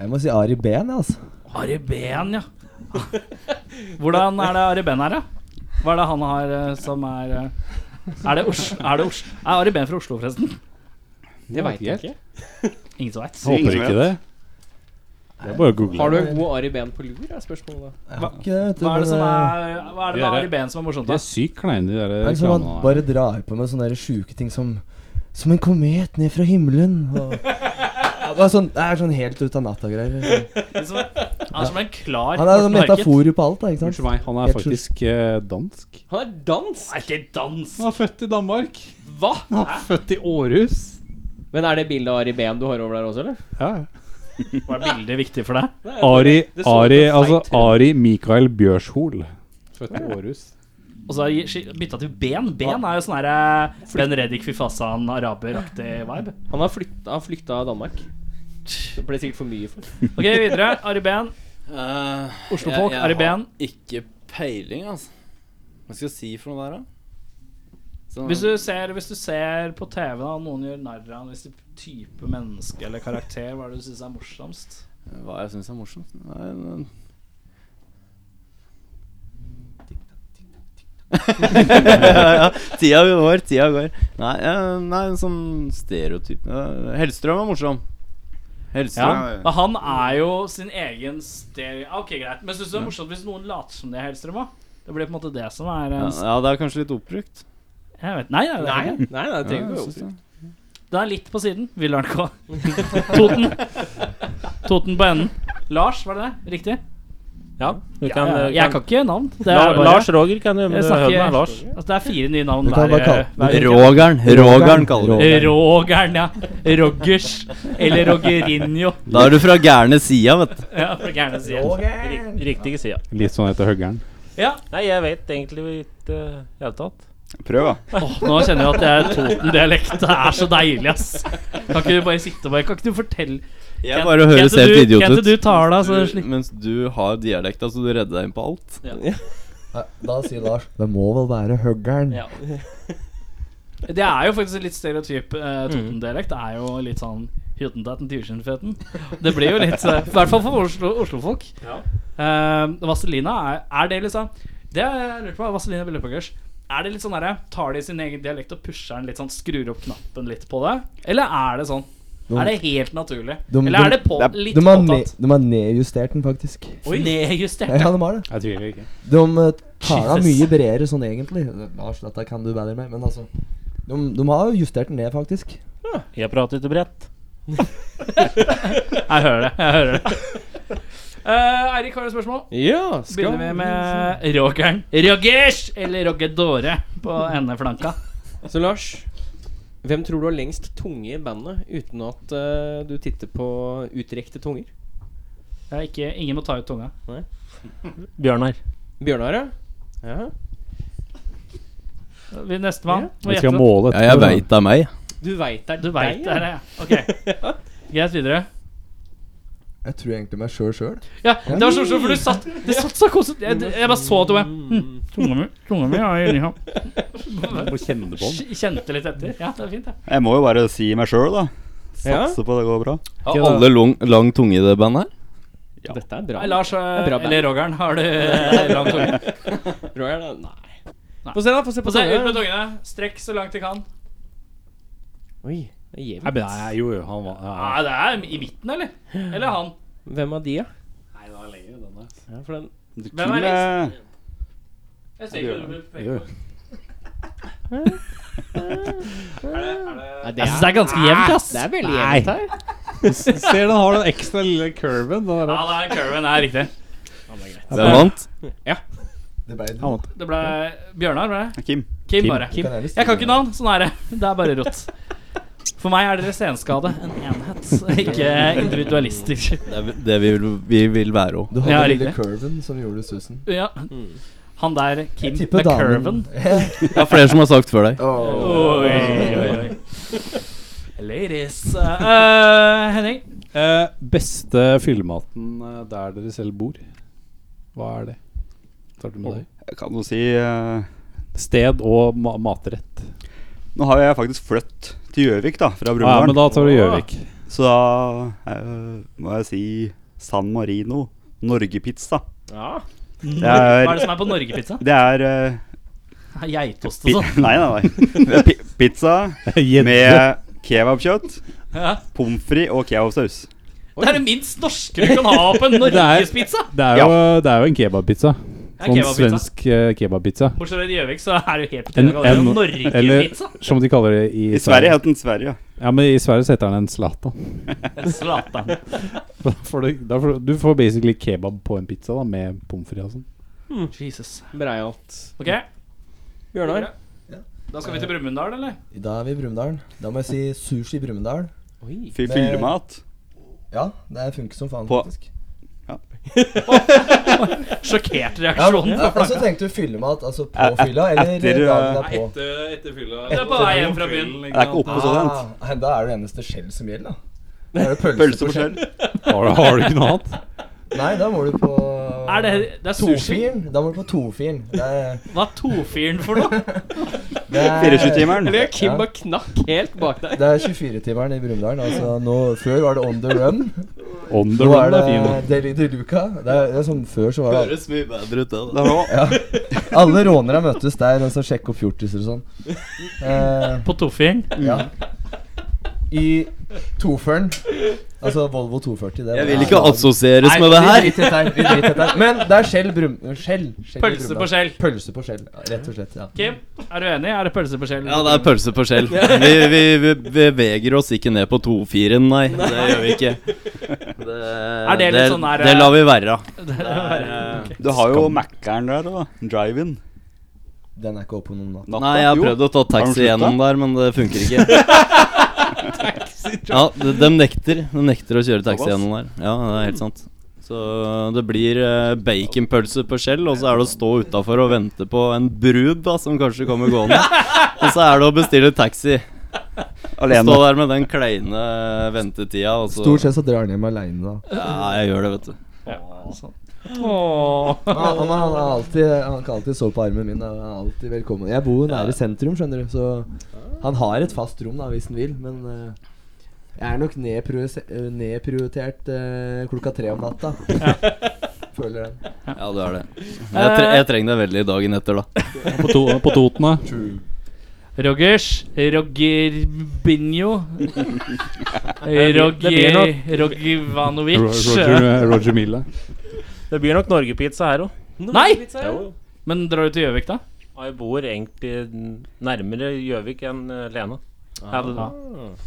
[SPEAKER 5] Jeg må si Ari Behn, jeg, altså.
[SPEAKER 1] Ari Behn, ja. *laughs* Hvordan er det Ari Behn her, da? Hva er det han har eh, som er eh, Er det Oslo? Er, det Oslo? er Ari Behn fra Oslo, forresten?
[SPEAKER 2] Det veit jeg ikke.
[SPEAKER 1] Ingen som veit.
[SPEAKER 3] Håper ikke det. Det er bare å google.
[SPEAKER 2] Har du en god Ari Behn på lur, er spørsmålet da.
[SPEAKER 5] Jeg har ikke det, vet du.
[SPEAKER 1] Hva er det
[SPEAKER 5] men,
[SPEAKER 1] som
[SPEAKER 5] eh,
[SPEAKER 1] er Hva er det med
[SPEAKER 3] Dere-
[SPEAKER 1] Ari Behn som er morsomt?
[SPEAKER 3] De
[SPEAKER 1] da?
[SPEAKER 3] er sykt kleine, de der
[SPEAKER 5] Det er liksom
[SPEAKER 1] sånn
[SPEAKER 3] reklamene.
[SPEAKER 5] han
[SPEAKER 3] der.
[SPEAKER 5] bare drar på med sånne der sjuke ting som Som en komet ned fra himmelen. Og,
[SPEAKER 1] *laughs*
[SPEAKER 5] Ja, bare sånn, det er sånn helt ut av natta-greier.
[SPEAKER 1] Det er som- Han er som en klar
[SPEAKER 5] Han er sånn
[SPEAKER 1] market.
[SPEAKER 5] metaforer på alt, da. ikke
[SPEAKER 3] Unnskyld
[SPEAKER 5] sant?
[SPEAKER 3] meg, han er
[SPEAKER 5] Jeg tror-
[SPEAKER 3] faktisk eh, dansk.
[SPEAKER 2] Han er dans!
[SPEAKER 1] Er ikke dans.
[SPEAKER 3] Han er født i Danmark.
[SPEAKER 2] Hva?!
[SPEAKER 3] Han er født i Århus.
[SPEAKER 2] Men er det bildet av Ari Behn du har over der også, eller?
[SPEAKER 3] Ja.
[SPEAKER 1] Var bildet viktig for deg?
[SPEAKER 3] Ari,
[SPEAKER 2] det så
[SPEAKER 3] Ari,
[SPEAKER 2] litt
[SPEAKER 3] altså
[SPEAKER 2] feigt ut.
[SPEAKER 3] Ari Mikael Bjørshol. Født i Århus.
[SPEAKER 1] Og så gi- sk- bytta til ben. Ben er jo sånn herre Ben Reddik fy fasan araberaktig
[SPEAKER 8] *laughs*
[SPEAKER 1] vibe.
[SPEAKER 2] Han har flykta, han flykta av Danmark. Det ble sikkert for mye for ham.
[SPEAKER 1] Ok, videre. Ari Behn.
[SPEAKER 6] Eh,
[SPEAKER 1] Oslofolk,
[SPEAKER 6] jeg-
[SPEAKER 1] Ari
[SPEAKER 6] Jeg
[SPEAKER 1] Behn.
[SPEAKER 6] har ikke peiling, altså. Hva skal jeg si for noe der, da? Sånn-
[SPEAKER 1] Hvis du ser, hvis du ser på TV da, og noen gjør narr av en viss type menneske eller karakter, hva er det du syns er morsomst?
[SPEAKER 6] Hva jeg syns er morsomt? Nei, men *laughs* ja, tida går, tida går. Nei, eh, nei en sånn stereotyp Eh, Hellstrøm er morsom. Hellstrøm
[SPEAKER 1] Ja. Men han er jo sin egen stereo... Ok, greit. Men syns du det er morsomt hvis noen later som de er Hellstrøm, da? Det blir på en måte det som er
[SPEAKER 6] ja.
[SPEAKER 1] en
[SPEAKER 6] ja, det er kanskje litt oppbrukt.
[SPEAKER 1] Jeg vet Nei, nei, nei.
[SPEAKER 2] Nei, nei, nei, det trenger
[SPEAKER 6] Ja,
[SPEAKER 2] ikke å
[SPEAKER 6] jeg syns
[SPEAKER 2] være
[SPEAKER 6] det.
[SPEAKER 1] Det er litt på siden. Villern K. *laughs* Toten. Toten på enden. Lars, var det det? Riktig?
[SPEAKER 8] Ja, du
[SPEAKER 1] Ja,
[SPEAKER 8] kan,
[SPEAKER 1] ja,
[SPEAKER 8] du
[SPEAKER 1] jeg
[SPEAKER 8] kan,
[SPEAKER 1] kan ikke navn. Det
[SPEAKER 8] La,
[SPEAKER 1] er bare,
[SPEAKER 8] Lars Roger kan du, men
[SPEAKER 1] Jeg
[SPEAKER 8] du
[SPEAKER 1] snakker-
[SPEAKER 8] hører meg, Lars.
[SPEAKER 1] altså, det er fire nye navn
[SPEAKER 5] Du kan
[SPEAKER 1] hver,
[SPEAKER 5] bare kalle-
[SPEAKER 1] hver uke.
[SPEAKER 6] Rogern. Rogern kaller vi det.
[SPEAKER 1] Rogern,
[SPEAKER 5] Rogern.
[SPEAKER 1] ja. Roggers. Eller Roggerinho.
[SPEAKER 6] Da er du fra gærne sida, vet du.
[SPEAKER 1] Ja, for gærne siden.
[SPEAKER 8] Rik- Riktige sida.
[SPEAKER 3] Litt sånn etter Høggern.
[SPEAKER 1] Ja,
[SPEAKER 8] Nei, jeg vet egentlig ikke uh, i det hele tatt.
[SPEAKER 7] Prøv, da.
[SPEAKER 1] Åh, nå kjenner jeg at jeg er Toten-dialekt. Det er så deilig, ass. Kan ikke du bare sitte og bare Kan ikke du fortelle
[SPEAKER 6] Jeg bare høres helt idiot
[SPEAKER 1] Kan
[SPEAKER 6] ut.
[SPEAKER 1] ikke du ta det, så
[SPEAKER 6] Du-
[SPEAKER 1] slik
[SPEAKER 6] Mens du har dialekta, så du redder deg inn på alt.
[SPEAKER 5] Ja, Da sier Lars Det må vel være høggern.
[SPEAKER 1] Ja. Det er jo faktisk litt stereotyp. Eh,
[SPEAKER 5] Mm.
[SPEAKER 1] Toten-dialekt er jo litt sånn Hyttentaten, Tyrsundfeten. Det blir jo litt eh, I hvert fall for Oslo, Oslo-folk. Eh, Vaselina er, er det liksom Det har jeg lurt på. Vaselina Bøllepakers. Er det litt sånn derre Tar de sin egen dialekt og pusher den litt sånn, skrur opp knappen litt på det? Eller er det sånn?
[SPEAKER 5] De-
[SPEAKER 1] er det helt naturlig?
[SPEAKER 5] de-
[SPEAKER 1] Eller er det på,
[SPEAKER 7] det er-
[SPEAKER 1] litt
[SPEAKER 5] De har, ne
[SPEAKER 1] påtatt?
[SPEAKER 5] de har nedjustert den, faktisk.
[SPEAKER 1] Oi, nedjustert.
[SPEAKER 5] Ja, de har det.
[SPEAKER 3] Jeg tviler ikke.
[SPEAKER 5] De eh, tar den
[SPEAKER 1] Jesus.
[SPEAKER 5] mye bredere sånn egentlig. Lars, dette kan du bedre med, men altså de, de har jo justert den ned, faktisk.
[SPEAKER 8] Jeg prater ikke bredt.
[SPEAKER 1] *laughs* Jeg hører det. jeg hører det
[SPEAKER 5] *laughs*
[SPEAKER 1] Eh, Eirik, har du et spørsmål?
[SPEAKER 2] Ja,
[SPEAKER 1] Så begynner vi med Rogern. Rogers! Eller Roggedore på endeflanka.
[SPEAKER 2] Så Lars, hvem tror du har lengst tunge i bandet uten at eh, du titter på utrekte tunger?
[SPEAKER 1] Det er ikke, ingen må ta ut tunga.
[SPEAKER 8] Bjørnar.
[SPEAKER 2] Bjørnar, ja? ja?
[SPEAKER 1] Vi- Nestemann. må
[SPEAKER 3] Vi
[SPEAKER 1] gjette
[SPEAKER 3] skal
[SPEAKER 1] det.
[SPEAKER 3] måle
[SPEAKER 6] Ja, jeg veit det er meg.
[SPEAKER 2] Du veit det er
[SPEAKER 1] Du veit det
[SPEAKER 2] deg,
[SPEAKER 1] er
[SPEAKER 2] ja.
[SPEAKER 1] det. *laughs* Ok. Greit, videre.
[SPEAKER 5] Jeg tror egentlig meg sjøl sjøl.
[SPEAKER 1] Ja, det var så morsomt, for du satt Det satt så koselig Jeg, jeg bare så at du bare hm, Tunga mi tunga mi er i linja.
[SPEAKER 3] Må kjenne det på den.
[SPEAKER 1] Kjente litt etter. Ja, det er fint, det.
[SPEAKER 7] Jeg må jo bare si meg sjøl, da.
[SPEAKER 2] Ja.
[SPEAKER 7] Satse på det går bra.
[SPEAKER 2] Har
[SPEAKER 6] Har alle lang, lang tunge i det bandet her?
[SPEAKER 2] Dette er bra.
[SPEAKER 1] Nei, Lars eh,
[SPEAKER 2] bra band.
[SPEAKER 1] eller Rogern, har du eh, lang tunge?
[SPEAKER 2] Roger, da. Nei.
[SPEAKER 1] Nei.
[SPEAKER 2] Få se, da. Få se
[SPEAKER 1] Få
[SPEAKER 2] på
[SPEAKER 1] se, ut med
[SPEAKER 2] tunga.
[SPEAKER 1] tungene. Strekk så langt de kan.
[SPEAKER 2] Oi, det gir
[SPEAKER 3] Nei,
[SPEAKER 2] vi.
[SPEAKER 3] men nei, jo, jo, han var
[SPEAKER 2] Ah.
[SPEAKER 3] ja,
[SPEAKER 1] Ja, det er i midten, eller? Eller han.
[SPEAKER 2] Hvem av de, da? Ja, for den
[SPEAKER 1] Hvem er
[SPEAKER 7] Eh,
[SPEAKER 1] Jeg ser ikke hva du
[SPEAKER 3] ja. Jo.
[SPEAKER 1] peker på.
[SPEAKER 2] Nei,
[SPEAKER 1] Jeg syns det er ganske jevnt, ass.
[SPEAKER 2] Det er veldig jevnt her.
[SPEAKER 3] Ser den har den ekstra lille curven. den
[SPEAKER 1] Ja,
[SPEAKER 3] der.
[SPEAKER 1] det er curven. Det er riktig.
[SPEAKER 6] Hvem vant?
[SPEAKER 5] Det ble
[SPEAKER 3] Han
[SPEAKER 5] du.
[SPEAKER 3] måtte-
[SPEAKER 1] Det ble Bjørnar, ble det?
[SPEAKER 7] Kim.
[SPEAKER 1] Kim,
[SPEAKER 3] Kim.
[SPEAKER 1] bare.
[SPEAKER 5] Du kan gjerne
[SPEAKER 1] Jeg kan ikke
[SPEAKER 5] stille-
[SPEAKER 1] navn. Sånn er det. *laughs* Det er bare rått. For meg er dere senskade. En enhet, ikke individualister.
[SPEAKER 6] Det er det vi vil, vi vil være òg.
[SPEAKER 5] Du har
[SPEAKER 1] Ja,
[SPEAKER 5] den lille
[SPEAKER 1] riktig.
[SPEAKER 5] curven som gjorde susen.
[SPEAKER 1] *laughs* Ja. Mm. Han der, Kim
[SPEAKER 5] Jeg
[SPEAKER 1] med
[SPEAKER 5] tipper
[SPEAKER 1] curven.
[SPEAKER 5] *laughs* damen.
[SPEAKER 6] Det er flere som har sagt før deg.
[SPEAKER 5] Åh.
[SPEAKER 1] Oi, oi, oi. Ladies. Eh, Henning.
[SPEAKER 3] Eh, beste fyllematen eh, der dere selv bor. Hva er det? Starter med deg.
[SPEAKER 7] Jeg kan jo si eh,
[SPEAKER 3] Sted og ma matrett.
[SPEAKER 7] Nå har jeg faktisk flytt til Gjøvik, da, fra
[SPEAKER 3] Ja, men
[SPEAKER 7] Brumunddal.
[SPEAKER 3] da tar du *laughs* Gjøvik.
[SPEAKER 7] Så da eh, må jeg si San Marino. Norgepizza.
[SPEAKER 8] Ja.
[SPEAKER 7] Det er-
[SPEAKER 1] Hva er det som er på norgepizza?
[SPEAKER 8] *laughs*
[SPEAKER 7] Det er eh,
[SPEAKER 1] Geitost
[SPEAKER 7] pi
[SPEAKER 1] og sånn.
[SPEAKER 7] *laughs* Nei, nei, nei. Det er pi pizza med kebabkjøtt,
[SPEAKER 1] Ja.
[SPEAKER 7] pommes frites og kebabsaus.
[SPEAKER 1] Det er det minst norske du kan ha på en norgespizza!
[SPEAKER 3] Det er jo, det er jo en kebabpizza.
[SPEAKER 1] Det er
[SPEAKER 3] Sånn
[SPEAKER 1] kebabpizza.
[SPEAKER 3] svensk eh, kebabpizza.
[SPEAKER 1] Bortsett fra i Gjøvik, så er det jo helt på
[SPEAKER 3] En-
[SPEAKER 1] tide å kalle det
[SPEAKER 3] en- Eller
[SPEAKER 1] norgepizza.
[SPEAKER 3] som de kaller det i,
[SPEAKER 7] I Sverige het den Sverige.
[SPEAKER 3] Ja, men i Sverige så heter den en Zlatan. *laughs*
[SPEAKER 1] Zlatan.
[SPEAKER 3] Da får du, da får, du får basically kebab på en pizza da med pommes frites og sånn.
[SPEAKER 1] Jesus.
[SPEAKER 2] Breialt.
[SPEAKER 1] Ok,
[SPEAKER 2] Bjørnar?
[SPEAKER 1] da skal vi til Brumunddal, eller?
[SPEAKER 5] Da er vi i Brumunddal. Da må jeg si sushi i Brumunddal.
[SPEAKER 7] Fy-
[SPEAKER 2] Oi.
[SPEAKER 7] Fyllemat.
[SPEAKER 5] Ja, det funker som faen,
[SPEAKER 7] På-
[SPEAKER 5] faktisk.
[SPEAKER 1] Sjokkert
[SPEAKER 5] Ja,
[SPEAKER 1] reaksjonen.
[SPEAKER 5] ja, altså tenkte du fyllemat altså på
[SPEAKER 7] E- e-
[SPEAKER 5] fylla, eller
[SPEAKER 7] etter,
[SPEAKER 5] dagen
[SPEAKER 7] eh,
[SPEAKER 5] derpå?
[SPEAKER 1] Det er på vei hjem fra byen.
[SPEAKER 7] Det er ikke oppe så sent.
[SPEAKER 5] Ah, da er det eneste skjell som gjelder, da. Da er det pølse,
[SPEAKER 7] Pølse på skjell.
[SPEAKER 3] Har, du- har du ikke noe annet?
[SPEAKER 5] Nei, da må du på
[SPEAKER 1] Er det, det er sushi?
[SPEAKER 5] Tofiren. Da må du på tofiren. Det er-
[SPEAKER 1] Hva er tofiren for noe?
[SPEAKER 5] det er-
[SPEAKER 7] 24-timeren.
[SPEAKER 2] Eller Kim
[SPEAKER 5] Ja.
[SPEAKER 2] bare knakk helt bak deg.
[SPEAKER 5] Det er 24-timeren i Brumunddal. Altså, nå- før var det On The Run.
[SPEAKER 3] On the
[SPEAKER 5] Nå er
[SPEAKER 3] run er fin.
[SPEAKER 5] det Deli de Luca. Det er, det er som før så var det
[SPEAKER 6] Høres mye bedre ut, det.
[SPEAKER 7] Det var også-
[SPEAKER 5] Alle rånere møttes der og så sjekke opp fjortiser og sånn. Eh,
[SPEAKER 1] På tofiren?
[SPEAKER 5] ja. I toføren Altså Volvo 240. Det
[SPEAKER 6] Jeg vil ikke assosieres med det her.
[SPEAKER 5] Vi driter i dette her. Vi driter i dette her. Men det er skjell brum... Skjell. skjell i
[SPEAKER 1] Pølse
[SPEAKER 5] Brumunddal.
[SPEAKER 1] på skjell.
[SPEAKER 5] Pølse på skjell, ja, rett og slett. ja
[SPEAKER 1] Kim, er du enig? Er det pølse på skjell?
[SPEAKER 6] Ja, det er pølse på skjell. Vi, vi, vi beveger oss ikke ned på 2-4-en, nei. Det gjør vi ikke. Det,
[SPEAKER 1] Er det litt sånn der,
[SPEAKER 6] det lar vi være.
[SPEAKER 1] pølse.
[SPEAKER 7] Du har jo Mac-eren der, da. Drive-in.
[SPEAKER 5] Den er ikke oppe på noen natt.
[SPEAKER 7] Natta.
[SPEAKER 6] Nei, jeg har
[SPEAKER 7] Jo.
[SPEAKER 6] prøvd å ta
[SPEAKER 7] Har de
[SPEAKER 6] taxi
[SPEAKER 7] sluttet?
[SPEAKER 6] gjennom der, men det funker
[SPEAKER 7] *laughs*
[SPEAKER 6] ikke. Ja, de, de nekter De nekter å kjøre taxi
[SPEAKER 7] Såpass?
[SPEAKER 6] gjennom der. Ja, det er helt sant. Så det blir eh, baconpølse på skjell, og så er det å stå utafor og vente på en brud da som kanskje kommer gående.
[SPEAKER 7] *laughs*
[SPEAKER 6] Og så er det å bestille taxi. Stå
[SPEAKER 7] Alene.
[SPEAKER 6] der med den kleine eh, ventetida. Og så,
[SPEAKER 5] Stort sett så drar han hjem aleine, da.
[SPEAKER 6] Ja, jeg gjør det, vet du.
[SPEAKER 1] Åh.
[SPEAKER 5] Han, han, han, er alltid, han kan alltid sove på armen min. da. Han er alltid velkommen. Jeg bor jo nære sentrum, skjønner du, så han har et fast rom da, hvis han vil. Men eh, jeg er nok nedpriorise- eh, nedprioritert eh, klokka tre om natta. *laughs* Føler den.
[SPEAKER 6] Ja, du er det. Men Jeg,
[SPEAKER 7] Eh.
[SPEAKER 6] tre jeg trenger deg veldig dagen etter, da.
[SPEAKER 3] På, to, på Toten, da.
[SPEAKER 1] Rogers. Roger Binjo.
[SPEAKER 8] det blir
[SPEAKER 1] Roger
[SPEAKER 8] nok-
[SPEAKER 3] Ro-
[SPEAKER 1] Rogivanovic.
[SPEAKER 3] Roger, Roger Mille.
[SPEAKER 8] Det blir nok norgepizza her òg.
[SPEAKER 1] Nei! Men drar du til Gjøvik, da?
[SPEAKER 8] Jeg bor egentlig n- nærmere Gjøvik enn eh, Lena. Ja, det,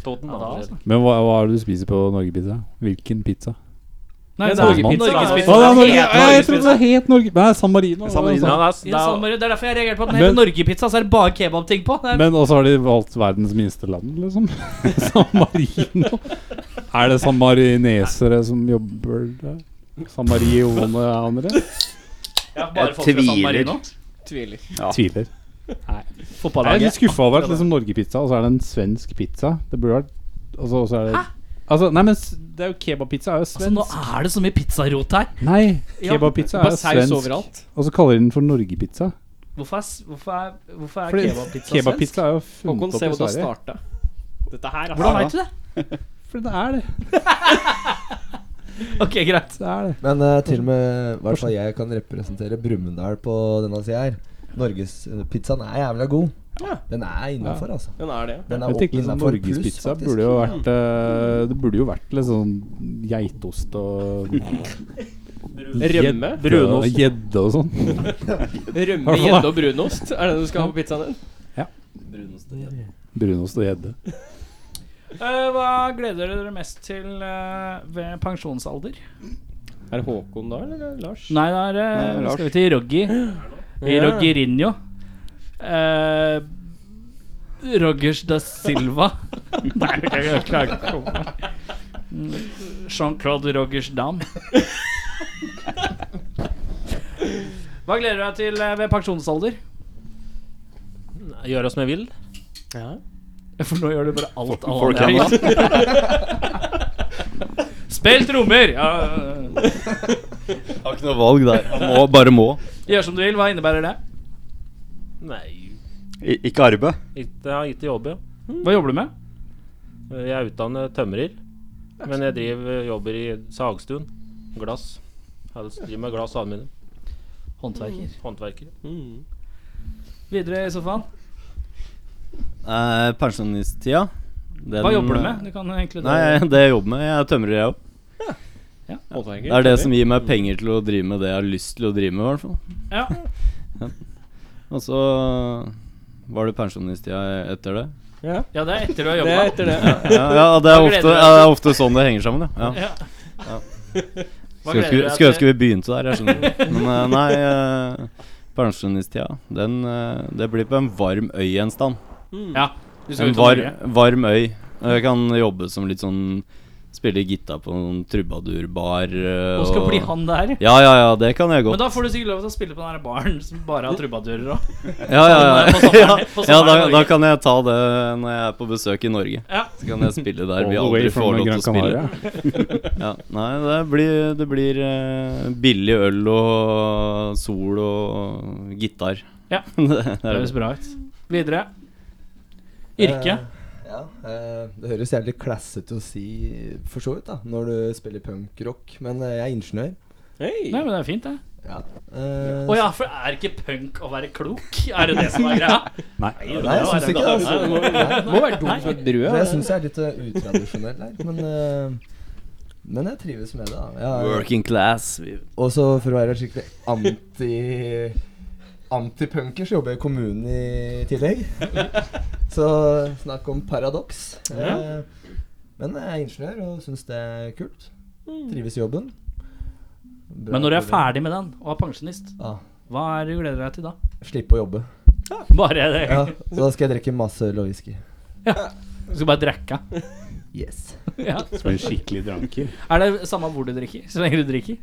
[SPEAKER 8] Toten, da.
[SPEAKER 1] altså.
[SPEAKER 3] Men hva, hva er det du spiser på Norgepizza? Hvilken pizza?
[SPEAKER 1] Nei,
[SPEAKER 8] Ja,
[SPEAKER 1] det er
[SPEAKER 3] Norgepizza.
[SPEAKER 1] Norgespizza.
[SPEAKER 3] Å, det er Norge-
[SPEAKER 1] Det heter
[SPEAKER 3] Ja, jeg trodde det
[SPEAKER 1] Norgespizza.
[SPEAKER 3] het Norge... Nei, San Marino.
[SPEAKER 7] San Marino.
[SPEAKER 8] Ja, det, er,
[SPEAKER 1] Ja, San
[SPEAKER 8] det, er,
[SPEAKER 1] Mario, det er derfor jeg reagerte på at den heter
[SPEAKER 3] Men-
[SPEAKER 1] Norgepizza, så er det bare kebabting på. Det er-
[SPEAKER 3] Men også har de valgt verdens minste land, liksom. *laughs* San Marino. Er det samarinesere som jobber der? Samarionere?
[SPEAKER 1] ja, bare
[SPEAKER 7] Jeg
[SPEAKER 1] folk fra San
[SPEAKER 7] tviler.
[SPEAKER 1] Marino.
[SPEAKER 2] Tviler.
[SPEAKER 3] Tviler. Jeg er litt
[SPEAKER 1] Fotballaget.
[SPEAKER 3] skuffa over at liksom Norgepizza, og så er det en svensk pizza. Det burde vært Og så og så er det Altså, nei, men s- det er jo kebabpizza er jo
[SPEAKER 1] Altså, nå
[SPEAKER 3] svensk.
[SPEAKER 1] er det så mye pizzarot her.
[SPEAKER 3] Nei,
[SPEAKER 1] Ja.
[SPEAKER 3] kebabpizza er
[SPEAKER 2] Bare
[SPEAKER 3] jo
[SPEAKER 2] saus
[SPEAKER 3] svensk.
[SPEAKER 2] overalt.
[SPEAKER 3] Og så kaller de den for Norgepizza.
[SPEAKER 1] Hvorfor er, s- hvorfor er, hvorfor er
[SPEAKER 3] Fordi
[SPEAKER 1] kebabpizza svensk?
[SPEAKER 3] kebabpizza er jo
[SPEAKER 2] Håkon,
[SPEAKER 3] funnet
[SPEAKER 2] se
[SPEAKER 3] opp
[SPEAKER 2] hvor du
[SPEAKER 3] i
[SPEAKER 2] har
[SPEAKER 3] Sverige.
[SPEAKER 2] starta. Dette her, altså.
[SPEAKER 1] Hvordan vet du det?
[SPEAKER 3] For det er det.
[SPEAKER 1] Ok, greit.
[SPEAKER 3] Det er det.
[SPEAKER 5] Men eh, til og med i hvert fall jeg kan representere Brumunddal på denne sida her. Norgespizzaen er jævla god. Den er innafor, altså.
[SPEAKER 2] Den er det.
[SPEAKER 5] Den er
[SPEAKER 3] Jeg tenker
[SPEAKER 5] åpen
[SPEAKER 3] liksom
[SPEAKER 5] innenfor pluss,
[SPEAKER 3] Norgespizza
[SPEAKER 5] faktisk.
[SPEAKER 3] burde jo vært eh, Det burde jo vært litt sånn geitost og
[SPEAKER 2] Rømme.
[SPEAKER 3] Brunost. Gjedde og sånn. *laughs*
[SPEAKER 2] Rømme, gjedde og brunost. Er det det du skal ha på pizzaen din?
[SPEAKER 3] Brunost og gjedde.
[SPEAKER 1] Eh, hva gleder dere dere mest til eh, ved pensjonsalder?
[SPEAKER 2] Er det Håkon da, eller er det Lars?
[SPEAKER 1] Nei, da er, det-
[SPEAKER 7] Nei,
[SPEAKER 1] nå
[SPEAKER 7] Lars.
[SPEAKER 1] skal vi til *gasps* Roggy.
[SPEAKER 2] Ja.
[SPEAKER 1] Roggerinho. Eh, Rogers da Silva. *laughs* Nei, jeg klarer ikke å komme meg. Mm, Jean-Claude Rogers *laughs* Dam. Hva gleder du deg til eh, ved pensjonsalder?
[SPEAKER 8] Gjøre som jeg vil.
[SPEAKER 1] For nå gjør du bare alt
[SPEAKER 7] Folk
[SPEAKER 1] alle
[SPEAKER 7] er
[SPEAKER 1] *laughs* andre vil. Spill trommer! Ja, ja, ja.
[SPEAKER 6] Har ikke noe valg der. Må, bare må.
[SPEAKER 1] gjør som du vil. Hva innebærer det?
[SPEAKER 8] Nei
[SPEAKER 7] I- Ikke arbeid.
[SPEAKER 8] ikke, Jeg har gitt det jobb, ja.
[SPEAKER 1] Hva jobber du med?
[SPEAKER 8] Jeg er utdannet tømrer, men jeg driver, eh, jobber i sagstuen. Glass. Jeg driver med glass og aluminium.
[SPEAKER 1] Håndverker.
[SPEAKER 8] Håndverker.
[SPEAKER 2] Mm.
[SPEAKER 1] Videre i sofaen.
[SPEAKER 6] Eh, Pensjonisttida.
[SPEAKER 1] Hva jobber du med? Du kan egentlig
[SPEAKER 6] eh, Nei, *laughs* det jeg jobber med. Jeg er tømrer, jeg òg.
[SPEAKER 2] Håndverker,
[SPEAKER 6] Det er det
[SPEAKER 2] tømmer.
[SPEAKER 6] som gir meg penger til å drive med det jeg har lyst til å drive med, i hvert fall.
[SPEAKER 1] Ja.
[SPEAKER 6] Og så eh, var det pensjonisttida etter
[SPEAKER 1] *laughs*
[SPEAKER 6] det.
[SPEAKER 2] ja.
[SPEAKER 1] ja, det er etter du har
[SPEAKER 2] Det er
[SPEAKER 1] jobba.
[SPEAKER 2] etter det.
[SPEAKER 6] Ja, ja det, er
[SPEAKER 1] Hva gleder
[SPEAKER 6] ofte,
[SPEAKER 1] du deg
[SPEAKER 6] ja, det er ofte sånn det henger sammen, ja. ja.
[SPEAKER 1] *laughs* Ja.
[SPEAKER 6] Ja.
[SPEAKER 1] Hva
[SPEAKER 6] Skulle
[SPEAKER 1] gleder du
[SPEAKER 6] ønske-
[SPEAKER 1] deg
[SPEAKER 6] skulle
[SPEAKER 1] til?
[SPEAKER 6] ønske vi begynte der,
[SPEAKER 1] *laughs*
[SPEAKER 6] jeg skjønner. Men eh, nei, eh, pensjonisttida, den eh, Det blir på en varm øy en stand.
[SPEAKER 1] Ja. Du skal
[SPEAKER 6] En
[SPEAKER 1] ut og
[SPEAKER 6] var,
[SPEAKER 1] norge.
[SPEAKER 6] varm øy. Og Jeg kan jobbe som litt sånn Spille gitar på noen trubadurbar. eh,
[SPEAKER 1] Og skal
[SPEAKER 6] og-
[SPEAKER 1] bli han der.
[SPEAKER 6] Ja, ja, ja, det kan jeg godt.
[SPEAKER 1] Men da får du sikkert lov til å spille på den her baren som bare har trubadurer og
[SPEAKER 6] Ja, ja,
[SPEAKER 1] På
[SPEAKER 6] ja.
[SPEAKER 1] sommeren-
[SPEAKER 6] *laughs* ja,
[SPEAKER 1] på
[SPEAKER 6] ja
[SPEAKER 1] sommeren i
[SPEAKER 6] da,
[SPEAKER 1] Norge.
[SPEAKER 6] da kan jeg ta det når jeg er på besøk i Norge.
[SPEAKER 1] Ja.
[SPEAKER 6] Så kan jeg spille der
[SPEAKER 3] All
[SPEAKER 6] vi
[SPEAKER 3] the way
[SPEAKER 6] aldri
[SPEAKER 3] from
[SPEAKER 6] får lov til
[SPEAKER 3] Gran
[SPEAKER 6] å spille.
[SPEAKER 3] Canaria.
[SPEAKER 6] *laughs* Ja. Nei, det blir, det blir eh, billig øl og sol og gitar.
[SPEAKER 1] Ja.
[SPEAKER 6] *laughs* det er
[SPEAKER 1] Det
[SPEAKER 6] det.
[SPEAKER 1] høres bra ut. Videre. Yrke.
[SPEAKER 5] Eh, ja, eh, det høres jævlig classete å si, for så vidt, da, når du spiller punkrock, men eh, jeg er ingeniør.
[SPEAKER 2] Hei.
[SPEAKER 1] Nei, men det er fint, det.
[SPEAKER 5] Ja. Eh,
[SPEAKER 1] Å ja, for er ikke punk å være klok? Er det det som er
[SPEAKER 5] *laughs*
[SPEAKER 1] greia?
[SPEAKER 5] Nei, jeg syns ikke det. Altså.
[SPEAKER 2] Nei,
[SPEAKER 5] Nei,
[SPEAKER 2] Må være dum som et brød. altså.
[SPEAKER 5] Men jeg syns jeg er litt eh, utradisjonell her, men eh, men jeg trives med det. da jeg,
[SPEAKER 6] Working class. Vi-
[SPEAKER 5] Også for å være skikkelig anti Antipunker så jobber jeg i kommunen i tillegg. Så snakk om paradoks. Eh, men jeg er ingeniør og syns det er kult. Trives i jobben. Bra
[SPEAKER 1] Men når du er
[SPEAKER 5] program.
[SPEAKER 1] ferdig med den og er pensjonist,
[SPEAKER 5] Ja.
[SPEAKER 1] hva er det du gleder
[SPEAKER 5] *laughs*
[SPEAKER 1] deg til da?
[SPEAKER 5] Slippe å jobbe.
[SPEAKER 1] Bare det.
[SPEAKER 5] Ja, så da skal jeg drikke masse øl og whisky.
[SPEAKER 1] Du skal bare drikke.
[SPEAKER 5] *laughs* Yes.
[SPEAKER 1] Ja.
[SPEAKER 3] Som en skikkelig dranker.
[SPEAKER 1] Er det samme hvor du drikker? Så lenge du drikker?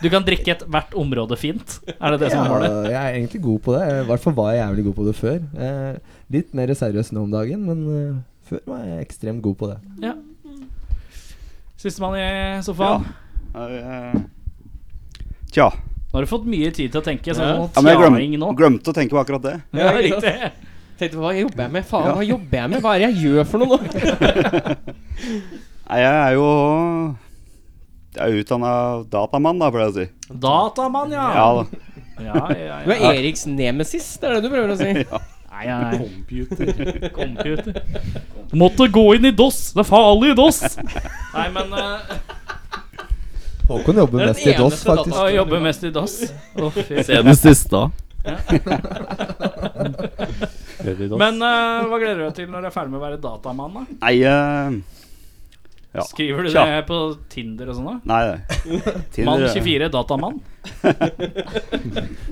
[SPEAKER 1] Du kan drikke ethvert område fint? Er sånn det det som
[SPEAKER 5] Ja,
[SPEAKER 1] er målet?
[SPEAKER 5] Jeg er egentlig god på det. I hvert fall var jeg jævlig god på det før. Eh, litt mer seriøs nå om dagen, men eh, før var jeg ekstremt god på det.
[SPEAKER 1] Sistemann i sofaen.
[SPEAKER 7] Eh, Tja.
[SPEAKER 1] Nå har du fått mye tid til å tenke. Så
[SPEAKER 2] Ja.
[SPEAKER 1] sånn
[SPEAKER 7] Ja, men jeg
[SPEAKER 1] tjaing nå.
[SPEAKER 7] glem, glemte å tenke på akkurat det.
[SPEAKER 1] Ja, riktig.
[SPEAKER 2] Tenkte, hva jobber jeg med? Faen, hva jobber jeg med? Hva er det jeg gjør for *laughs* noe nå?
[SPEAKER 7] Nei, jeg er jo Jeg er utdanna datamann, da, pleier jeg å si.
[SPEAKER 1] Datamann, ja.
[SPEAKER 7] Ja da. *laughs*
[SPEAKER 1] ja, ja,
[SPEAKER 2] Du
[SPEAKER 1] ja.
[SPEAKER 2] er Eriks nemesis, det er det du prøver å si.
[SPEAKER 1] Nei, nei. Computer. *laughs* Computer. Måtte gå inn i DOS. Det er farlig i DOS. Nei, men eh,
[SPEAKER 5] Håkon jobber
[SPEAKER 2] Det er
[SPEAKER 5] mest
[SPEAKER 2] den
[SPEAKER 5] i DOS,
[SPEAKER 2] eneste
[SPEAKER 5] faktisk.
[SPEAKER 1] å jobbe mest i DOS. Å, fy.
[SPEAKER 6] Senest i stad.
[SPEAKER 1] Men eh, hva gleder du deg til når du er ferdig med å være datamann? da?
[SPEAKER 7] Nei eh, Ja.
[SPEAKER 1] Skriver du
[SPEAKER 7] Tja.
[SPEAKER 1] det på Tinder og sånn? da?
[SPEAKER 7] Nei, Tinder,
[SPEAKER 1] Mann
[SPEAKER 7] eh,
[SPEAKER 1] 24, datamann?
[SPEAKER 3] Det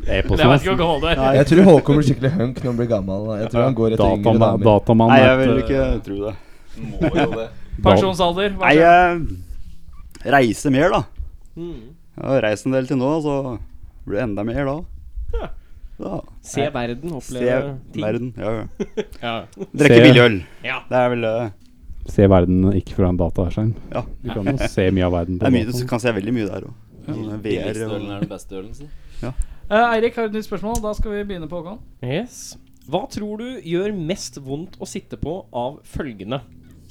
[SPEAKER 3] er på
[SPEAKER 1] Det vet ikke hva det er.
[SPEAKER 5] Jeg tror Håkon blir skikkelig hunk når han blir gammel. Jeg tror han går etter yngre
[SPEAKER 3] Datamann,
[SPEAKER 5] damer.
[SPEAKER 3] datamann
[SPEAKER 7] Nei,
[SPEAKER 3] er
[SPEAKER 7] jeg
[SPEAKER 3] et,
[SPEAKER 7] vil
[SPEAKER 3] eh,
[SPEAKER 7] ikke tro det.
[SPEAKER 6] Må jo det.
[SPEAKER 3] da-
[SPEAKER 1] Pensjonsalder? hva
[SPEAKER 7] Nei,
[SPEAKER 1] skjer?
[SPEAKER 7] jeg reiser mer, da.
[SPEAKER 6] Mm.
[SPEAKER 7] Jeg har reist en del til nå, så blir det enda mer da. Da
[SPEAKER 2] Se verden,
[SPEAKER 7] Se
[SPEAKER 2] oppleve ting.
[SPEAKER 7] verden. Ja, ja.
[SPEAKER 2] *laughs* Ja.
[SPEAKER 7] Drikke
[SPEAKER 3] Se-
[SPEAKER 7] billig øl.
[SPEAKER 2] Ja.
[SPEAKER 7] Det er vel eh,
[SPEAKER 3] Se verden ikke fra en dataskjerm.
[SPEAKER 7] Ja.
[SPEAKER 3] Du kan jo se mye av verden.
[SPEAKER 7] Det
[SPEAKER 3] på
[SPEAKER 7] er mye,
[SPEAKER 3] dataen.
[SPEAKER 7] du kan se veldig mye der òg. VR
[SPEAKER 6] Billigste ølen
[SPEAKER 7] og
[SPEAKER 6] er den beste ølen, si.
[SPEAKER 1] Eh, Eirik har et nytt spørsmål. Da skal vi begynne på Håkon.
[SPEAKER 2] Yes. Hva tror du gjør mest vondt å sitte på av følgende?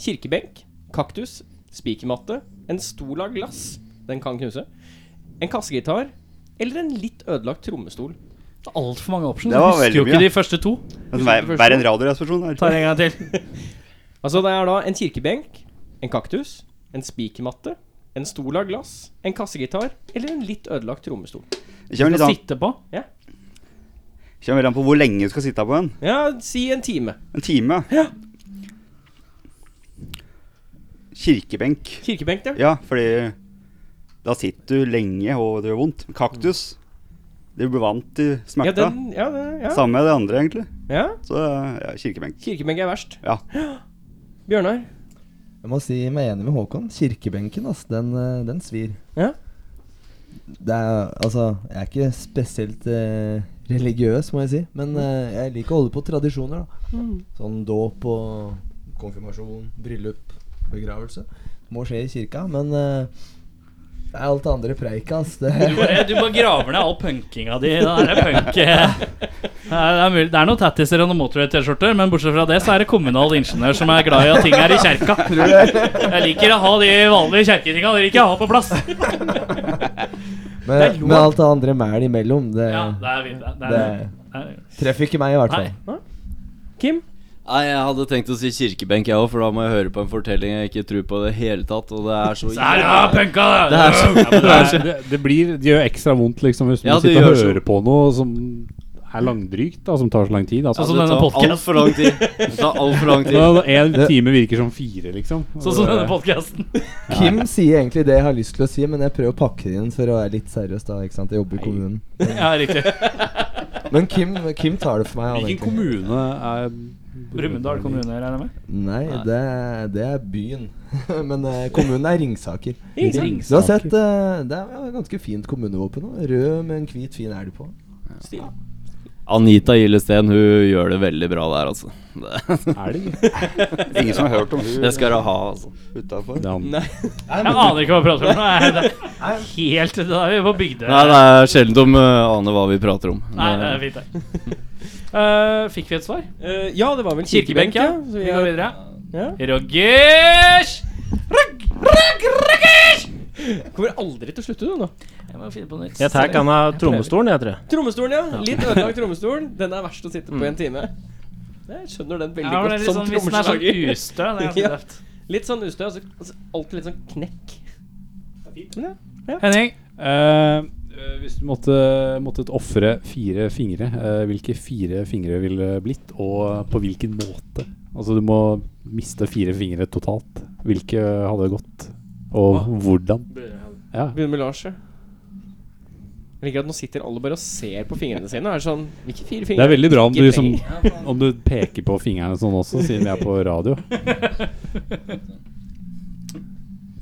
[SPEAKER 2] Kirkebenk, kaktus, spikermatte, en stol av glass Den kan knuse. En kassegitar eller en litt ødelagt trommestol.
[SPEAKER 1] Det er altfor mange options.
[SPEAKER 7] Det var
[SPEAKER 1] Jeg husker
[SPEAKER 7] veldig
[SPEAKER 1] jo ikke
[SPEAKER 7] mye.
[SPEAKER 1] de første to.
[SPEAKER 7] Men Vær vær Altså, en radioresepsjon.
[SPEAKER 1] Tar
[SPEAKER 7] her.
[SPEAKER 1] en gang til.
[SPEAKER 2] Altså det er da en kirkebenk, en kaktus, en spikermatte, en stol av glass, en kassegitar eller en litt ødelagt trommestol.
[SPEAKER 7] Det kommer
[SPEAKER 1] Skal
[SPEAKER 7] litt an,
[SPEAKER 1] sitte på.
[SPEAKER 7] kommer veldig an på hvor lenge du skal sitte på en.
[SPEAKER 2] Ja, si en time.
[SPEAKER 7] En time.
[SPEAKER 2] Ja.
[SPEAKER 7] Kirkebenk.
[SPEAKER 2] Kirkebenk, ja.
[SPEAKER 7] Ja, fordi da sitter du lenge, og det gjør vondt. Kaktus. Du blir vant til
[SPEAKER 2] Ja,
[SPEAKER 7] smerta.
[SPEAKER 2] den, ja, det- ja.
[SPEAKER 7] Samme med det andre, egentlig.
[SPEAKER 2] ja.
[SPEAKER 7] Så eh, ja, kirkebenk.
[SPEAKER 2] Kirkebenk er verst.
[SPEAKER 7] Ja.
[SPEAKER 2] Bjørnar?
[SPEAKER 5] Jeg må si meg enig med Håkon. Kirkebenken, ass, den, eh, den svir.
[SPEAKER 2] Ja.
[SPEAKER 5] Det er, altså, jeg er ikke spesielt eh, religiøs, må jeg si, men
[SPEAKER 1] Mm.
[SPEAKER 5] eh, jeg liker å holde på tradisjoner. da Sånn dåp og konfirmasjon, bryllup, begravelse. Må skje i kirka, men eh, Det er alt det andre preiket, ass. Det,
[SPEAKER 1] Du *laughs* bare, du bare graver ned all punkinga di. Det er, *laughs* punk. det er, mulig- det er noen tattiser og noen motorhead-T-skjorter, men bortsett fra det så er det kommunal ingeniør som er glad i at ting er i kjerka. Jeg liker å ha de vanlige kjerketinga. Det liker jeg å ha på plass.
[SPEAKER 5] *laughs* men, men alt det andre mæl imellom, det,
[SPEAKER 1] Ja, det er, vi- det er, det
[SPEAKER 5] det
[SPEAKER 1] er,
[SPEAKER 5] treffer ikke meg, i hvert
[SPEAKER 1] Nei.
[SPEAKER 5] fall.
[SPEAKER 2] Kim?
[SPEAKER 6] Nei, jeg hadde tenkt å si kirkebenk, jeg òg, for da må jeg høre på en fortelling jeg ikke tror på i det hele tatt, og det er så
[SPEAKER 1] Så er det ja, punka!
[SPEAKER 6] Det er så-
[SPEAKER 1] *laughs* Ja, men det er-
[SPEAKER 3] det, det blir Det gjør ekstra vondt liksom hvis
[SPEAKER 6] Ja,
[SPEAKER 3] man
[SPEAKER 6] det
[SPEAKER 3] sitter og
[SPEAKER 6] gjør så.
[SPEAKER 3] hører på noe som er langdrygt, da, som tar så lang tid. Altså.
[SPEAKER 1] Sånn som
[SPEAKER 6] det
[SPEAKER 1] denne
[SPEAKER 6] tar
[SPEAKER 1] podcasten.
[SPEAKER 6] altfor lang tid. Det tar altfor
[SPEAKER 3] *laughs*
[SPEAKER 6] lang tid.
[SPEAKER 3] Nå- En time virker som fire, liksom.
[SPEAKER 1] Sånn som denne podkasten.
[SPEAKER 5] Kim sier egentlig det jeg har lyst til å si, men jeg prøver å pakke det inn for å være litt seriøs. da, ikke sant? Jeg jobber i kommunen.
[SPEAKER 1] Ja, riktig.
[SPEAKER 5] Men Kim, Kim tar det for meg. han,
[SPEAKER 3] Hvilken
[SPEAKER 5] egentlig.
[SPEAKER 3] kommune er
[SPEAKER 1] Brumunddal kommune, regner jeg med.
[SPEAKER 5] Nei, det, det er byen. *laughs* Men eh, kommunen er Ringsaker.
[SPEAKER 1] Rings.
[SPEAKER 5] Du har sett eh, Det er jo et ganske fint kommunevåpen òg. Rød med en hvit, fin elg på.
[SPEAKER 6] Anita Gillesten, hun gjør det veldig bra der, altså. Det, *laughs*
[SPEAKER 3] Er det?
[SPEAKER 7] Ingen som har hørt om
[SPEAKER 6] det
[SPEAKER 7] hun
[SPEAKER 6] skal hun ha, altså.
[SPEAKER 7] utafor?
[SPEAKER 3] Det er
[SPEAKER 1] *laughs*
[SPEAKER 3] han.
[SPEAKER 1] Jeg aner ikke hva vi prater om. Nei, det er Helt Da er vi på Bygdøy.
[SPEAKER 6] Nei, det er sjelden de eh, aner hva vi prater om.
[SPEAKER 1] Nei, det er fint, det. Eh, fikk vi et svar?
[SPEAKER 2] Eh, ja, det var vel
[SPEAKER 1] Kirkebenk,
[SPEAKER 2] kirkebenk,
[SPEAKER 1] ja.
[SPEAKER 2] Så
[SPEAKER 1] Vi går videre.
[SPEAKER 2] Ja.
[SPEAKER 1] Roggers! Rogg, rogg, roggers!
[SPEAKER 2] Kommer aldri til å slutte, du, nå.
[SPEAKER 1] Jeg må finne på nytt.
[SPEAKER 8] Jeg tar han av trommestolen, jeg, tror jeg.
[SPEAKER 2] Trommestolen, ja. Litt ødelagt trommestol. Den er verst å sitte på i en time. Jeg skjønner den veldig
[SPEAKER 1] Mm. Ja, men det
[SPEAKER 2] godt
[SPEAKER 1] er litt
[SPEAKER 2] som
[SPEAKER 1] sånn, hvis den er sånn
[SPEAKER 2] trommeslager. *laughs*
[SPEAKER 1] ustø, det er ganske
[SPEAKER 2] Ja.
[SPEAKER 1] tøft.
[SPEAKER 2] Litt sånn ustø. Altså, altså, alltid litt sånn knekk.
[SPEAKER 1] Henning, *laughs*
[SPEAKER 3] Eh, eh, hvis du måtte, måttet ofre fire fingre, eh, hvilke fire fingre ville blitt, og på hvilken måte? Altså du må miste fire fingre totalt. Hvilke hadde gått, og hvordan? Ja.
[SPEAKER 2] Begynner med Lars. ja. Jeg liker at nå sitter alle bare og ser på fingrene sine. Og er sånn Hvilke fire
[SPEAKER 3] Det
[SPEAKER 2] fingre?
[SPEAKER 3] er veldig bra om du,
[SPEAKER 2] Ikke
[SPEAKER 3] liksom, om du peker på fingrene sånn også, siden vi er på radio.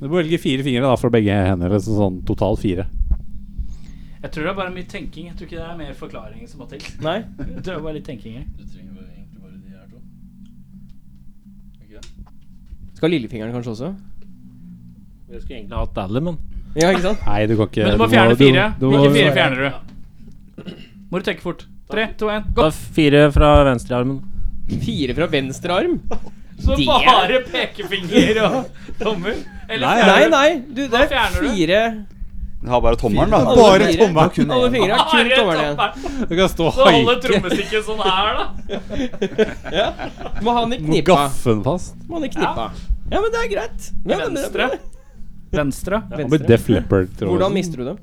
[SPEAKER 3] Du må velge fire fingre da fra begge hender. Liksom sånn totalt fire.
[SPEAKER 1] jeg tror det er bare mye tenking. Jeg tror ikke det er mer forklaring som må til.
[SPEAKER 2] Nei.
[SPEAKER 1] Jeg tror det er bare litt tenking her.
[SPEAKER 6] Du trenger egentlig bare de her to.
[SPEAKER 2] Skal lillefingeren kanskje også?
[SPEAKER 8] Jeg skulle egentlig hatt alle, men
[SPEAKER 2] Ja, ikke sant?
[SPEAKER 3] Nei, du kan ikke
[SPEAKER 1] Men du må
[SPEAKER 3] du
[SPEAKER 1] fjerne
[SPEAKER 3] du-
[SPEAKER 1] fire.
[SPEAKER 3] du må-
[SPEAKER 1] Hvilke fire fjerner du? Må du tenke fort. Tre, to, én,
[SPEAKER 8] Da
[SPEAKER 1] gå!
[SPEAKER 8] fire fra venstrearmen.
[SPEAKER 2] Fire fra venstre arm?
[SPEAKER 1] Så
[SPEAKER 2] Det-
[SPEAKER 1] bare pekefinger og tommer? Eller
[SPEAKER 2] Nei, nei.
[SPEAKER 1] fjerner du
[SPEAKER 2] nei. Du, det
[SPEAKER 1] Hva
[SPEAKER 2] er
[SPEAKER 1] fjerner du?
[SPEAKER 2] fire
[SPEAKER 7] Du har bare tommelen, da.
[SPEAKER 2] Alle fire. Alle fire er kun
[SPEAKER 1] Bare
[SPEAKER 2] tommelen igjen.
[SPEAKER 1] tommeren.
[SPEAKER 3] Du kan stå
[SPEAKER 1] Så holder
[SPEAKER 3] og
[SPEAKER 1] trommestikket sånn her, da.
[SPEAKER 2] Må ha den i
[SPEAKER 3] Må
[SPEAKER 2] knippa.
[SPEAKER 3] gaffe den fast.
[SPEAKER 2] Må ha den i knippa. Ja, men det er greit. Ja, men det er
[SPEAKER 1] Venstre.
[SPEAKER 2] bra.
[SPEAKER 1] Venstre.
[SPEAKER 3] Og med Def Leppard.
[SPEAKER 2] Hvordan mister du dem?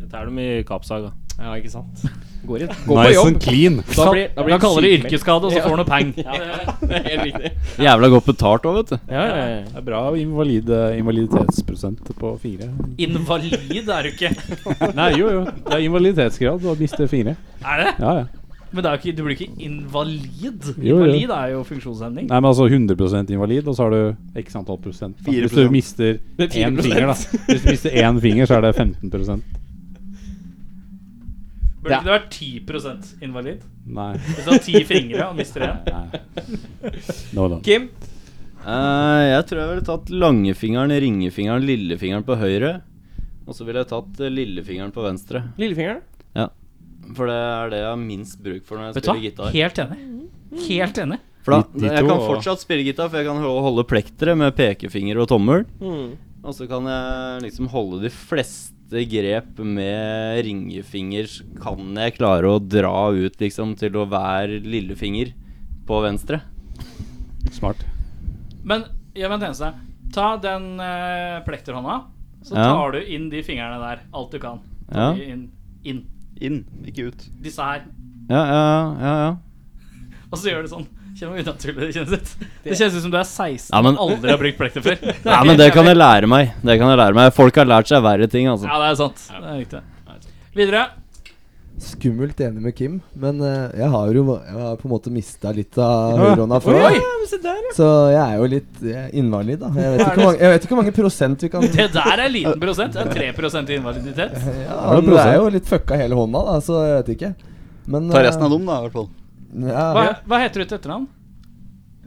[SPEAKER 8] Jeg tar dem i kappsaga.
[SPEAKER 2] Ja, ikke sant. Går i, går på
[SPEAKER 3] Nice
[SPEAKER 2] jobb.
[SPEAKER 3] and clean.
[SPEAKER 2] Da blir, da blir
[SPEAKER 1] Da kaller det
[SPEAKER 2] sykemeldt.
[SPEAKER 1] yrkesskade, og så
[SPEAKER 2] Ja.
[SPEAKER 1] får du noe peng.
[SPEAKER 2] Det er helt riktig.
[SPEAKER 6] Jævla godt betalt òg, vet du.
[SPEAKER 2] Ja, ja, ja.
[SPEAKER 3] Det er bra invalid, eh, invaliditetsprosent på fire.
[SPEAKER 1] Invalid er du ikke.
[SPEAKER 3] *laughs* Nei, jo, jo. Det er invaliditetsgrad å miste fire.
[SPEAKER 1] *laughs* Er det?
[SPEAKER 3] Ja, ja.
[SPEAKER 1] Men det er jo ikke, du blir ikke invalid.
[SPEAKER 3] Jo, jo.
[SPEAKER 1] Invalid er jo funksjonshemning.
[SPEAKER 3] Nei, men altså 100 invalid, og så har du x antall prosent. da. Hvis du
[SPEAKER 7] 4%.
[SPEAKER 3] mister
[SPEAKER 2] Det er
[SPEAKER 3] én
[SPEAKER 2] 4%.
[SPEAKER 3] finger, da. Hvis du mister én finger, så er det 15
[SPEAKER 1] Burde ikke det vært 10 invalid?
[SPEAKER 3] Nei.
[SPEAKER 1] Hvis du har ti fingre og mister én?
[SPEAKER 3] Nei. No, no.
[SPEAKER 2] Kim?
[SPEAKER 6] Eh, jeg tror jeg ville tatt langfingeren, ringefingeren, lillefingeren på høyre. Og så ville jeg tatt eh, lillefingeren på venstre.
[SPEAKER 2] Lillefingeren?
[SPEAKER 6] For det er det jeg har minst bruk for når jeg
[SPEAKER 1] Vet du
[SPEAKER 6] spiller
[SPEAKER 1] hva?
[SPEAKER 6] gitar.
[SPEAKER 1] Helt enig. Helt enig.
[SPEAKER 6] For
[SPEAKER 3] De-
[SPEAKER 6] da,
[SPEAKER 3] de
[SPEAKER 6] jeg
[SPEAKER 3] to
[SPEAKER 6] kan
[SPEAKER 3] og-
[SPEAKER 6] fortsatt spille gitar, for jeg kan hol- holde plektere med pekefinger og tommel.
[SPEAKER 2] Mm.
[SPEAKER 6] Og så kan jeg liksom holde de fleste grep med ringefinger. så Kan jeg klare å dra ut liksom til å være lillefinger på venstre?
[SPEAKER 3] Smart.
[SPEAKER 1] Men gjør meg en tjeneste. Ta den eh, plekterhånda, så
[SPEAKER 6] Ja.
[SPEAKER 1] tar du inn de fingrene der. Alt du kan. Ta
[SPEAKER 6] Ja.
[SPEAKER 1] de inn, inn.
[SPEAKER 7] Inn, ikke ut.
[SPEAKER 1] Disse her.
[SPEAKER 6] Ja, ja, ja. ja.
[SPEAKER 1] Og så gjør du sånn. Kjenn hvor unaturlig det kjennes ut. Det kjennes ut som du er 16
[SPEAKER 6] Ja, men-
[SPEAKER 1] og aldri har brukt plekter før.
[SPEAKER 6] *laughs* Nei, men det kan jeg lære meg. Det kan jeg lære meg Folk har lært seg verre ting, altså.
[SPEAKER 1] Ja, det er sant. Det er riktig. Videre.
[SPEAKER 5] Skummelt enig med Kim, men eh, jeg har jo jeg har på en måte mista litt av høyrehånda før.
[SPEAKER 2] Oi! Ja, men se der, ja.
[SPEAKER 5] Så jeg er jo litt eh, innvalid, da. Jeg vet ikke hvor mange, jeg vet ikke hvor mange prosent vi kan
[SPEAKER 1] Det der er liten prosent. Det er 3 i invaliditet.
[SPEAKER 5] ja,
[SPEAKER 3] det
[SPEAKER 5] men Det
[SPEAKER 3] prosent?
[SPEAKER 5] er jo litt fucka hele hånda, da, så jeg vet ikke. Men
[SPEAKER 7] Ta resten av dem, da, i hvert fall.
[SPEAKER 5] dem? Ja,
[SPEAKER 1] Hva, hva heter du til etternavn?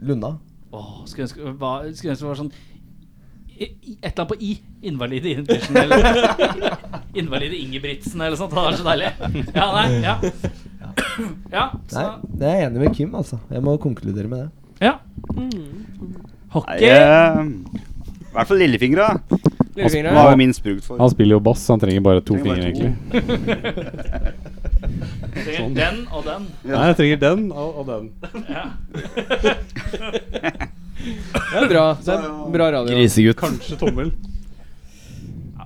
[SPEAKER 5] Lunna.
[SPEAKER 1] Åh, skulle ønske hva- skulle ønske det var sånn i- i- Et eller annet på I. Invalide Intuition eller *laughs* Invalide Ingebrigtsen eller sånt. Det hadde vært så deilig. Ja, nei, ja. Ja, så,
[SPEAKER 5] Nei, det er jeg enig med Kim, altså. Jeg må konkludere med det.
[SPEAKER 1] ja.
[SPEAKER 7] Nei,
[SPEAKER 1] Hockey.
[SPEAKER 7] eh, I hvert fall lillefingra.
[SPEAKER 2] Lillefingre.
[SPEAKER 7] Hva er minst brukt for?
[SPEAKER 3] Han spiller jo bass, så han trenger bare to
[SPEAKER 7] Trenger bare
[SPEAKER 3] fingre,
[SPEAKER 7] to.
[SPEAKER 3] egentlig.
[SPEAKER 1] *laughs* Trenger Den og den.
[SPEAKER 3] Nei, jeg trenger den og, og den.
[SPEAKER 2] Det er bra. Det er bra radio.
[SPEAKER 5] Grisegutt.
[SPEAKER 3] Kanskje tommel.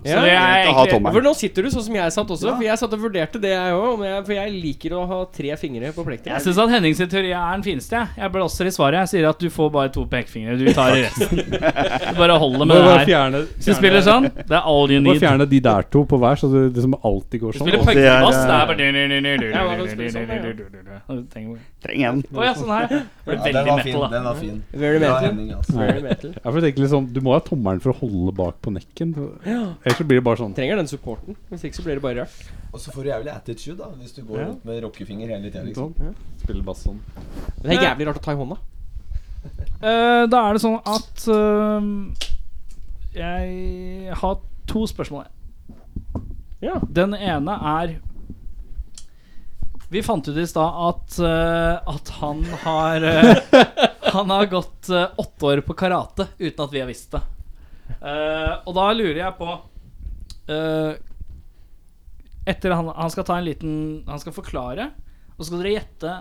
[SPEAKER 1] Så det er
[SPEAKER 2] Ja.
[SPEAKER 7] Å ha
[SPEAKER 1] egentlig
[SPEAKER 7] tommelen.
[SPEAKER 2] For nå sitter du sånn som jeg satt også. For jeg satt og vurderte det, jeg òg. For jeg liker å ha tre fingre på
[SPEAKER 1] Jeg
[SPEAKER 2] plekter.
[SPEAKER 1] syns at Henning sin teori er den fineste. jeg. Jeg blåser i svaret. Jeg sier at du får bare to pekefingre. Du tar resten. Du bare holder med
[SPEAKER 3] Må
[SPEAKER 1] det
[SPEAKER 3] bare
[SPEAKER 1] her.
[SPEAKER 3] fjerne,
[SPEAKER 1] Hvis du spiller sånn, det er all you
[SPEAKER 3] må
[SPEAKER 1] need. Du
[SPEAKER 3] fjerne de der to på hver, så det liksom alltid går sånn.
[SPEAKER 1] spiller
[SPEAKER 7] Og det er,
[SPEAKER 1] punkebass, det
[SPEAKER 7] eh,
[SPEAKER 1] er
[SPEAKER 2] Ja, hva spiller sånn,
[SPEAKER 1] bare Du trenger-
[SPEAKER 7] Trenger en.
[SPEAKER 1] Å ja, sånn her. Ble
[SPEAKER 5] den
[SPEAKER 1] veldig
[SPEAKER 5] var fin.
[SPEAKER 1] metal, da. Mm.
[SPEAKER 5] Den var fin.
[SPEAKER 2] Very
[SPEAKER 5] Bra
[SPEAKER 2] metal.
[SPEAKER 5] Henning, altså.
[SPEAKER 2] Very metal.
[SPEAKER 3] Jeg får tenke litt sånn, Du må ha tommelen for å holde bak på nekken. Ellers så blir det bare sånn.
[SPEAKER 2] Trenger den supporten. Hvis ikke så blir det bare rart.
[SPEAKER 5] Og så får du jævlig attitude, da, hvis du går
[SPEAKER 3] Ja.
[SPEAKER 5] rundt med rockefinger hele tida, liksom.
[SPEAKER 3] sånn. Spiller bass sånn.
[SPEAKER 2] Men det er jævlig rart å ta i hånda.
[SPEAKER 1] Eh, Da er det sånn at eh, Jeg har to spørsmål. jeg.
[SPEAKER 2] Ja.
[SPEAKER 1] Den ene er Vi fant ut i stad at, eh, at han har eh, Han har gått eh, åtte år på karate uten at vi har visst det. Eh, og da lurer jeg på eh, Etter han, han skal ta en liten Han skal forklare, og så skal dere gjette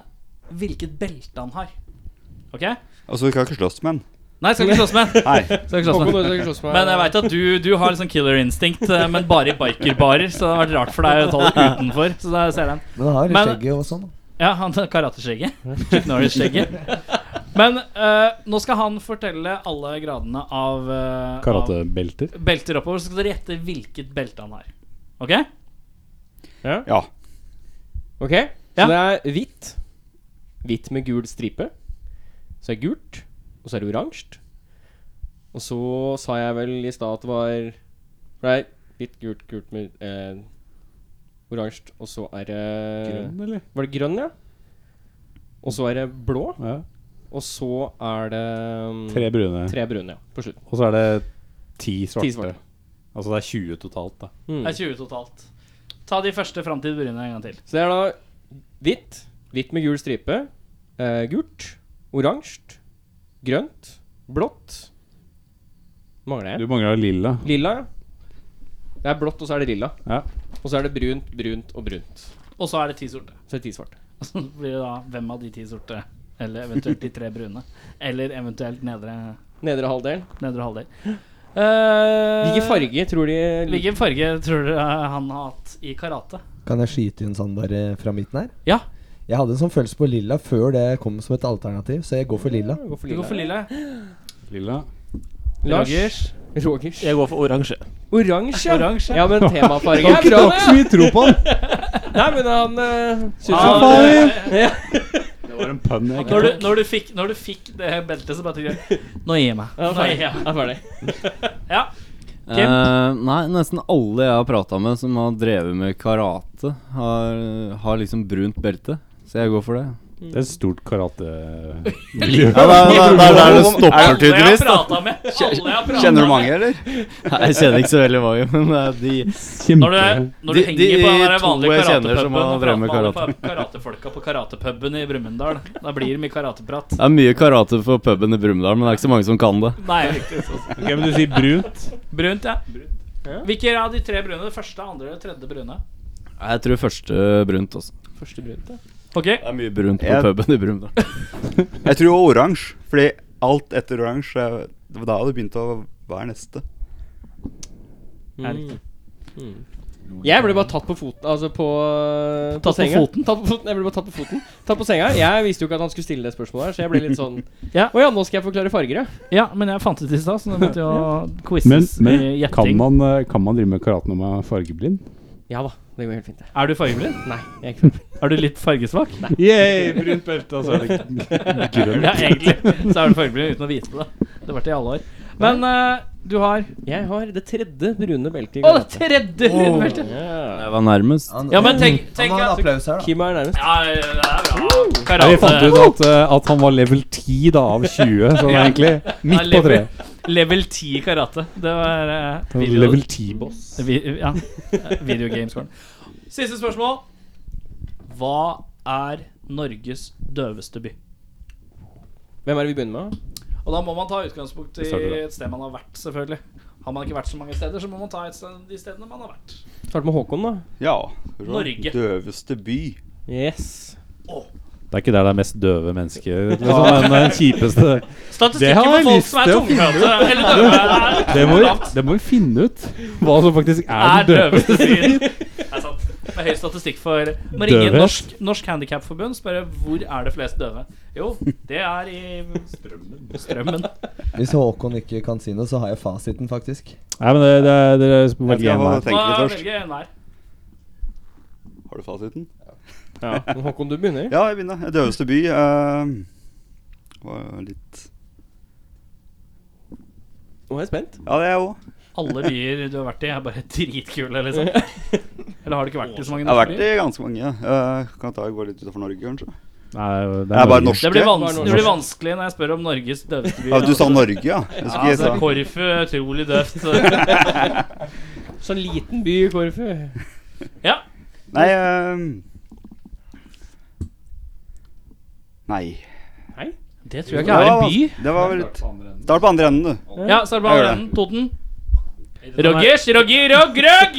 [SPEAKER 1] hvilket belte han har. Ok?
[SPEAKER 7] Altså, du kan ikke slåss med den.
[SPEAKER 1] Nei, skal ikke slåss med.
[SPEAKER 7] Nei.
[SPEAKER 1] Skal ikke slåss med.
[SPEAKER 2] Altså-
[SPEAKER 1] Men jeg veit at du, du har liksom killer instinct, eh, men bare i bikerbarer. Så det har vært rart for deg å ta det utenfor. Så der ser jeg den.
[SPEAKER 5] Men det har
[SPEAKER 1] Men-
[SPEAKER 5] skjegget og sånn. da.
[SPEAKER 1] Ja, han tar karateskjegget. Chuck Norris-skjegget. Men eh, nå skal han fortelle alle gradene av, eh,
[SPEAKER 3] Karatebelter.
[SPEAKER 1] av belter oppover. Så skal dere gjette hvilket belte han har. Ok?
[SPEAKER 7] Ja.
[SPEAKER 2] Ok,
[SPEAKER 1] Ja.
[SPEAKER 2] så det er hvitt Hvitt med gul stripe Så er det gult Og så er det oransje Og så sa jeg vel i sted at det var For det er hvitt, gult, gult med eh, Oransje Og så er det
[SPEAKER 3] Grønn, eller?
[SPEAKER 2] Var det grønn, ja? Og så er det blå
[SPEAKER 3] Ja.
[SPEAKER 2] Og så er det mm,
[SPEAKER 3] Tre brune.
[SPEAKER 2] tre brune, ja På slutten
[SPEAKER 3] Og så er det ti svarte.
[SPEAKER 2] Ti Mm. svarte.
[SPEAKER 3] Altså det er 20 totalt, da.
[SPEAKER 1] Det er 20 totalt. Ta de første fram til brune en gang til.
[SPEAKER 2] Så det er da hvitt, hvitt med gul stripe, eh, gult, oransje, grønt, blått Mangler
[SPEAKER 3] Du
[SPEAKER 2] jeg?
[SPEAKER 3] mangler lilla.
[SPEAKER 2] Lilla, ja. Det er blått, og så er det lilla.
[SPEAKER 3] Ja.
[SPEAKER 2] Og så er det brunt, brunt og brunt.
[SPEAKER 1] Og så er det ti sorte. *laughs*
[SPEAKER 2] Så er det ti svarte.
[SPEAKER 1] Og så blir det da hvem av de ti sorte, eller eventuelt de tre brune, eller eventuelt nedre
[SPEAKER 2] Nedre halvdel.
[SPEAKER 1] Nedre
[SPEAKER 6] *gasps*
[SPEAKER 1] halvdel. Uh,
[SPEAKER 2] Hvilken farge tror de liker?
[SPEAKER 1] Hvilken farge tror dere han har hatt i karate?
[SPEAKER 5] Kan jeg skyte inn sånn bare fra midten her?
[SPEAKER 1] Ja.
[SPEAKER 5] Jeg hadde en sånn følelse på lilla før det kom som et alternativ, så jeg går for lilla.
[SPEAKER 2] Går for
[SPEAKER 1] Du går for lilla. ja.
[SPEAKER 3] Lilla.
[SPEAKER 2] Lars.
[SPEAKER 1] Rogers.
[SPEAKER 2] Rogers.
[SPEAKER 8] Jeg går for oransje.
[SPEAKER 2] Oransje. ja.
[SPEAKER 1] Oransje.
[SPEAKER 2] Ja, men temafarge er bra. det,
[SPEAKER 3] mye tro på den!
[SPEAKER 2] Ja. Nei, men han uh,
[SPEAKER 1] Ah,
[SPEAKER 3] Det var en pønn
[SPEAKER 1] Når
[SPEAKER 3] jeg ikke
[SPEAKER 1] du, når, du fikk, når du fikk det beltet, så bare
[SPEAKER 6] *laughs*
[SPEAKER 1] tenkte jeg Nå gir jeg meg.
[SPEAKER 2] Han er
[SPEAKER 1] Nå gir
[SPEAKER 2] ferdig.
[SPEAKER 1] jeg. meg.
[SPEAKER 2] Han er ferdig.
[SPEAKER 1] Ja. Kim?
[SPEAKER 6] Eh, nei, nesten alle jeg har prata med som har drevet med karate, har, har liksom brunt belte. Så jeg går for det.
[SPEAKER 3] Det er et stort karatemiljø.
[SPEAKER 6] Ja, det er- det er- det er der det stopper,
[SPEAKER 1] Alle jeg har
[SPEAKER 6] tydeligvis. da.
[SPEAKER 1] prata med. Alle jeg har pratet
[SPEAKER 7] Kjenner du
[SPEAKER 1] med.
[SPEAKER 7] mange, eller?
[SPEAKER 6] Nei, Jeg kjenner ikke så veldig mange, men det er de
[SPEAKER 1] Når du, når du
[SPEAKER 6] De-
[SPEAKER 1] henger
[SPEAKER 6] de
[SPEAKER 1] på den der
[SPEAKER 6] to
[SPEAKER 1] vanlige
[SPEAKER 6] jeg kjenner
[SPEAKER 1] karatepuben og
[SPEAKER 6] som har
[SPEAKER 1] prater med
[SPEAKER 6] drevet med
[SPEAKER 1] alle
[SPEAKER 6] karate.
[SPEAKER 1] pa- karatefolka på karatepuben i Brumunddal, da blir det mye karateprat.
[SPEAKER 6] Det er mye karate for puben i Brumunddal, men det er ikke så mange som kan det.
[SPEAKER 1] Nei,
[SPEAKER 3] Ok, men du sier brunt.
[SPEAKER 1] altså. Brunt, ja. Hvilke av de tre brune? Det første, andre eller tredje brune?
[SPEAKER 6] Nei, Jeg tror første brunt også.
[SPEAKER 2] Første brunt, ja.
[SPEAKER 1] Ok,
[SPEAKER 6] Det er mye brunt på
[SPEAKER 7] Jeg-
[SPEAKER 6] puben i Brumunddal.
[SPEAKER 7] Jeg tror oransje. Fordi alt etter oransje er- Det var da det begynte å være neste.
[SPEAKER 1] Er det
[SPEAKER 2] Mm. Mm. Jeg ble bare tatt på foten. Altså på Tatt på, senga.
[SPEAKER 1] foten?
[SPEAKER 2] Tatt på foten Jeg ble bare tatt på foten Tatt på senga. Jeg visste jo ikke at han skulle stille det spørsmålet, her så jeg ble litt sånn
[SPEAKER 1] Ja.
[SPEAKER 2] Å *laughs* ja, nå skal jeg forklare farger, ja.
[SPEAKER 1] Ja, men jeg fant ut i stad, så nå måtte jo quizes
[SPEAKER 3] Men, men
[SPEAKER 1] i
[SPEAKER 3] kan,
[SPEAKER 1] gjetting.
[SPEAKER 3] man, eh, kan man drive med karate når man er fargeblind?
[SPEAKER 2] Ja da, det går helt fint. det.
[SPEAKER 1] Er du fargeblind?
[SPEAKER 2] Nei, jeg er ikke fargeblind.
[SPEAKER 1] Er du litt fargesvak? Nei.
[SPEAKER 3] Yeah, brunt belte, altså. Er det *laughs* grønt?
[SPEAKER 1] Ja, egentlig *laughs* så er du fargeblind uten å vite det. Det har vært det i alle år. Men eh, du har
[SPEAKER 2] *laughs* Jeg har det tredje brune beltet i
[SPEAKER 1] Å, det
[SPEAKER 2] karate.
[SPEAKER 1] tredje rundefeltet!
[SPEAKER 2] Ja.
[SPEAKER 6] Jeg var nærmest.
[SPEAKER 5] Han,
[SPEAKER 1] Ja, men tenk, tenk
[SPEAKER 5] han har en
[SPEAKER 1] at
[SPEAKER 5] applaus her, da.
[SPEAKER 2] Kim er nærmest.
[SPEAKER 1] Ja, det er bra.
[SPEAKER 3] Ja, vi fant eh,
[SPEAKER 1] Karate.
[SPEAKER 3] ut at, eh, at han var level 10 da, av 20, så det er egentlig midt på treet.
[SPEAKER 1] Level 10 karate. Det var eh, video-
[SPEAKER 3] Level 10-boss.
[SPEAKER 1] vi, Ja. Videogamescoren. Siste spørsmål. Hva er Norges døveste by?
[SPEAKER 2] Hvem er det vi begynner med?
[SPEAKER 1] Og da må man ta utgangspunkt i
[SPEAKER 3] Vi starter der.
[SPEAKER 1] et sted man har vært, selvfølgelig. Har man ikke vært så mange steder, så må man ta et sted, de stedene man har vært.
[SPEAKER 2] Start med Håkon, da.
[SPEAKER 7] Ja. skal vi se.
[SPEAKER 1] Norge.
[SPEAKER 7] Døveste by.
[SPEAKER 2] Yes.
[SPEAKER 3] Det er ikke der det er mest døve mennesker. Liksom, men det er den kjipeste Det
[SPEAKER 1] Statistikken
[SPEAKER 3] har
[SPEAKER 1] for
[SPEAKER 3] jeg
[SPEAKER 1] folk
[SPEAKER 3] lyst
[SPEAKER 1] som er
[SPEAKER 3] til å
[SPEAKER 1] tungprate eller døve, er
[SPEAKER 3] det må, vi, det må vi finne ut hva som faktisk
[SPEAKER 1] er
[SPEAKER 3] er den døve.
[SPEAKER 1] døveste byen. Det er sant. Med høy statistikk for Må ringe
[SPEAKER 3] Døvhet.
[SPEAKER 1] Norsk, norsk Handikapforbund og spørre hvor er det flest døve. Jo, det er i Strømmen. Strømmen.
[SPEAKER 5] Hvis Håkon ikke kan si noe, så har jeg fasiten, faktisk.
[SPEAKER 3] Nei, men det, det, er- det, er- det,
[SPEAKER 7] Jeg skal få
[SPEAKER 3] det,
[SPEAKER 7] tenke
[SPEAKER 1] Da
[SPEAKER 7] litt først.
[SPEAKER 1] velger jeg en her.
[SPEAKER 7] Har du fasiten?
[SPEAKER 2] Ja. Men Håkon, du begynner.
[SPEAKER 7] Ja, jeg begynner. Døveste by eh, var litt
[SPEAKER 2] Nå er jeg spent.
[SPEAKER 7] Ja, det er jeg òg.
[SPEAKER 1] Alle byer du har vært i, er bare *laughs* dritkule, liksom. Eller har du ikke vært i så mange
[SPEAKER 7] Jeg har vært
[SPEAKER 1] norske
[SPEAKER 7] i
[SPEAKER 1] byer?
[SPEAKER 7] ganske mange. Eh, kan ta og gå litt utenfor Norge, kanskje.
[SPEAKER 3] det
[SPEAKER 7] Jeg er bare
[SPEAKER 3] Norge.
[SPEAKER 7] norske.
[SPEAKER 1] Det blir,
[SPEAKER 2] Bare
[SPEAKER 1] vans
[SPEAKER 2] norsk.
[SPEAKER 1] det blir vanskelig når jeg spør om Norges døveste by.
[SPEAKER 7] Ja, du sa Norge, ja? Jeg
[SPEAKER 1] Ja,
[SPEAKER 7] skulle ikke
[SPEAKER 1] altså,
[SPEAKER 7] sa-
[SPEAKER 1] Korfu er utrolig døvt.
[SPEAKER 2] Sånn liten by i Korfu.
[SPEAKER 1] Ja.
[SPEAKER 7] Nei ehm. Nei.
[SPEAKER 1] *laughs* Det tror jeg ikke er en by.
[SPEAKER 7] Det var vel litt Start på andre enden, du.
[SPEAKER 1] Ja, så er det bare
[SPEAKER 7] Jeg gjør
[SPEAKER 1] den. Toten. Rogers, Roger, Rog, Rog!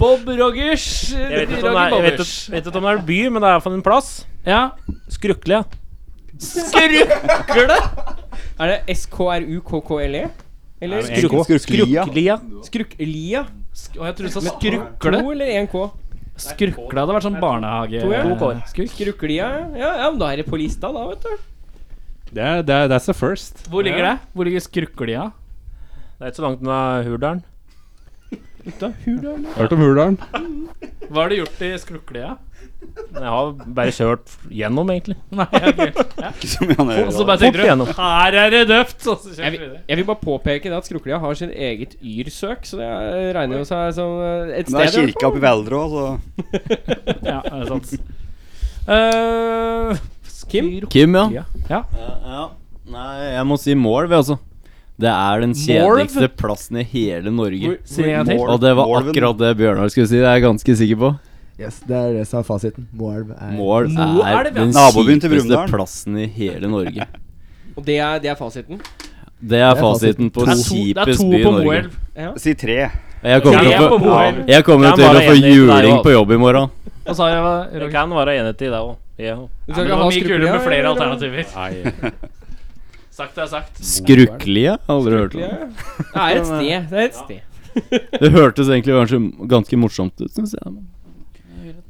[SPEAKER 1] Bob Rogers.
[SPEAKER 8] Jeg vet ikke om det
[SPEAKER 1] Roger
[SPEAKER 8] er, jeg vet,
[SPEAKER 1] Bobbers.
[SPEAKER 8] ikke- vet ikke om det er en by, men det er iallfall en plass.
[SPEAKER 1] Ja.
[SPEAKER 8] Skrukle.
[SPEAKER 1] Skrukle!
[SPEAKER 2] Er det SKRUKKLE? E? Eller
[SPEAKER 8] Nei, men
[SPEAKER 2] Skruk-
[SPEAKER 7] Skruklia.
[SPEAKER 8] Skruklia.
[SPEAKER 2] Skruklia?
[SPEAKER 1] Og jeg trodde du sa
[SPEAKER 2] To
[SPEAKER 1] skrukle.
[SPEAKER 2] eller én K?
[SPEAKER 1] Skrukle hadde vært sånn barnehage...
[SPEAKER 2] To, ja.
[SPEAKER 1] To kår. Skruk.
[SPEAKER 2] Skruklia, ja. ja. Men da er det på lista, da, vet du.
[SPEAKER 3] Det er, det er, that's the first.
[SPEAKER 1] Hvor ligger det? Hvor ligger skruklia?
[SPEAKER 8] Det er ikke så langt unna Hurdalen.
[SPEAKER 2] Da, Hurdal.
[SPEAKER 3] Hørt om Hurdalen?
[SPEAKER 1] Hva har du gjort i skruklia?
[SPEAKER 8] Men Jeg har bare kjørt gjennom, egentlig.
[SPEAKER 1] *laughs* Nei, ok.
[SPEAKER 7] *laughs* Ikke så mye annet.
[SPEAKER 1] Og så bare tenkte
[SPEAKER 8] Fort gjennom.
[SPEAKER 1] du Her er det døpt! Og så
[SPEAKER 2] Jeg
[SPEAKER 1] kjører vi
[SPEAKER 2] vil,
[SPEAKER 1] videre.
[SPEAKER 2] jeg vil bare påpeke det at Skruklia har sitt eget yr-søk, så det eh, regner jo seg som eh, et sted.
[SPEAKER 7] Det er kirka oppe i Veldre òg, så
[SPEAKER 1] Ja, det er *laughs* sant. Eh,
[SPEAKER 2] Kim?
[SPEAKER 6] Kim, ja.
[SPEAKER 1] ja. ja.
[SPEAKER 6] Ja, ja. Nei, jeg må si Målv, altså. Det er den kjedeligste plassen i hele Norge.
[SPEAKER 1] Si det en gang til.
[SPEAKER 6] Og det var
[SPEAKER 7] Målven.
[SPEAKER 6] akkurat det Bjørnar skulle si. Det er jeg ganske sikker på.
[SPEAKER 5] Yes, Det er det som er fasiten. Moelv er
[SPEAKER 6] Målv
[SPEAKER 1] Moelv,
[SPEAKER 6] er
[SPEAKER 1] ja.
[SPEAKER 6] den
[SPEAKER 7] Nabobyen til
[SPEAKER 6] kjipeste
[SPEAKER 7] Brumunddal.
[SPEAKER 6] plassen i hele Norge.
[SPEAKER 2] Og det er, det er fasiten.
[SPEAKER 6] Det er
[SPEAKER 5] er fasiten.
[SPEAKER 6] fasiten på
[SPEAKER 1] Det er to, det er
[SPEAKER 6] kjipest
[SPEAKER 1] to
[SPEAKER 6] by i
[SPEAKER 1] på
[SPEAKER 6] Norge.
[SPEAKER 1] Moelv.
[SPEAKER 7] si tre.
[SPEAKER 6] Jeg kommer
[SPEAKER 1] Tre
[SPEAKER 6] til å
[SPEAKER 1] på
[SPEAKER 6] få,
[SPEAKER 1] Moelv.
[SPEAKER 6] jeg kommer
[SPEAKER 8] Jeg
[SPEAKER 6] til
[SPEAKER 8] er
[SPEAKER 6] å
[SPEAKER 8] bare
[SPEAKER 6] få
[SPEAKER 8] enig i deg
[SPEAKER 6] juling
[SPEAKER 8] også.
[SPEAKER 6] på jobb i morgen.
[SPEAKER 1] Hva sa jeg?
[SPEAKER 8] Det
[SPEAKER 1] Roger?
[SPEAKER 8] kan være enighet i det òg.
[SPEAKER 2] Du
[SPEAKER 8] Ja.
[SPEAKER 1] Ja, men det var mye kulere med flere
[SPEAKER 2] eller?
[SPEAKER 1] alternativer.
[SPEAKER 3] Nei.
[SPEAKER 1] Sagt er sagt.
[SPEAKER 6] Skrukkelige? Aldri hørt om.
[SPEAKER 2] Ja. Det er et sted. Det er et sted.
[SPEAKER 6] Det hørtes egentlig kanskje ganske morsomt ut, syns jeg. men-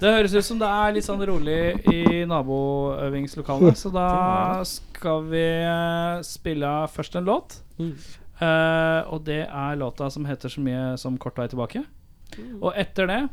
[SPEAKER 1] Det høres ut som det er litt sånn rolig i naboøvingslokalene, så da skal vi eh, spille først en låt. Eh, og det er låta som heter så mye som Kort vei tilbake. Og etter det,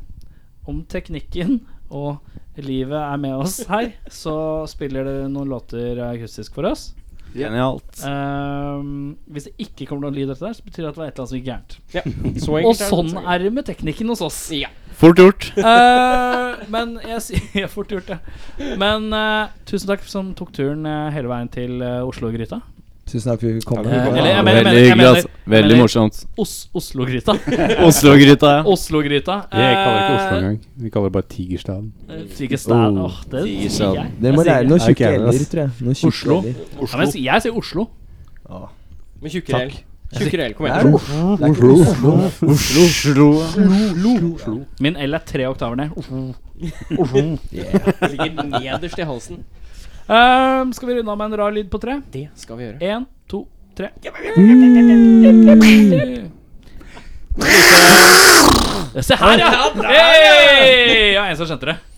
[SPEAKER 1] om teknikken og livet er med oss her, så spiller dere noen låter akustisk for oss.
[SPEAKER 6] Genialt.
[SPEAKER 1] Ehm, hvis det ikke kommer noen lyd etter der, så betyr det at det var et eller annet som gikk gærent.
[SPEAKER 2] Ja. Så
[SPEAKER 1] Og
[SPEAKER 2] enkelt er det.
[SPEAKER 1] sånn er det med teknikken hos oss.
[SPEAKER 2] Ja.
[SPEAKER 6] Fort gjort.
[SPEAKER 1] Eh, men *laughs* jeg sier fort gjort, det. Men eh, tusen takk som tok turen eh, hele veien til eh, Oslo-gryta.
[SPEAKER 5] Tusen takk for at vi kom.
[SPEAKER 1] Eh, eller jeg mener, jeg mener, jeg
[SPEAKER 6] Veldig hyggelig,
[SPEAKER 1] mener
[SPEAKER 6] altså. Veldig
[SPEAKER 1] mener-
[SPEAKER 6] morsomt.
[SPEAKER 1] Os Oslo-gryta.
[SPEAKER 6] Oslo-gryta, ja.
[SPEAKER 1] Oslo-gryta.
[SPEAKER 3] Jeg kaller det ikke Oslo engang. Vi kaller det bare Tigerstaden.
[SPEAKER 1] Tigerstad.
[SPEAKER 3] Oh.
[SPEAKER 1] Åh, det sier
[SPEAKER 6] Tigerstaden.
[SPEAKER 1] jeg.
[SPEAKER 5] Dere må
[SPEAKER 1] Jeg sier
[SPEAKER 5] lære noen
[SPEAKER 3] Er ikke
[SPEAKER 5] tjukke
[SPEAKER 3] jeg med,
[SPEAKER 5] l-er,
[SPEAKER 1] altså,
[SPEAKER 3] ass.
[SPEAKER 5] tror jeg. Noen tjukke
[SPEAKER 3] Oslo.
[SPEAKER 5] l-er.
[SPEAKER 1] Ja, men jeg sier- jeg sier Oslo.
[SPEAKER 2] Med tjukkerel. Tjukkerel, kom
[SPEAKER 5] Det
[SPEAKER 2] igjen.
[SPEAKER 5] er Oslo. Det er ikke Oslo.
[SPEAKER 1] Min L er tre oktaver ned. Oslo.
[SPEAKER 2] Det ligger nederst i halsen.
[SPEAKER 1] Ehm, skal vi runde av med en rar lyd på tre?
[SPEAKER 2] Det skal vi gjøre.
[SPEAKER 1] Én, to, tre.
[SPEAKER 3] Mm.
[SPEAKER 1] Se her, ja! Hey! Ja, en som skjønte det.
[SPEAKER 9] sånn.